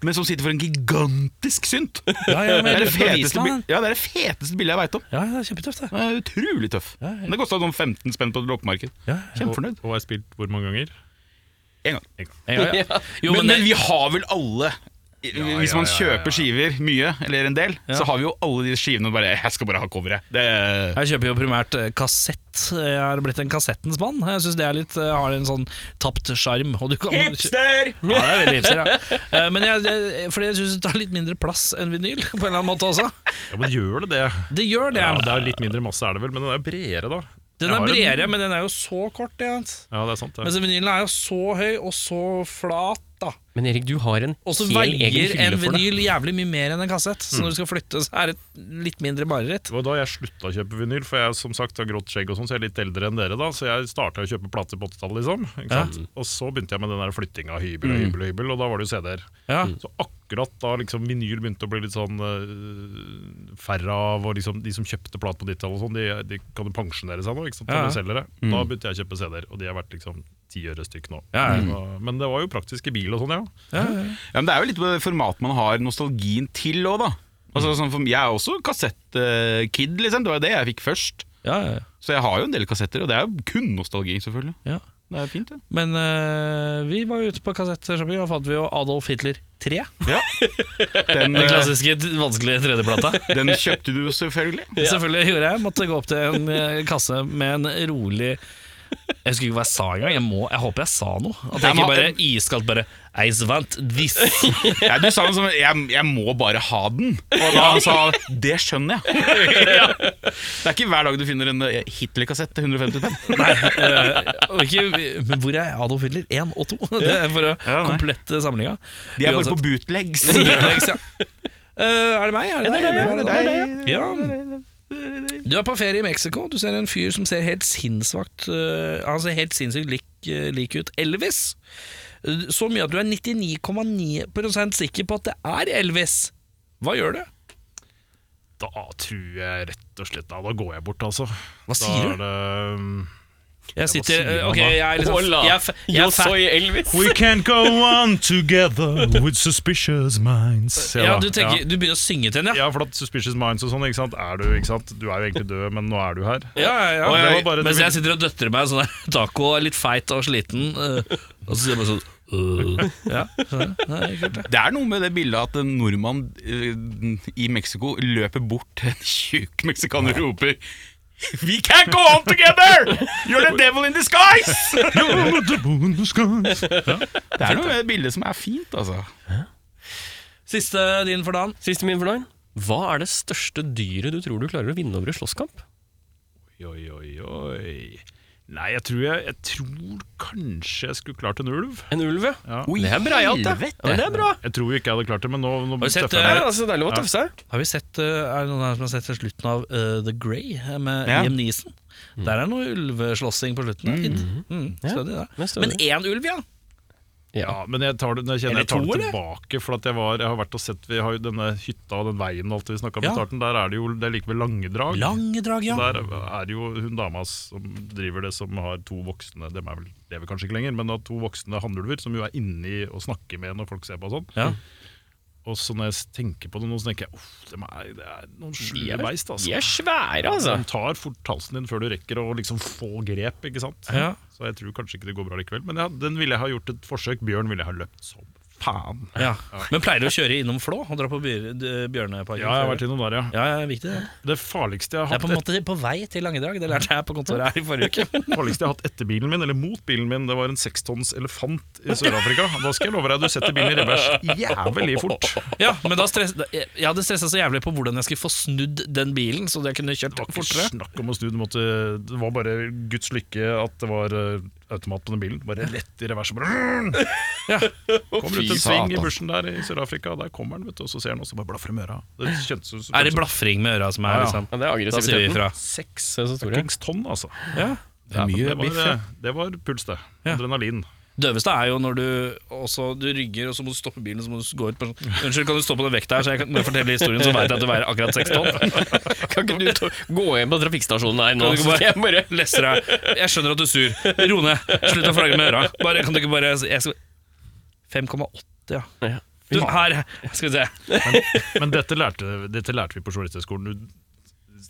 C: men som sitter for en gigantisk synt. Det
B: Ja, ja, men
C: er
B: jeg lurte på
C: det
B: å
C: feteste,
B: vise meg
C: bil-
B: den.
C: ja, det er det feteste bildet jeg veit om.
B: Ja, det er kjempetøft, det.
C: Den er utrolig tøff. Men Det kosta sånn 15 spenn på et loppemarked. Kjempefornøyd.
F: Og har spilt hvor mange ganger?
C: En gang.
B: Ja, ja. Jo,
C: Men,
B: men,
C: men
B: det,
C: vi har vel alle Hvis man kjøper skiver mye, eller en del, så har vi jo alle de skivene og bare Jeg skal bare ha coveret. Det,
B: Jeg kjøper jo primært eh, kassett. Jeg har blitt en kassettens mann. Jeg synes det er litt, eh, har en sånn tapt sjarm. og du kan- Ja, det er veldig hipster, ja. Eh, Men jeg, jeg, fordi jeg syns det tar litt mindre plass enn vinyl, på en eller annen måte også.
F: Ja, men gjør det det?
B: Det gjør det.
F: Ja, det er litt mindre masse, er det vel, men den er jo bredere, da.
B: Den
F: Jeg
B: er
F: har en-
B: bredere, men den er jo så kort. Ja.
F: Ja, det er sant. Det.
B: Mens vinylen er jo så høy og så flat. da
A: Men Erik, du har en
B: Og så
A: hel egen
B: veier en
A: hylle for deg.
B: vinyl jævlig mye mer enn en kassett. Så når du skal flytte, så er det et litt mindre mareritt.
F: Det var da jeg slutta å kjøpe vinyl, for jeg som sagt har grått skjegg og sånn, så jeg er litt eldre enn dere da, så jeg starta å kjøpe plater på 80-tallet, liksom. Ikke sant? Og så begynte jeg med den der flyttinga hybel og hybel og hybel, og da var det jo CD-er.
B: Ja.
F: Så akkurat da liksom vinyl begynte å bli litt sånn eh, færre av, og liksom de som kjøpte plat på 90-tallet og sånn, de, de kan jo pensjonere seg nå, ikke sant,
B: Ja, ja.
F: når de selger det. Da begynte jeg å kjøpe CD-er, og de har vært liksom ti øre stykk nå.
B: Ja, ja.
F: Så- Men det var jo praktisk i bil og sånn, ja.
C: ja, men det er jo litt på det format man har nostalgien til òg, da.
B: Mm.
C: Altså, sånn for, jeg er også kassettkid, liksom. Det var jo det jeg fikk først.
B: Ja, ja, ja.
C: Så jeg har jo en del kassetter, og det er jo kun nostalgi, selvfølgelig.
B: Ja.
C: Det er fint, det.
B: Men eh, vi var jo ute på kassettshopping, og da fant vi jo Adolf Hitler 3.
C: Den,
B: Den
C: eh,
B: klassiske t- vanskelige tredjeplata.
C: den kjøpte du selvfølgelig.
B: Selvfølgelig gjorde jeg. Måtte gå opp til en eh, kasse med en rolig jeg husker ikke hva jeg sa engang. Jeg, må, jeg håper jeg sa noe. At jeg
C: men-
B: ikke bare iskaldt bare Eis vant this.
C: Ja, du sa noe sånn jeg, 'jeg må bare ha den', og da han sa 'det skjønner jeg'. Det er ikke hver dag du finner en eh, Hitler-kassett til 150 penn.
B: Nei, eh, og ikke, men hvor er Adolf Hitler 1 og 2? Det er for å
C: Ja, nei.
B: komplette samlinga.
C: De er bare
B: Uansett.
C: på bootlegs.
B: Bootlegs, ja. Eh, er det meg? Er det deg? Er det deg? Ja. Du er på ferie i Mexico. Du ser en fyr som ser helt sinnssvakt eh, Han ser helt sinnssykt lik, eh, lik ut. Elvis! Eh, Så mye at du er 99,9 sikker på at det er Elvis. Hva gjør du?
F: Da tror jeg rett og slett, da, da går jeg bort altså.
B: Hva sier du?
F: Da er det... um,
B: Jeg sitter
F: sier
B: eh,
F: han
B: Ok,
F: da?
B: jeg er liksom
A: Hola.
B: Jeg er, fa- jeg er
A: Yo
B: fa-
A: soy Elvis.
F: We can't go on together with suspicious minds.
B: ja,
F: da,
B: du, tenker,
F: ja.
B: du begynner å synge til henne, ja?
F: Ja, for at Suspicious Minds og sånn, ikke sant? Er du, ikke sant? Du er jo egentlig død, men nå er du her.
B: Ja, ja,
F: Og
B: ja.
F: det var bare
B: Mens
F: det
B: jeg sitter og døtter meg sånn der, taco er litt feit og sliten, eh, og så sier jeg bare sånn øh. Ja, sånn, ja, det er kult, det.
C: Det er noe med det bildet at en nordmann eh, i Mexico løper bort til en tjukk meksikaner og roper We can't go on together! You're the devil in disguise! Det er noe med det bildet som er fint, altså.
B: Siste din for dagen.
A: Siste min for dagen. Hva er det største dyret du tror du klarer å vinne over i slåsskamp?
F: Oi, oi, oi, oi. Nei, jeg tror, jeg, jeg tror kanskje jeg skulle klart en ulv.
A: En ulv, ja.
F: Ja.
A: Det er breialt, det. Ja, men det er bra.
F: Jeg tror ikke jeg hadde klart det, men nå, nå
B: du sett,
F: tøffer
A: Det
F: jeg
A: er
F: meg.
A: altså deilig å tøffe seg.
B: Har vi sett, eh, Er det noen her som har sett til slutten av eh, The Grey eh, med
C: Ja.
B: Liam Neeson? Der er noe ulveslåssing på slutten. Mm. Mm. Stødig, det.
A: Men stødig.
B: Men én ulv, ja!
F: Ja, men jeg tar det, jeg kjenner jeg tar det tilbake, for at jeg, var, jeg har vært og sett Vi har jo denne hytta og den veien og alt det vi snakka om
B: Ja.
F: i starten. Der er det jo det er likevel lange drag.
B: Lange drag, ja.
F: Der er det jo hun dama som driver det, som har to voksne De er vel, lever kanskje ikke lenger, men har to voksne hannulver som jo er inni og snakker med når folk ser på og sånn.
B: Ja.
F: Og så når jeg tenker på det nå, så tenker jeg uff, de er, det er noen slue beist, altså.
A: De er svære, altså.
F: De tar fort halsen din før du rekker å liksom få grep, ikke sant.
B: Ja.
F: Så jeg tror kanskje ikke det går bra likevel. Men ja, den ville jeg ha gjort et forsøk. Bjørn ville jeg ha løpt som faen.
B: ja. Men pleier du å kjøre innom Flå og dra på bjør- d- Bjørneparken?
F: Ja, jeg
B: før?
F: har vært innom der, ja.
B: ja, ja, viktig, det.
F: Det farligste jeg
B: Det
F: har
B: er på
F: hatt
B: en måte på vei til Langedrag. Det lærte jeg på kontoret her i forrige uke.
F: Det farligste jeg har hatt etter bilen min, eller mot bilen min, det var en sekstons elefant i Sør-Afrika. Da skal jeg love deg, du setter bilen i revers jævlig fort.
B: Ja, men da stress, jeg jeg hadde stressa så jævlig på hvordan jeg skulle få snudd den bilen, så jeg kunne kjørt
F: Det var ikke
B: fortere.
F: snakk om å snu, du måtte, det var bare guds lykke at det var eh, automat på den bilen. Bare rett i revers og bare Kommer ut en sving i bushen der i Sør-Afrika, der kommer den, vet du, og så ser den, og så bare blaffer med øra. Det kjentes ut som
B: Er det blafring med øra som er
F: Ja, ja.
B: liksom
A: Ja, det er
B: Da sier vi
A: aggressiviteten.
B: ifra.
F: seks
A: Se eh, så store.
F: fuckings tonn, altså.
B: Ja.
F: Ja, men det,
E: biff,
F: var, eh, det var puls, det.
B: Ja.
F: Adrenalin.
B: Døveste er jo når du også du rygger, og så må du stoppe bilen, og så må du gå ut på sånn Unnskyld, kan du stå på den vekta her, så jeg kan når jeg forteller historien, så veit jeg at du veier akkurat seks tonn?
A: Kan ikke du ta- gå hjem på trafikkstasjonen her nå?
B: Kan du ikke
A: så
B: bare-
A: skal jeg bare
B: Lesser deg. Jeg skjønner at du er sur. Ro ned. Slutt å flagge med øra. Bare, kan du ikke bare jeg skal, 5,8, ja.
A: Ja.
B: Du, her, skal vi se.
F: Men dette lærte, dette lærte vi på journalisthøgskolen. Du-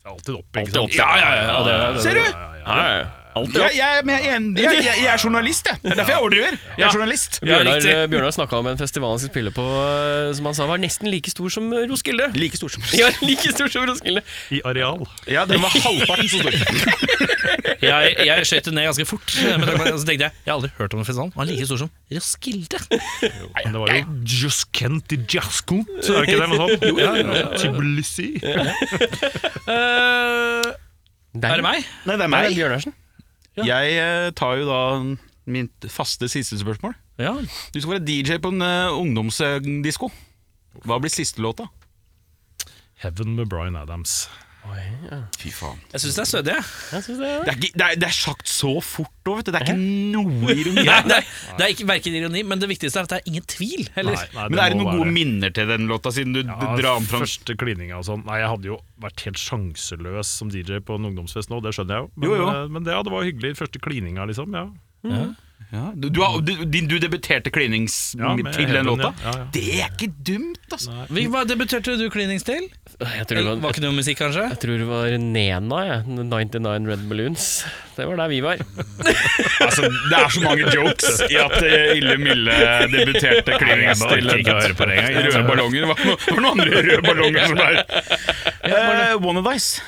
F: Alltid opp, ikke
A: Alltid opp.
F: sant?
B: Ja, ja, ja. ja, det,
F: Ser du? Ja, ja, ja.
A: Ja, ja, ja. Alt i
C: Ja,
A: alt.
C: jeg, men jeg, er enig. jeg, jeg, jeg er journalist, jeg. Det er derfor jeg overdriver. Jeg er journalist.
A: Bjørnar,
B: riktig.
A: Bjørnar snakka om en festival han skal spille på eh, som han sa var nesten like stor som Roskilde.
C: Like stor som
A: Ja, like stor som Roskilde.
F: I areal.
C: Ja, den var halvparten så stor.
B: Jeg, jeg skjøt det ned ganske fort. Men da, så tenkte jeg jeg har aldri hørt om en festival. Han er like stor som Roskilde.
F: Men det var jo Juskent i Jaskont, er det ikke det noe sånt? Jo, ja, ja, Tbilisi.
B: Eh, er det meg?
C: Nei, det er
A: Nei,
C: meg.
A: Bjørnarsen.
C: Jeg eh, tar jo da mitt faste siste spørsmål.
B: Ja.
C: Du skal være DJ på en uh, ungdomsdisko. Hva blir siste låta?
F: Heaven med Bryan Adams.
C: Fy faen.
B: Jeg syns det er stødig. jeg.
A: Jeg synes det er
C: Det er, ikke, det er, det er sagt så fort òg, vet du. Det er ikke noe ironi.
B: Nei, det, er- det er ikke verken ironi, men det viktigste er at det er ingen tvil. Heller.
C: Men er det
F: må
C: noen gode
F: være-
C: minner til den låta, siden du
F: Ja,
C: drar den fram?
F: Første klininga og sånn. Nei, jeg hadde jo vært helt sjanseløs som DJ på en ungdomsfest nå, det skjønner jeg jo. Men,
C: Jo, Mm, jo.
F: eh, men det, ja, det var hyggelig. Første klininga, liksom. Ja.
C: Ja, du, du, har- du, din- du debuterte klinings
F: Ja, med
C: til den
F: Heaven,
C: låta?
F: ja. Ja, ja.
C: Det er ikke dumt, altså!
B: Vi- Hva debuterte du klinings til?
A: Jeg tror, det
B: Eller, var
A: var,
B: ikke noe musikk, kanskje?
A: jeg tror det var Nena, jeg. 99 Red Balloons. Det var der vi var.
C: altså. Det er så mange jokes i at eh, Ille Mille debuterte klinings
F: orker
C: til
F: ikke å høre på det engang. altså.
C: Røde ballonger. Hva hva var noen andre røde ballonger som var eh, One of Ice.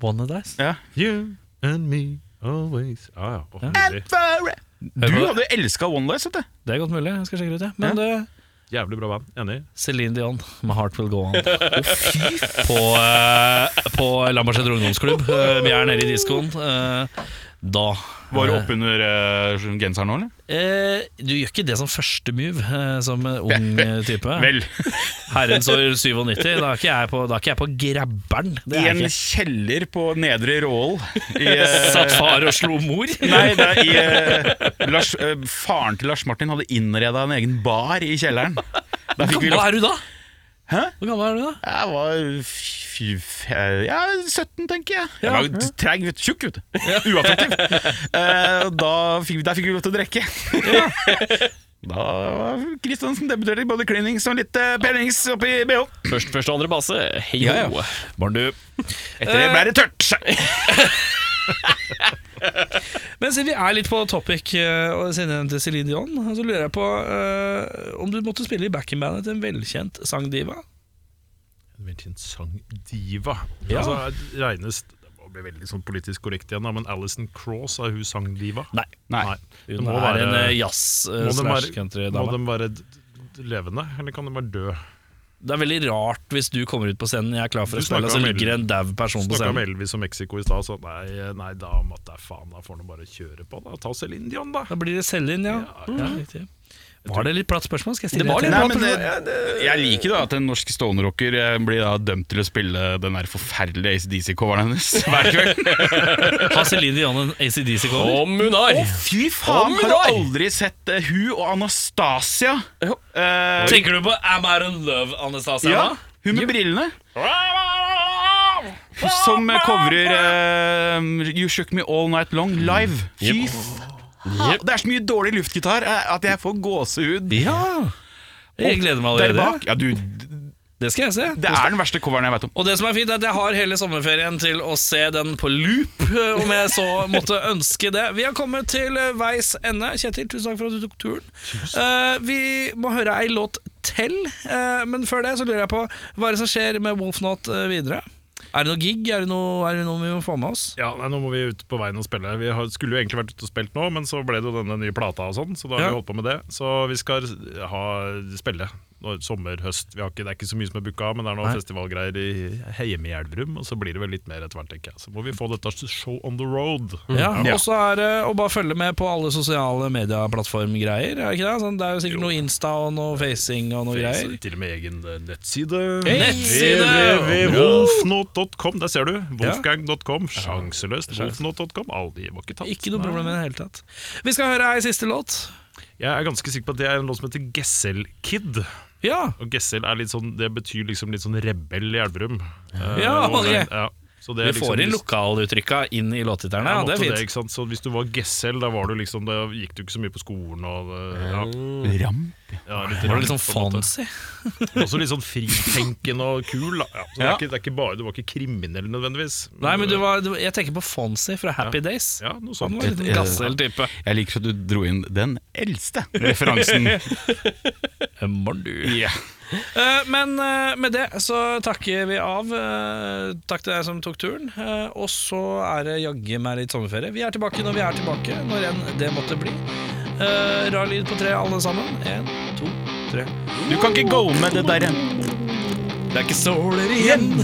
B: One of Dice.
F: You and me always ah, ja. Å, nydelig.
C: Du hadde elska One Life, vet du.
B: Det er godt mulig. Jeg skal sjekke det ut, jeg. Men du,
F: Jævlig bra band. Enig.
B: Céline Dion med 'Heart Will Go On'. På, uh, på Lambertseter ungdomsklubb. Eh, vi er nede i diskoen. eh, da
C: Var du oppunder uh, genseren nå, eller?
B: Eh, Du gjør ikke det som første move, eh, som eh, ung eh, type.
C: Vel,
B: Herrens år 97, da er ikke jeg på, da er ikke jeg på grabberen. Det
C: i
B: er
C: en
B: jeg ikke.
C: kjeller på Nedre Rål i eh,
B: Satt far og slo mor.
C: Nei, det er i eh, Lars, eh, Faren til Lars Martin hadde innreda en egen bar i kjelleren. Der fikk vi
B: Hva
C: lov
B: er du da?
C: Hæ?
B: Hvor gammel er du da?
C: Jeg var fy, fy, ja, 17, tenker jeg. Jeg var treg, vet du. Tjukk, vet du. Uattraktiv. Eh, da fikk, vi- der fikk vi lov til å drikke. Da var Kristiansen debuterte i både cleanings og litt eh, pellings oppi bh.
A: Først første og andre base. Hei
C: Ja, ja.
A: ho.
C: Etter det ble det tørt.
B: Men siden vi er litt på topic, eh, og siden jeg nevnte Celine Dion, så lurer jeg på eh, om du måtte spille i backing-bandet til en velkjent sangdiva?
F: Hvilken sang diva?
B: Ja.
F: Altså, regnes det må bli veldig sånn politisk korrekt igjen, da, men Alison Cross, er hun sangdiva?
B: Nei.
C: Nei.
F: Det
B: Hun
F: må
B: er
F: være,
B: en eh,
F: må de være- må
B: jazz-slash-country-dame.
F: de være d- d- levende, eller kan de være døde?
B: Det er veldig rart hvis du kommer ut på scenen, jeg er klar for å
F: Du
B: spille,
F: snakker
B: og så
F: om
B: ligger det en dau person på
F: Snakka om
B: scenen.
F: Elvis og Mexico i stad, så nei, nei, da måtte jeg faen, da får han bare kjøre på, da. Ta Celine Dion, da.
B: Da blir det Celine, ja. ja riktig. Var det litt platt spørsmål? Skal jeg
C: Eh,
A: Det var
B: stille et
A: litt
B: til?
A: platt.
C: Nei, men det, jeg liker da at en norsk stålrocker eh, blir da dømt til å spille den der forferdelige ACDC-coveren hennes hver kveld.
B: Har Celine Dion en ACDC-cover?
A: Om hun har!
C: Fy
A: Om
C: faen, har
A: da!
C: du aldri sett eh, hun og Anastasia?
A: Jo.
C: Eh,
B: Tenker du på Am I in Love, Anastasia?
C: Ja, hun med brillene. Som eh, covrer eh, You Shook Me All Night Long live. Fy faen! Det er så mye dårlig luftgitar eh, at jeg får gåsehud
B: Ja! Jeg gleder meg
C: der
B: allerede.
C: bak. Ja, du, det
B: Det skal jeg se.
C: er den verste coveren jeg vet om.
B: Og det som er fint, er at jeg har hele sommerferien til å se den på loop, eh, om jeg så måtte ønske det. Vi har kommet til eh, veis ende. Kjetil, tusen takk for at du tok turen. Eh, vi må høre ei låt til, eh, men før det så lurer jeg på hva er det som skjer med Wolfnot eh, videre? Er det noe gig? Er det noe, er det noe vi må få med oss?
F: Ja, nei, Nå må vi ut på veien og spille. Vi har, skulle jo egentlig vært ute og spilt nå, men så ble det jo denne nye plata og sånn, så da har
B: Ja.
F: vi holdt på med det. Så vi skal ha spille nå- sommer, høst. Vi har ikke, det er ikke så mye som er booka, men det er noen
B: Nei.
F: festivalgreier i, hjemme i Elverum, og så blir det vel litt mer etter hvert, tenker jeg. Så må vi få dette show on the road.
B: Mm. Ja, Og så er det å bare følge med på alle sosiale medieplattformgreier. Er det ikke det? Sånn, det er jo sikkert noe Insta og noe facing og noe greier.
F: Til og med egen eh, nettside.
B: Nettside!
F: www.wolfnot.com. Der ser du. Wolfgang.com. Sjanseløst. Wolfnot.com. Alle de var ikke tatt.
B: Ikke noe problem i det hele tatt. Vi skal høre ei siste låt.
F: Jeg er ganske sikker på at det er en låt som heter Gessel Kid.
B: Ja,
F: Og Gessel er litt sånn, det betyr liksom litt sånn rebell i Elverum. Eh,
B: Ja,
F: og-
B: ok.
F: ja. Så det
B: Vi
F: er liksom
B: får inn
F: list-
B: lokaluttrykka inn i låttitterne,
F: Jeg
B: og det
F: måtte
B: er
F: Det,
B: fint.
F: ikke sant? Så hvis du var gesell, da, var du liksom, da gikk du ikke så mye på skolen. Og, det- ja,
B: Mm.
C: Ram?
F: ja,
B: Var det litt sånn
F: på en måte.
B: fancy?
F: Men Også litt sånn fritenkende og kul. Da. Ja, så det, er
B: Ja.
F: ikke, det er ikke bare, du var ikke kriminell nødvendigvis.
B: Nei, men du var, du, jeg tenker på Fonsi fra Happy Days.
F: Ja, noe
B: Han
F: sånt.
B: var en liten gassel-type.
C: Jeg liker at du dro inn den eldste referansen.
B: Ja. Eh, men eh, med det så takker vi av. Eh, takk til deg som tok turen. Eh, og så er det jaggu meg litt sommerferie. Vi er tilbake når vi er tilbake, når enn det måtte bli. Eh, rar lyd på tre, alle sammen. Én, to, tre.
C: Du kan ikke gå med det der.
B: Det er ikke såler igjen!